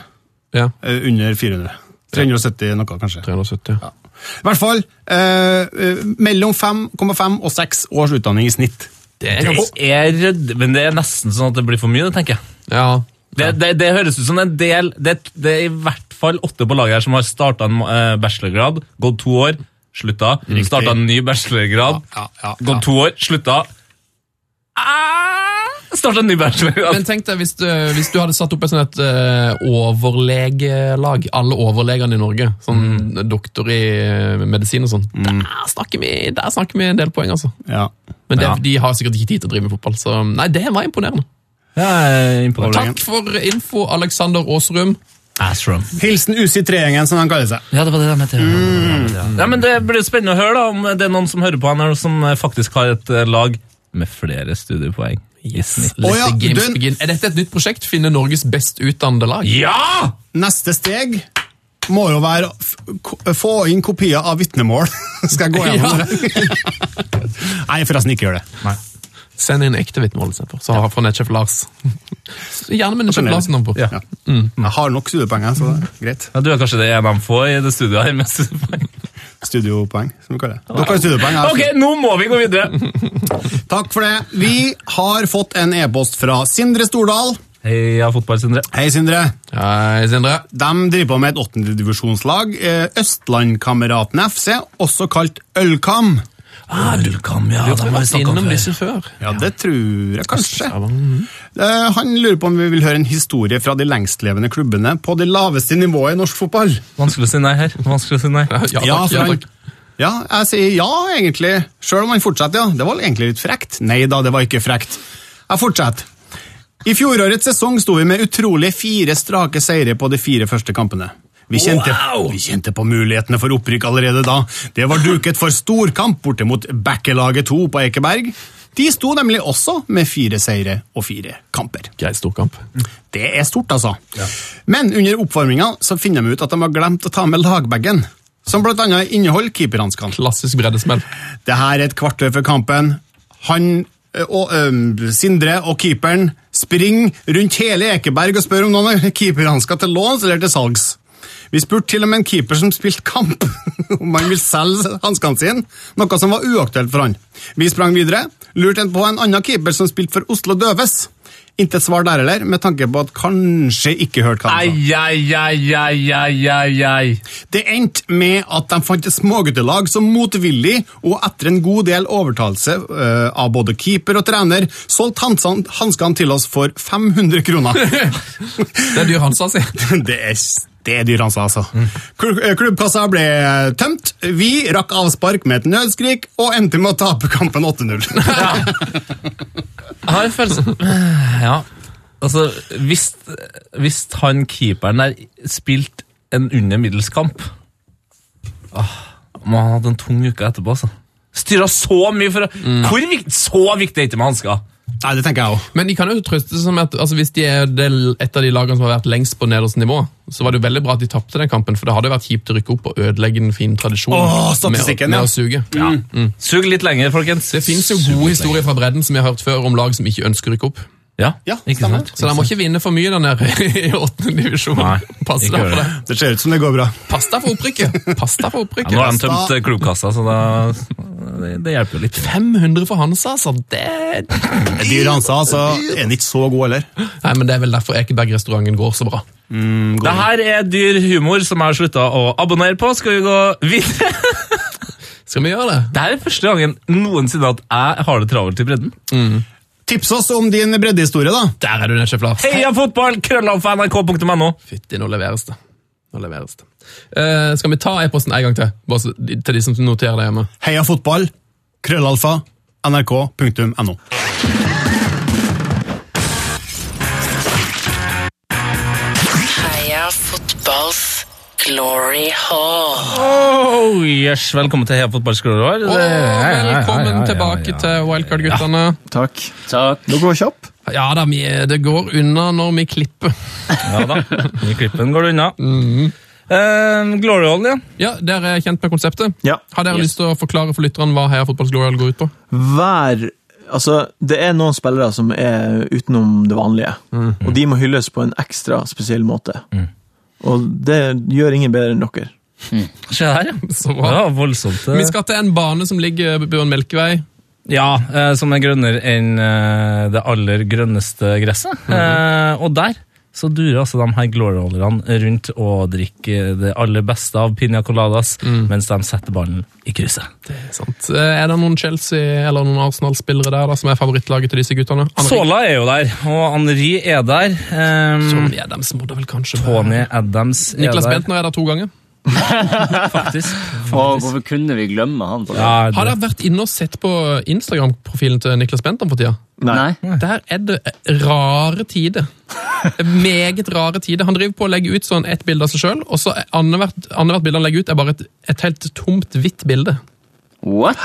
Ja,
eh, under 400. 370 noe, kanskje.
370.
I hvert fall eh, eh, mellom 5,5 og 6 års utdanning i snitt.
Det er, rød, men det er nesten sånn at det blir for mye, det tenker jeg.
Ja,
Det, det, det høres ut som en del det, det er i hvert fall åtte på laget her som har starta en eh, bachelorgrad, gått to år, slutta. Starta en ny bachelorgrad,
Ja, ja, ja.
gått to år, slutta. Ah, starta en ny bachelorgrad.
Men tenk deg hvis du, hvis du hadde satt opp et sånt et eh, overlegelag, alle overlegene i Norge, sånn doktor i eh, medisin og sånn, der, snakker vi, der snakker vi en del poeng, altså.
Ja.
Men det,
Ja.
de har sikkert ikke tid til å drive med fotball, så nei, det var imponerende.
Overlegen.
Takk for info, Alexander Aasrum.
Ashram.
Hilsen UC3-gjengen, som de kaller seg.
Ja, det var det de het. ja. Ja. Ja, men det blir spennende å høre da, om det er noen som hører på han her, som eh, faktisk har et eh, lag med flere studiepoeng. i snitt.
Å ja,
Let the games
den-
begin. Er dette et nytt prosjekt? Finne Norges best utdannede lag?
Ja!
Neste steg må jo være å f- ko- få inn kopier av vitnemål. Skal jeg gå gjennom det? Nei, forresten, ikke gjør det.
Send inn ekte vitnemål, istedenfor. Så har fra Netchef Lars. Så Gjerne med Netchef Larsen om på.
Ja. Jeg har nok studiepoenger, så det er greit.
Ja, du er kanskje det en av de få i det studioet her med studiepoeng.
Studiopoeng, som vi kaller det. Dere har studiepoeng.
altså-
jeg har
Ok, nå må vi gå videre!
Takk for det. Vi har fått en e-post fra Sindre Stordal.
Heia fotball, Sindre.
Hei, Sindre.
Hei, Sindre.
De driver på med et åttendedivisjonslag, Eh, Østlandkameraten FC, også kalt Ølkam.
Ah,
Ølkam, ja.
Vi har vært innom disse før.
Ja, det tror jeg kanskje. Eh, Han lurer på om vi vil høre en historie fra de lengstlevende klubbene på det laveste nivået i norsk fotball.
Vanskelig å si nei her. Vanskelig å si nei.
Ja,
Ja,
takk,
for
ja,
han-
takk.
Ja, jeg sier ja, egentlig. Selv om han fortsetter, ja. Det var egentlig litt frekt. Nei da, det var ikke frekt. Jeg fortsetter. I fjorårets sesong sto vi med utrolige fire strake seire på de fire første kampene. Vi kjente, vi kjente på mulighetene for opprykk allerede da. Det var duket for storkamp borte mot Bekkelaget 2 på Ekeberg. De sto nemlig også med fire seire og fire kamper.
Grei storkamp.
Det er stort, altså. Men under oppvarminga så finner de ut at de har glemt å ta med lagbagen, som blant annet inneholder keeperhanskene.
Klassisk breddesmell.
Det her er et kvarter før kampen. Han ø, og ø, Sindre og keeperen springer rundt hele Ekeberg og spør om noen har keeperhansker til låns eller til salgs. Vi spurte til og med en keeper som spilte kamp, om han ville selge hanskene sine, noe som var uaktuelt for han. Vi sprang videre, lurte på en annen keeper som spilte for Oslo Døves. Intet svar der heller, med tanke på at kanskje ikke hørte hva han sa.
Ai, ai, ai, ai, ai, ai, ai.
Det endte med at de fant et småguttelag som motvillig, og etter en god del overtalelse eh, av både keeper og trener, solgte hansan- hanskene til oss for 500 kroner.
Det er dyr Hansa, si.
det er s- det er dyr hans, altså. Klu- eh, Klubbkassa ble tømt, vi rakk avspark med et nødskrik, og endte med å tape kampen 8-0.
Jeg har en følelse Ja. Altså, hvis, hvis han keeperen der spilte en under middels kamp ah, Må ha hatt en tung uke etterpå, altså. Styra så mye for å
Mm.
Hvor vikt, så viktig er ikke med hansker?
Nei, det tenker jeg òg.
Men de kan jo trøste seg med at altså, hvis de er del, et av de lagene som har vært lengst på nederste nivå, så var det jo veldig bra at de tapte den kampen, for det hadde jo vært kjipt å rykke opp og ødelegge den fine tradisjonen
Åh,
med, å-
statistikken,
med
ja.
å suge.
Sug litt lenger, folkens.
Det fins jo gode historier fra bredden som vi har hørt før om lag som ikke ønsker å rykke opp.
Ja,
Ja,
ikke
stemmer.
sant?
Så de må ikke vinne for mye der nede i åttende divisjon.
Nei,
Pass
ikke
deg
gjør
for det.
det.
Det ser ut som det går bra.
Pass deg for opprykket! Pass deg for
Ja, nå har de
opprykket.
tømt eh, klubbkassa, så da, det, det hjelper jo litt.
500 for Hansa, altså. Det
Dyr Hansa, altså. Er den ikke så god heller?
Nei, men Det er vel derfor Ekeberg-restauranten går så bra.
Det her er dyr humor som jeg har slutta å abonnere på. Skal vi gå videre?
Skal vi gjøre det?
Det her er første gangen noensinne at jeg har det travelt i bredden.
Tips oss om din breddehistorie, da.
Der er du, Nesjef Lars.
Heia fotball! Krøllalf nrk.no.
Fytti, nå leveres det. Nå leveres det. Eh, skal vi ta e-posten en gang til? Bare så- til de som noterer det hjemme.
Heia fotball. Krøllalfa. NRK.no.
Heia fotballs glory hall.
Oh, yes. Velkommen til Heia fotball skrøller.
Åh, velkommen tilbake til Wildcard-guttene.
Takk.
Takk.
Dere var kjappe.
Ja da, vi, det går unna når vi klipper.
Ja da, i klippen går det unna.
Mhm.
Eh, Glory Hall, ja.
Ja, Dere er kjent med konseptet?
Ja.
Har dere lyst til å forklare for lytterne hva Heia fotballs glory hall går ut på?
Hver Altså, det er noen spillere som er utenom det vanlige,
Mhm.
og de må hylles på en ekstra spesiell måte. Og det gjør ingen bedre enn dere.
Se her, ja.
Så
Det
bra.
var voldsomt. eh.
Vi skal til en bane som ligger ved Bjørn Melkevei.
Ja, eh, som er grønnere enn eh, det aller grønneste gresset. eh, og der så durer altså de her gloryholderne rundt og drikker det aller beste av piña coladas mens de setter ballen i krysset.
Sant. Eh, Er det noen Chelsea- eller noen Arsenal-spillere der da, som er favorittlaget til disse guttene?
Sola er jo der, og Henri er der. Um,
Ja, dem må da vel kanskje være
Pony Adams er
Niklas
der,
Bentner er der to ganger.
faktisk.
Å, hvorfor kunne vi glemme han? på det?
Ja,
Har
det,
dere vært inne og sett på Instagram-profilen til Niklas Bentner for tida?
Nei.
Der er det rare tider. Meget rare tider. Han driver på å legge ut sånn ett bilde av seg sjøl, og så er annethvert annethvert bilde han legger ut, er bare et, et helt tomt, hvitt bilde.
What?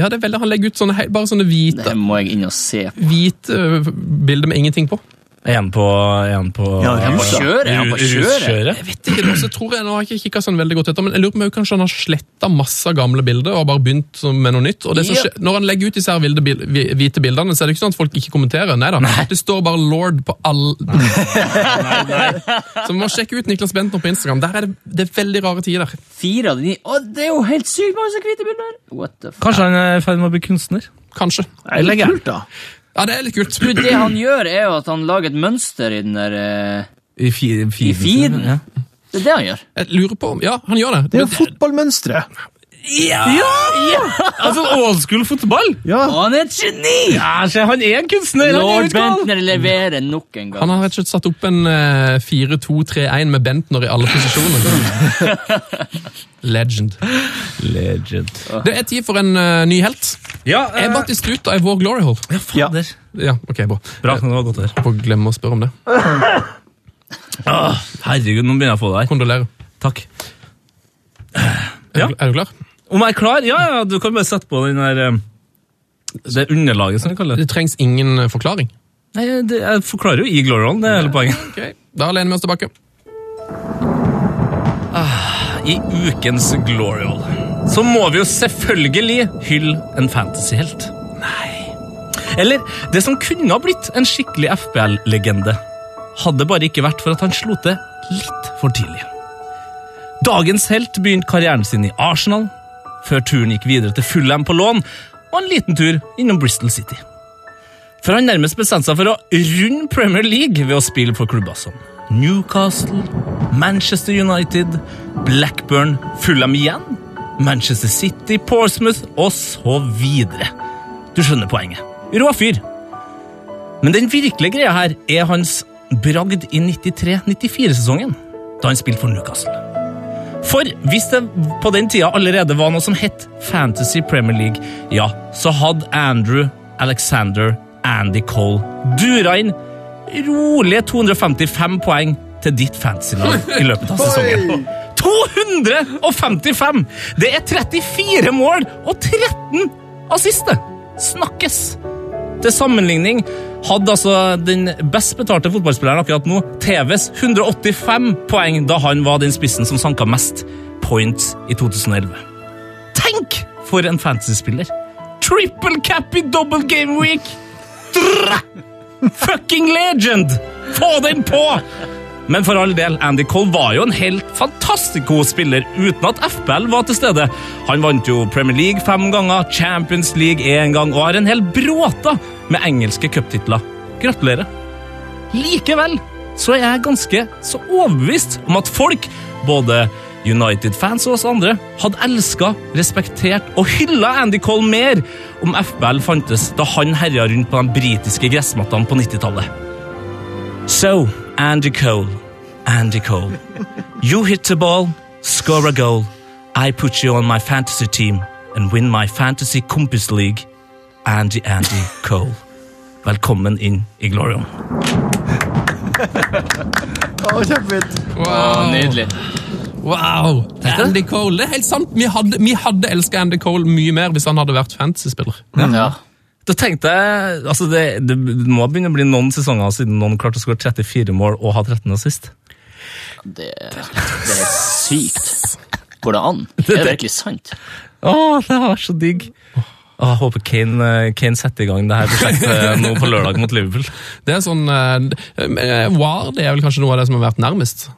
Ja, det er veldig, Han legger ut sånne, he- bare sånne hvite,
Det må jeg inn og se.
hvite øh, bilder med ingenting på.
en på, en på
Ja,
Han bare kjører, han bare kjører.
ruskjøret.
Jeg vet ikke, også tror jeg, nå har jeg ikke kikket sånn veldig godt etter, men jeg lurer på om jeg kanskje han har sletta masse gamle bilder og bare begynt som- med noe nytt. Og det som
Ja.
skje- når han legger ut disse her vilde bil- hvi- hvite bildene, så er det ikke sånn at folk ikke kommenterer. Nei da, det står bare 'lord' på all... Så man må sjekke ut Niklas Bentner på Instagram. Der er det, det er veldig rare tider.
Fire av de ni. Å, det er jo helt sykt mange som hvite bilder! What the fuck?
Kanskje han er i ferd med å bli kunstner?
Kanskje.
Det er litt kult, da.
Ja, det er litt kult.
Du, det han gjør, er jo at han lager et mønster i den der eh,
I, fi,
I feeden?
Mhm. Ja.
Det er det han gjør.
Jeg lurer på om Ja, han gjør det.
Det er jo fotballmønstre.
Altså old school fotball!
Ja.
Og han er et geni!
Ja, se, han er en kunstner! han er
Lord
en skål.
Bentner leverer nok
Han
en gang.
har rett og slett satt opp en eh, 4-2-3-1 med Bentner i alle posisjoner. Legend.
Legend.
Det er tid for en eh, ny helt.
Ja,
Jeg
eh,
ble til slutt i vår glory hole.
ja, fader.
Ja, ok, bra.
Bra, det var godt å høre.
Jeg får glemme å spørre om det.
Åh, herregud, nå begynner jeg å få det her.
Kondolerer.
Takk.
Er,
Ja.
du, er du klar?
Om jeg er klar? Ja, ja, du kan bare sette på den der eh, Det underlaget, som vi kaller det.
Det trengs ingen eh, forklaring.
Nei, det, Jeg forklarer jo i Glorion, det er hele poenget.
Ok, Da lener vi oss tilbake.
I ukens Glorial så må vi jo selvfølgelig hylle en fantasyhelt. Nei Eller det som kunne ha blitt en skikkelig FBL-legende. Hadde bare ikke vært for at han slo til litt for tidlig. Dagens helt begynte karrieren sin i Arsenal, før turen gikk videre til Fulham på lån, og en liten tur innom Bristol City. For han nærmest bestemte seg for å runde Premier League ved å spille for klubber som Newcastle, Manchester United, Blackburn, Fulham igjen, Manchester City, Portsmouth og så videre. Du skjønner poenget. Rå fyr. Men den virkelige greia her er hans bragd i 93-94-sesongen, da han spilte for Newcastle. For hvis det på den tida allerede var noe som het Fantasy Premier League, ja, så hadde Andrew Alexander Andy Cole dura inn rolige 255 poeng til ditt fantasylag i løpet av sesongen. 255! Det er 34 mål og 13 assiste! Snakkes! Til sammenligning hadde altså den best betalte fotballspilleren akkurat nå TVs 185 poeng da han var den spissen som sanka mest points i 2011. Tenk for en fantasy-spiller! Triple cap i double game week! Drr! Fucking legend! Få den på! Men for all del, Andy Cole var jo en helt fantastico spiller uten at FPL var til stede. Han vant jo Premier League fem ganger, Champions League én gang og har en hel bråta med engelske cuptitler. Gratulerer. Likevel så er jeg ganske så overbevist om at folk, både United-fans og oss andre, hadde elska, respektert og hylla Andy Cole mer om FBL fantes da han herja rundt på de britiske gressmattene på 90-tallet. So, Andy Cole, Andy Cole. You hit the ball, score a goal. I put you on my fantasy team and win my fantasy kompis league. Andy, Andy Cole. Velkommen inn i Glorion.
Å, kjempefint.
Wow.
Ah, Nydelig.
wow. Andy Cole, det er helt sant. Vi hadde, vi hadde elska Andy Cole mye mer hvis han hadde vært fantasy-spiller.
Ja.
Da tenkte jeg, altså det, det må begynne å bli noen sesonger siden noen klarte å skåre 34 mål og ha 13 assist.
Det, det er helt sykt. Går det an? Er det virkelig sant?
Å, det var så digg! Åh, jeg håper Kane, eh, Kane setter i gang det her prosjektet eh, nå på lørdag mot Liverpool.
Det er sånn uh, Ward er vel kanskje noe av det som har vært nærmest.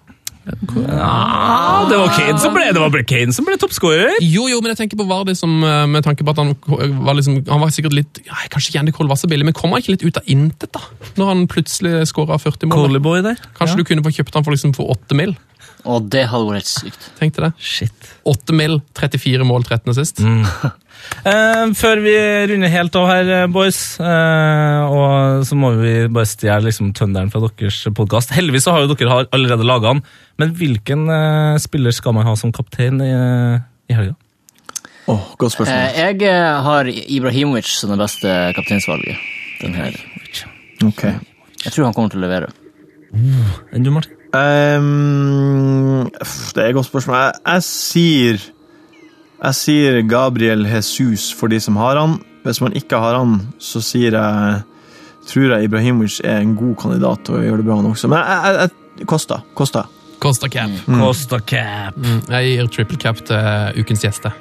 Ah, det var Kane som ble, det var Kane som ble toppskårer!
Jo, jo, men jeg tenker på Vardy som, eh, med tanke på at han var, liksom, han var sikkert litt nei, Kanskje ikke Andy Cole var så billig, men kom han ikke litt ut av intet, da? Når han plutselig skåra 40 mål?
Coleyboy der.
Kanskje du kunne få kjøpt han for liksom for 8 mil?
Og det hadde vært helt sykt.
Tenk til det.
Shit.
8 mil, 34 mål, 13 sist.
Eh, før vi runder helt av her, eh, boys, eh, og så må vi bare stjele liksom, tønderen fra deres podkast. Heldigvis så har jo dere har allerede laga den, men hvilken eh, spiller skal man ha som kaptein i, eh, i helga?
Åh, godt spørsmål.
Eh, Jeg eh, har Ibrahimovic som det beste kapteinsvalget. Den her.
Ok.
Jeg tror han kommer til å levere.
Enn du, Martin?
Ehm, f- det er et godt spørsmål. Jeg, jeg sier Jeg sier Gabriel Jesus for de som har han. Hvis man ikke har han, så sier jeg Tror jeg Ibrahimovic er en god kandidat til å gjøre det bra, han også. Men jeg, jeg, jeg Kosta. Kosta.
Costa cap. Mm.
Costa Cap.
Jeg gir triple cap til eh, ukens gjester.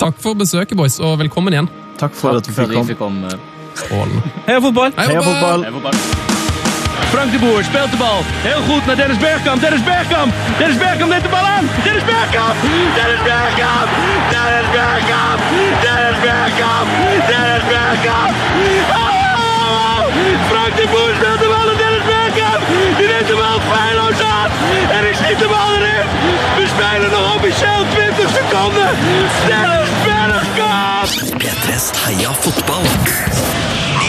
Takk for besøket, boys, og velkommen igjen.
Takk for at du fikk komme.
komme.
Strålende.
Heia fotball!
Hei,
Heia
Robert!
fotball!
Frank de Boer speelt de bal. Heel goed naar Dennis Bergkamp. Dennis Bergkamp. Dennis Bergkamp neemt de bal aan. Dennis Bergkamp. Dennis Bergkamp. Dennis Bergkamp. Dennis Bergkamp. Dennis Bergkamp. Oh! Frank de Boer speelt de bal aan Dennis Bergkamp. Die neemt de bal feilloos aan. En ik schiet de bal erin. We spelen nog officieel 20 seconden. Dennis Bergkamp.
P3s Heia fotball. Ny